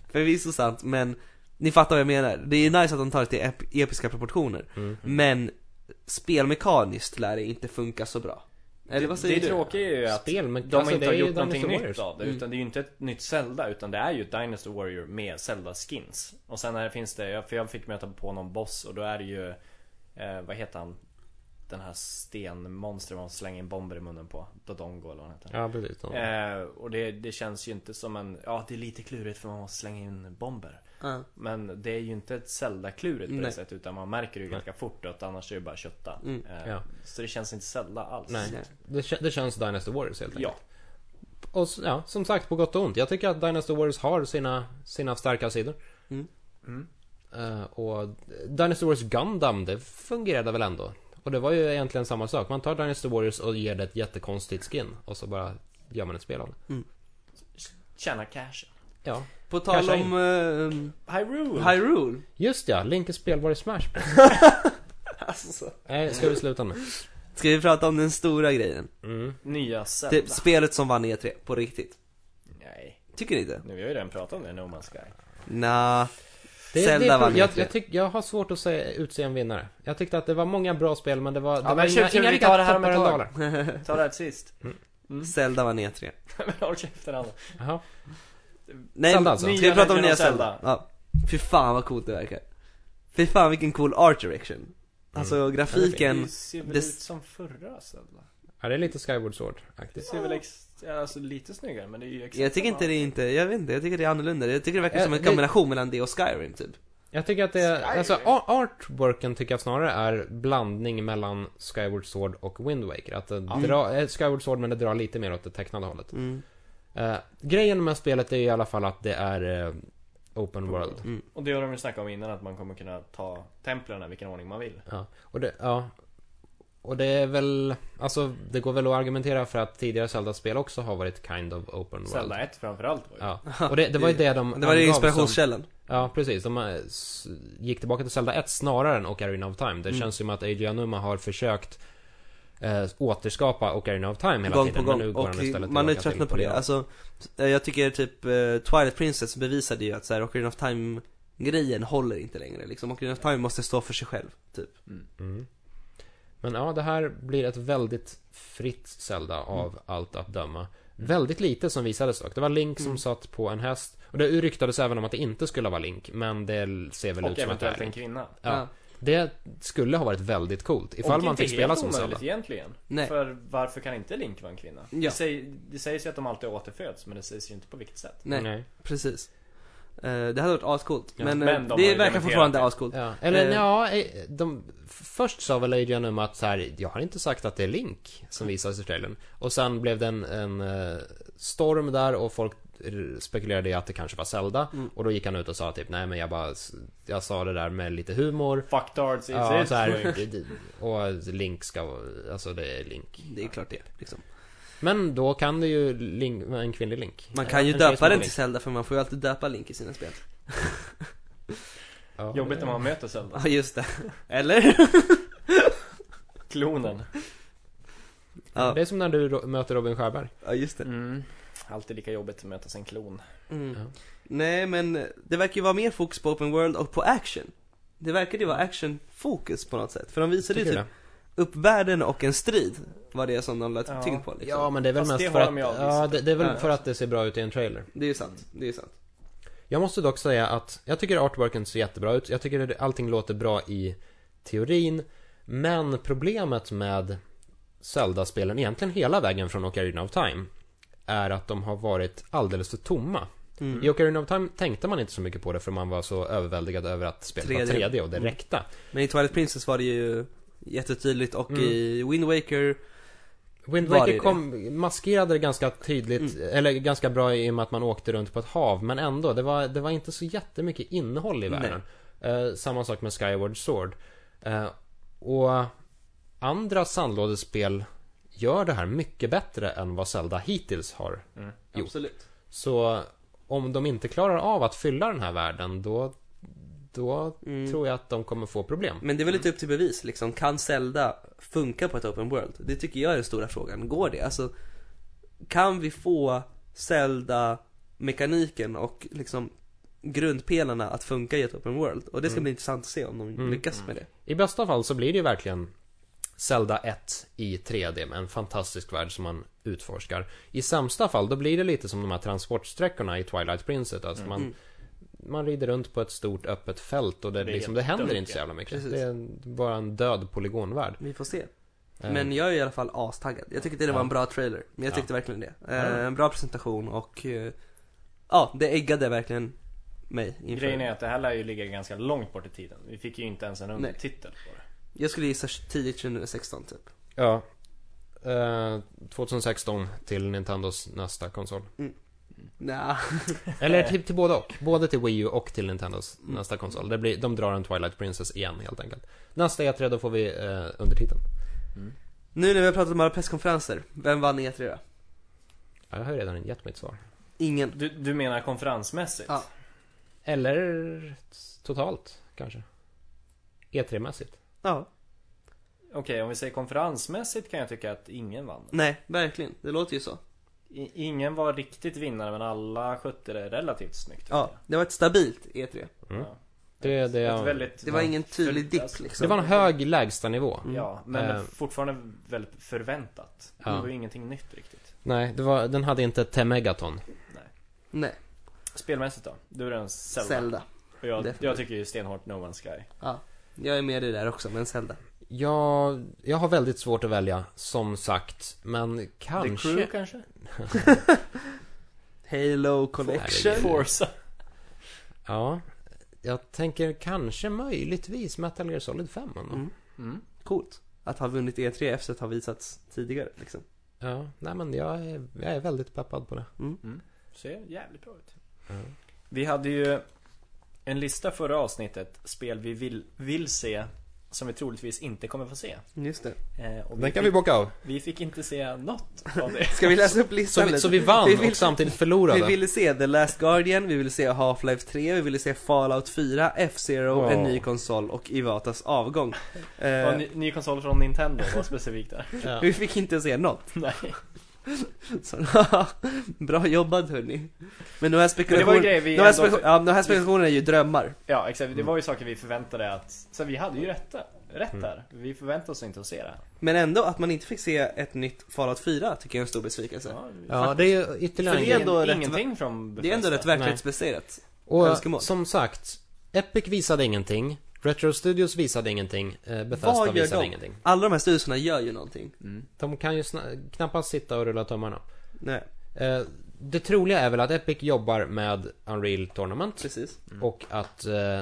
Förvisso sant, men ni fattar vad jag menar. Det är nice att de tar det till ep- episka proportioner. Mm. Men spelmekaniskt lär det inte funka så bra. Eller vad säger det du? tråkiga är ju att Spel, men de alltså, inte det har är ju gjort någonting Dynasty nytt Warriors. av det. Utan det är ju inte ett nytt Zelda, utan det är ju ett Dynasty Warrior med Zelda-skins. Och sen här finns det, jag- för jag fick möta på någon boss och då är det ju, eh, vad heter han? Den här stenmonstret man slänger in bomber i munnen på. Dodongo eller vad han heter. Ja, precis. Ja. Eh, och det, det känns ju inte som en, ja det är lite klurigt för man måste slänga in bomber. Ja. Men det är ju inte ett Zelda-klurigt på det Nej. sättet utan man märker det ju ganska fort att annars är det bara kötta. Eh, Ja. Så det känns inte Zelda alls. Nej, det, kä- det känns Dynasty Warriors helt enkelt. Ja. Och s- ja, som sagt, på gott och ont. Jag tycker att Dynasty Warriors har sina, sina starka sidor. Mm. Eh, och Dynasty Warriors Gundam, det fungerade väl ändå? Och det var ju egentligen samma sak. Man tar Dynasty Warriors och ger det ett jättekonstigt skin. Och så bara gör man ett spel av det. Tjäna cash. Ja. På tal Casha in. om ehm, Hyrule! Hyrule. Just ja, Link är spelbar i Smash Bros. Alltså. Nej, ska vi sluta nu? Mm. Ska vi prata om den stora grejen? Nya Zelda. Det, spelet som vann E3, på riktigt. Nej. Tycker ni inte? Nu har vi ju redan pratat om det, No Man's Sky. Nja. Det, Zelda det, vann jag, inte. jag, tyck, jag har svårt att säga, utse en vinnare. Jag tyckte att det var många bra spel men det var, det men var tjur, tjur, vi riktiga tar det här om toppar ett och tag. dalar. Ta det här sist. Zelda vann E E3. Men håll käften Anna. Jaha. Nej, Zelda alltså. ska vi prata om Nya nya Zelda? Zelda? Ja. Fy fan vad coolt det verkar. Fy fan vilken cool art direction. Alltså grafiken. Det ser väl det- ut som förra Zelda? Ja, det är lite Skyward Sword Det faktiskt. ser väl ex- ja, alltså, lite snyggare men det är ju exakt Jag tycker samma. inte det är inte, jag vet inte, jag tycker det är annorlunda. Jag tycker det verkar Eh, som en det- kombination mellan det och Skyrim typ. Jag tycker att det är, alltså a- artworken tycker jag snarare är blandning mellan Skyward Sword och Wind Waker. Att det drar, eh, Skyward Sword men det drar lite mer åt det tecknade hållet. Eh, grejen med spelet är i alla fall att det är eh, open world. Mm. Och det har de ju snackat om innan att man kommer kunna ta templen i vilken ordning man vill. Ja, och det, ja. Och det är väl, alltså det går väl att argumentera för att tidigare Zelda-spel också har varit kind of open world. Zelda 1 framförallt var ju. Mm. Ja, och det, det var ju det de Det var ju angav inspirationskällan. liksom- Som, Ja, precis. De eh, s- gick tillbaka till Zelda 1 snarare än Ocarina of Time. Det Mm. känns som att Eiji Anuma har försökt eh, återskapa Ocarina of Time hela gång tiden. på men nu gång går och han istället man är tillbaka tröttnat till på det. Alltså, eh, jag tycker typ eh, Twilight Princess bevisade ju att så här, Ocarina of Time grejen håller inte längre liksom. Ocarina of Time måste stå för sig själv, typ. Mm. Men ja, det här blir ett väldigt fritt Zelda Mm. av allt att döma. Väldigt lite som visades dock. Det var Link som Mm. satt på en häst. Och det ryktades även om att det inte skulle vara Link, men det ser väl Och ut som att det är eventuellt en Link. kvinna. Ja. Det skulle ha varit väldigt coolt ifall Och man inte fick spela helt som Zelda. omöjligt egentligen. Nej. För varför kan inte Link vara en kvinna? Ja. Det, säg, det sägs ju att de alltid återföds men det sägs ju inte på vilket sätt. Nej, Mm. precis. Eh, det hade varit ascoolt. Ja, men eh, men de har det ju verkar dementerat fortfarande det. ascoolt. Ja. Eller Eh. ja, eh, de, först sa väl Adrian om att så här, jag har inte sagt att det är Link som visas i trailern. Och sen blev det en, en eh, storm där och folk r- spekulerade i att det kanske var Zelda. Mm. Och då gick han ut och sa typ, nej men jag bara, s- jag sa det där med lite humor. Fuck darts is Ja, it. så här, d- d- och Link ska, alltså det är Link. Det är klart det, liksom. Men då kan det ju Link, vara en kvinnlig Link. Man kan ju En tjej som döpa är den Link. till Zelda för man får ju alltid döpa Link i sina spel. Ja, Jobbigt när det- man möter Zelda. Ja, just det. Eller? Klonen. ja. Det är som när du ro- möter Robin Sjöberg. ja, just det. Mm. Alltid lika jobbigt att möta sin klon. Mm. Ja. Nej men det verkar ju vara mer fokus på open world och på action. Det verkar ju vara actionfokus på något sätt. För de visade ju Tycker typ du det? upp världen och en strid. Var det som de lade Ja. tyngd på liksom. Ja, men det är väl Fast mest det för har att, de ju avvisat. ja, det, det är väl Ja. för att det ser bra ut i en trailer. Det är ju sant. Det är ju sant. Jag måste dock säga att jag tycker artworken ser jättebra ut. Jag tycker att allting låter bra i teorin. Men problemet med Zelda-spelen, egentligen hela vägen från Ocarina of Time, är att de har varit alldeles för tomma. Mm. I Ocarina of Time tänkte man inte så mycket på det för man var så överväldigad över att spelet 3D. var 3D och det Mm. räckte. Men i Twilight Princess var det ju jättetydligt och Mm. i Wind Waker, Wind Var det Mm. Waker det? kom, maskerade det ganska tydligt, eller ganska bra i och med att man åkte runt på ett hav, men ändå, det var, det var inte så jättemycket innehåll i Nej. världen. Eh, samma sak med Skyward Sword. Eh, och andra sandlådespel gör det här mycket bättre än vad Zelda hittills har. Jo. absolut. Så om de inte klarar av att fylla den här världen, då, då Mm. tror jag att de kommer få problem. Men det är väl Mm. lite upp till bevis liksom. Kan Zelda funka på ett open world? Det tycker jag är den stora frågan. Går det? Alltså, kan vi få Zelda-mekaniken och liksom grundpelarna att funka i ett open world? Och det ska Mm. bli intressant att se om de Mm. lyckas med det. I bästa fall så blir det ju verkligen Zelda 1 i 3D med en fantastisk värld som man utforskar. I sämsta fall då blir det lite som de här transportsträckorna i Twilight Princess. Alltså man, Mm. man rider runt på ett stort öppet fält och det, Det är liksom, det helt händer dumt, inte så ja. jävla mycket. Precis. Det är en- bara en död polygonvärld. Vi får se. Eh, Men jag är i alla fall astaggad. Jag tyckte det var en bra trailer. Men jag Ja. tyckte verkligen det. Eh, Ja. En bra presentation och eh, ja, det eggade verkligen mig inför. Grejen är att det här lär ju ligga ganska långt bort i tiden. Vi fick ju inte ens en undertitel på det. Jag skulle gissa tidigt 2016 typ. Ja. Eh, 2016 till Nintendos nästa konsol. Nja. Eller till, till både och. Både till Wii U och till Nintendos Mm. nästa konsol. Det blir, de drar en Twilight Princess igen helt enkelt. Nästa E3 då får vi eh, undertiteln. Mm. Nu när vi har pratat om alla presskonferenser, vem vann E3 då? Ja, jag har ju redan gett mitt svar. Ingen. Du, du menar konferensmässigt? Ja. Eller totalt, kanske. E E3-mässigt. Ja. Okej, om vi säger konferensmässigt kan jag tycka att ingen vann. Nej, verkligen. Det låter ju så. I, ingen var riktigt vinnare men alla skötte det relativt snyggt. tycker Ja, det var ett stabilt E E3. jag. Mm. Ja. Det, det, Ett väldigt, Det var ingen tydlig För- dipp alltså, Mm. liksom. det var en hög lägstanivå. Mm. Ja, men Eh. fortfarande väldigt förväntat. Ja. Det var ju ingenting nytt riktigt. Nej, det var, den hade inte Temegaton. Nej, Spelmässigt då? Du är en Zelda. Zelda. Och jag, Definitivt. jag tycker ju stenhårt No Man's Sky. Ja. Jag är med dig där också, men Zelda. Jag, jag har väldigt svårt att välja, som sagt. Men kanske... The Crew kanske? Halo Collection. Herregud. Forza. Ja. Jag tänker kanske möjligtvis Metal Gear Solid 5 ändå. Mm. Mm. Coolt. Att ha vunnit E E3 efter att ha visats tidigare liksom. Ja, nej men jag är, jag är väldigt peppad på det. Mm. mm. Ser jävligt bra ut. Vi hade ju en lista förra avsnittet, spel vi vill, vill se som vi troligtvis inte kommer få se. Just det. Eh, och Den kan vi fick, bocka av. vi fick inte se något av det. Ska vi läsa upp listan Så vi, lite? så vi vann Vi vill- och samtidigt Vi förlorade. ville se The Last Guardian, vi ville se Half-Life 3, vi ville se Fallout 4, F-Zero, Ja. en ny konsol och Ivatas avgång. Det var Eh, en ny, ny konsol från Nintendo var specifikt där. Ja. Vi fick inte se något. Nej. Så, bra jobbat hörni. Men Men de här det var ju spekulationerna, grejer vi de här, ändå, spekul- ja, de här spekulationerna är ju drömmar. Ja exakt, Mm. det var ju saker vi förväntade att, så vi hade ju rätt där. Rätt där. Vi förväntade oss inte att se det. Men ändå, att man inte fick se ett nytt Fallout 4 tycker jag är en stor besvikelse. Ja, Ja, det är ju ytterligare För en det är grej. ändå ingen- rätt- ingenting från Det är ändå Bethesda. rätt verklighetsbaserat. Och önskemål. som sagt, Epic visade ingenting. Retro Studios visade ingenting. eh, Vad Bethesda gör visade de? ingenting. Alla de här styrelserna gör ju någonting. Mm. De kan ju sna- knappast sitta och rulla tummarna. Nej, Eh, Det troliga är väl att Epic jobbar med Unreal Tournament precis. och att eh,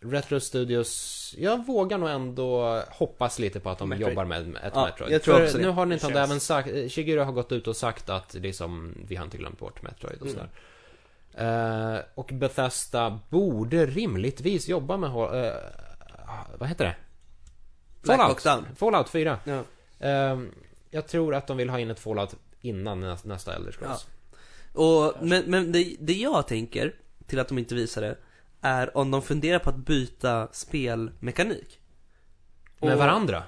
Retro Studios, jag vågar nog ändå hoppas lite på att de Metroid. jobbar med ett Ja, Metroid. jag tror För också det. nu har Nintendo Det känns- även sagt, eh, Shigeru har gått ut och sagt att liksom, vi har inte glömt bort Metroid Mm. och sådär. Eh, och Bethesda borde rimligtvis jobba med, eh, vad heter det? Black Hawk Down. Fallout 4. Ja. Ehm, jag tror att de vill ha in ett Fallout innan nä- nästa Elder Scrolls. Och, men men det, det jag tänker till att de inte visar det är om de funderar på att byta spelmekanik. Med Och- varandra?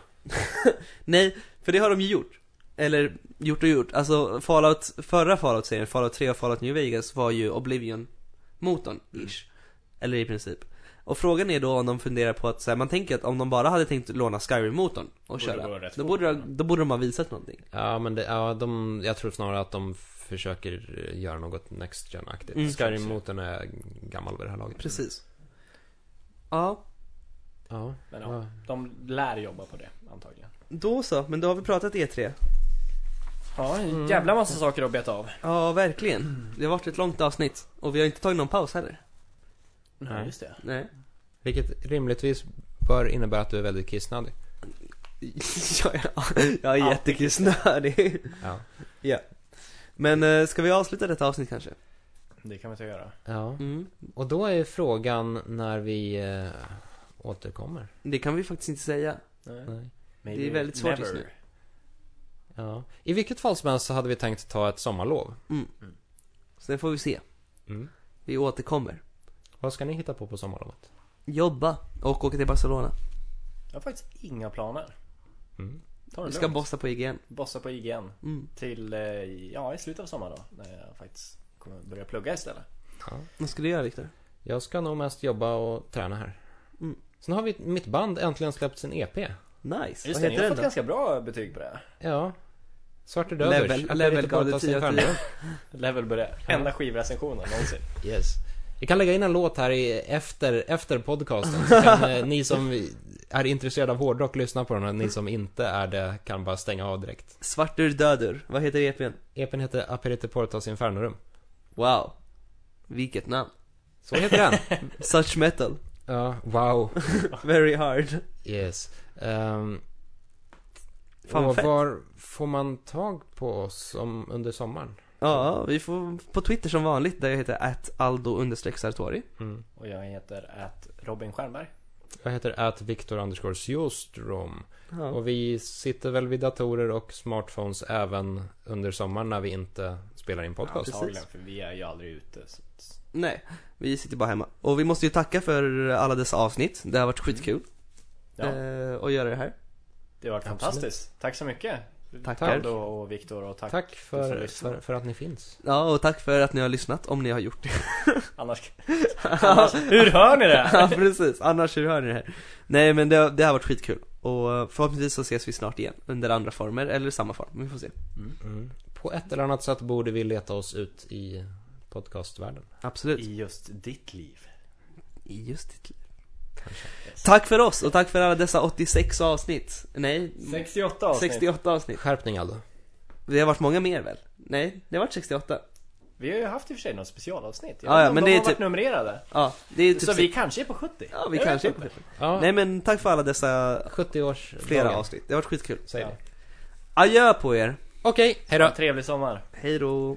Nej, för det har de ju gjort. Eller gjort och gjort. Alltså Fallout, förra Fallout-serien, Fallout 3 och Fallout New Vegas var ju Oblivion-motorn, Mm. ish. Eller i princip. Och frågan är då om de funderar på att, så här, man tänker att om de bara hade tänkt låna Skyrim-motorn och Borde gå köra, rätt Mm. då fort. borde, de, då borde de ha visat någonting. Ja, men det, ja, de, jag tror snarare att de försöker eh, göra något Next Gen-aktigt. Mm. Skyrim-motorn är gammal vid det här laget. Precis. Ja, Ja. Men ja, de lär jobba på det antagligen. då så, men då har vi pratat E E3. Ja, en jävla massa saker att beta av. Ja, verkligen. Det har varit ett långt avsnitt. Och vi har inte tagit någon paus heller. Mm. Ja, just det. Nej. Vilket rimligtvis bör innebära att du är väldigt kissnödig. jag är, jag är Ja. jättekissnödig. Ja. Men eh, ska vi avsluta detta avsnitt kanske? Det kan vi inte göra. ja. Mm. Och då är ju frågan när vi eh, återkommer. Det kan vi faktiskt inte säga. Nej. Nej. Maybe Det är väldigt svårt never. just nu. Ja. I vilket fall som helst så hade vi tänkt ta ett sommarlov. Sen får vi se. Vi återkommer. Vad ska ni hitta på på sommarlovet? Jobba och åka till Barcelona. Jag har faktiskt inga planer. Mm. Ta Vi det ska lugnt. bossa på IGN. Bossa på IGN Mm. till, eh, ja i slutet av sommaren då. När jag faktiskt kommer börja plugga istället. Ja. Vad ska du göra Viktor? Jag ska nog mest jobba och träna här. Mm. Sen har vi mitt band äntligen släppt sin E EP. Nice. Just Vad det, ni har heter fått den då? ganska bra betyg på det. här. Ja. Svarte Level- Dövers. Level gav det 10 av 10. Level på det. Enda skivrecensionen någonsin. Yes. Vi kan lägga in en låt här i, efter, efter podcasten. Så kan eh, ni som är intresserade av hårdrock lyssna på den och ni som inte är det kan bara stänga av direkt. Svartur dödur. Vad heter E EPn? EPn heter Aperite Portas Infernorum. Wow. Vilket namn. Så heter den. Such metal. Ja, wow. Very hard. Yes. Ehm, Fan, och fett. var får man tag på oss om, under sommaren? Ja, vi får på Twitter som vanligt där jag heter att Aldo understreck Sartori. Och jag heter att Robin Stjernberg. Jag heter att Viktor underscore Sjöström. Ja. Och vi sitter väl vid datorer och smartphones även under sommaren när vi inte spelar in podcast. precis. Antagligen, för vi är ju aldrig ute. Så att... Nej, vi sitter bara hemma. Och vi måste ju tacka för alla dessa avsnitt. Det har varit skitkul Mm. Ja, eh, att göra det här. det har varit absolut. fantastiskt. Tack så mycket. Tackar. Aldo och Viktor och tack. Tack Du får för, lyssna. för, för att ni finns. Ja, och tack för att ni har lyssnat om ni har gjort det. Annars, annars, hur hör ni det? ja, precis. Annars hur hör ni det här? Nej, men det, har- det har varit skitkul. Och förhoppningsvis så ses vi snart igen. Under andra former, eller samma form. Vi får se. Mm. Mm. På ett eller annat sätt borde vi leta oss ut i podcastvärlden. Absolut. I just ditt liv. I just ditt liv. Yes. Tack för oss och tack för alla dessa 86 avsnitt. Nej, 68 avsnitt. 68 avsnitt. Skärpning Aldo. Det har varit många mer väl? Nej, det har varit 68. Vi har ju haft i och för sig något specialavsnitt. Ja, Jag ja, vet inte om men det de är har varit typ- numrerade. Ja, det är typ Så vi kanske är på 70. Ja, vi Jag kanske är vet på inte. Ja, Nej men tack för alla dessa 70 års flera avsnitt, det har varit skitkul. Säger vi. Adjö på er! Okej, hejdå. Ha en Trevlig sommar. Hej då!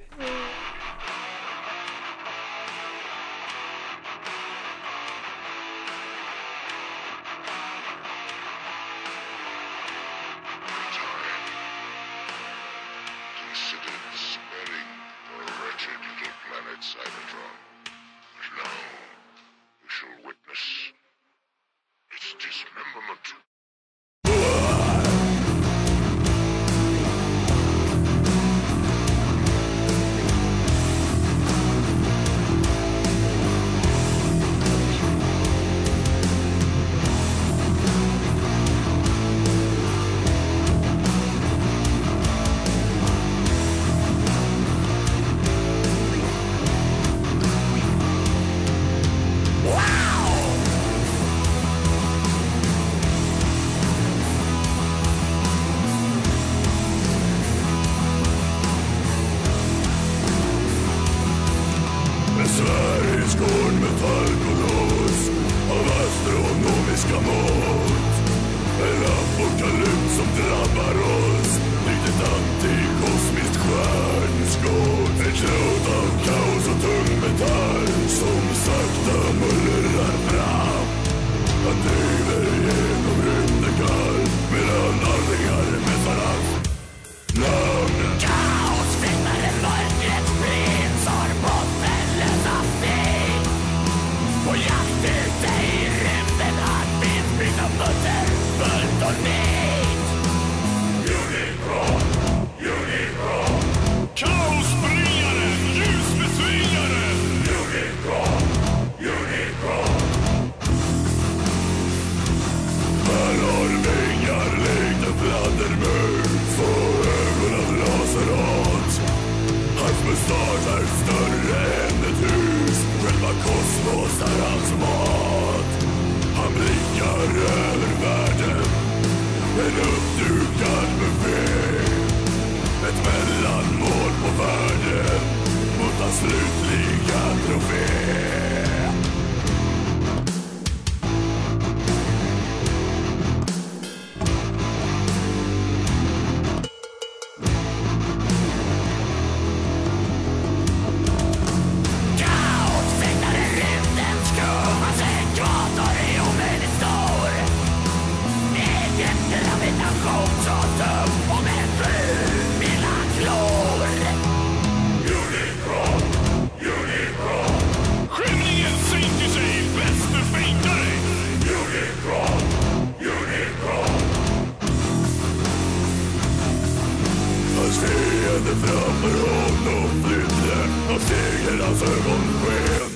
Seende framför honom flydde av segrarnas ögonsken.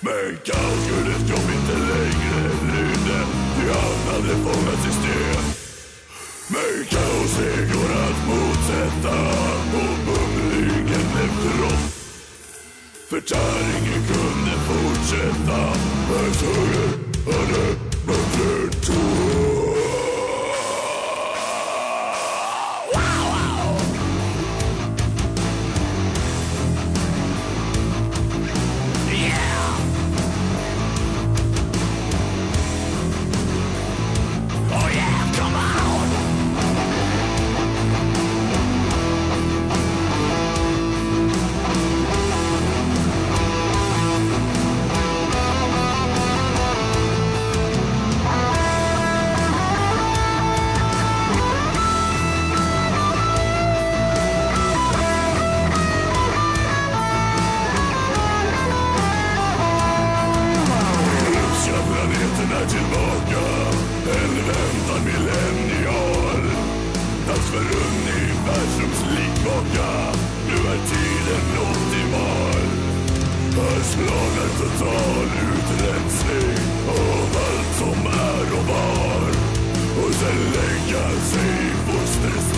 Men Kaoskullens jobb inte längre lydde, ty han hade fångats i sten. Men kaoset går att motsätta och mumlingen efteråt. Förtäringen kunde fortsätta, men sorgen hade muttern Ryska planeten är tillbaka En väntad millennial Dags för universums likmaka Nu är tiden optimal Här slagar total utrensning Av allt som är och var Och sen lägga sig i fostrets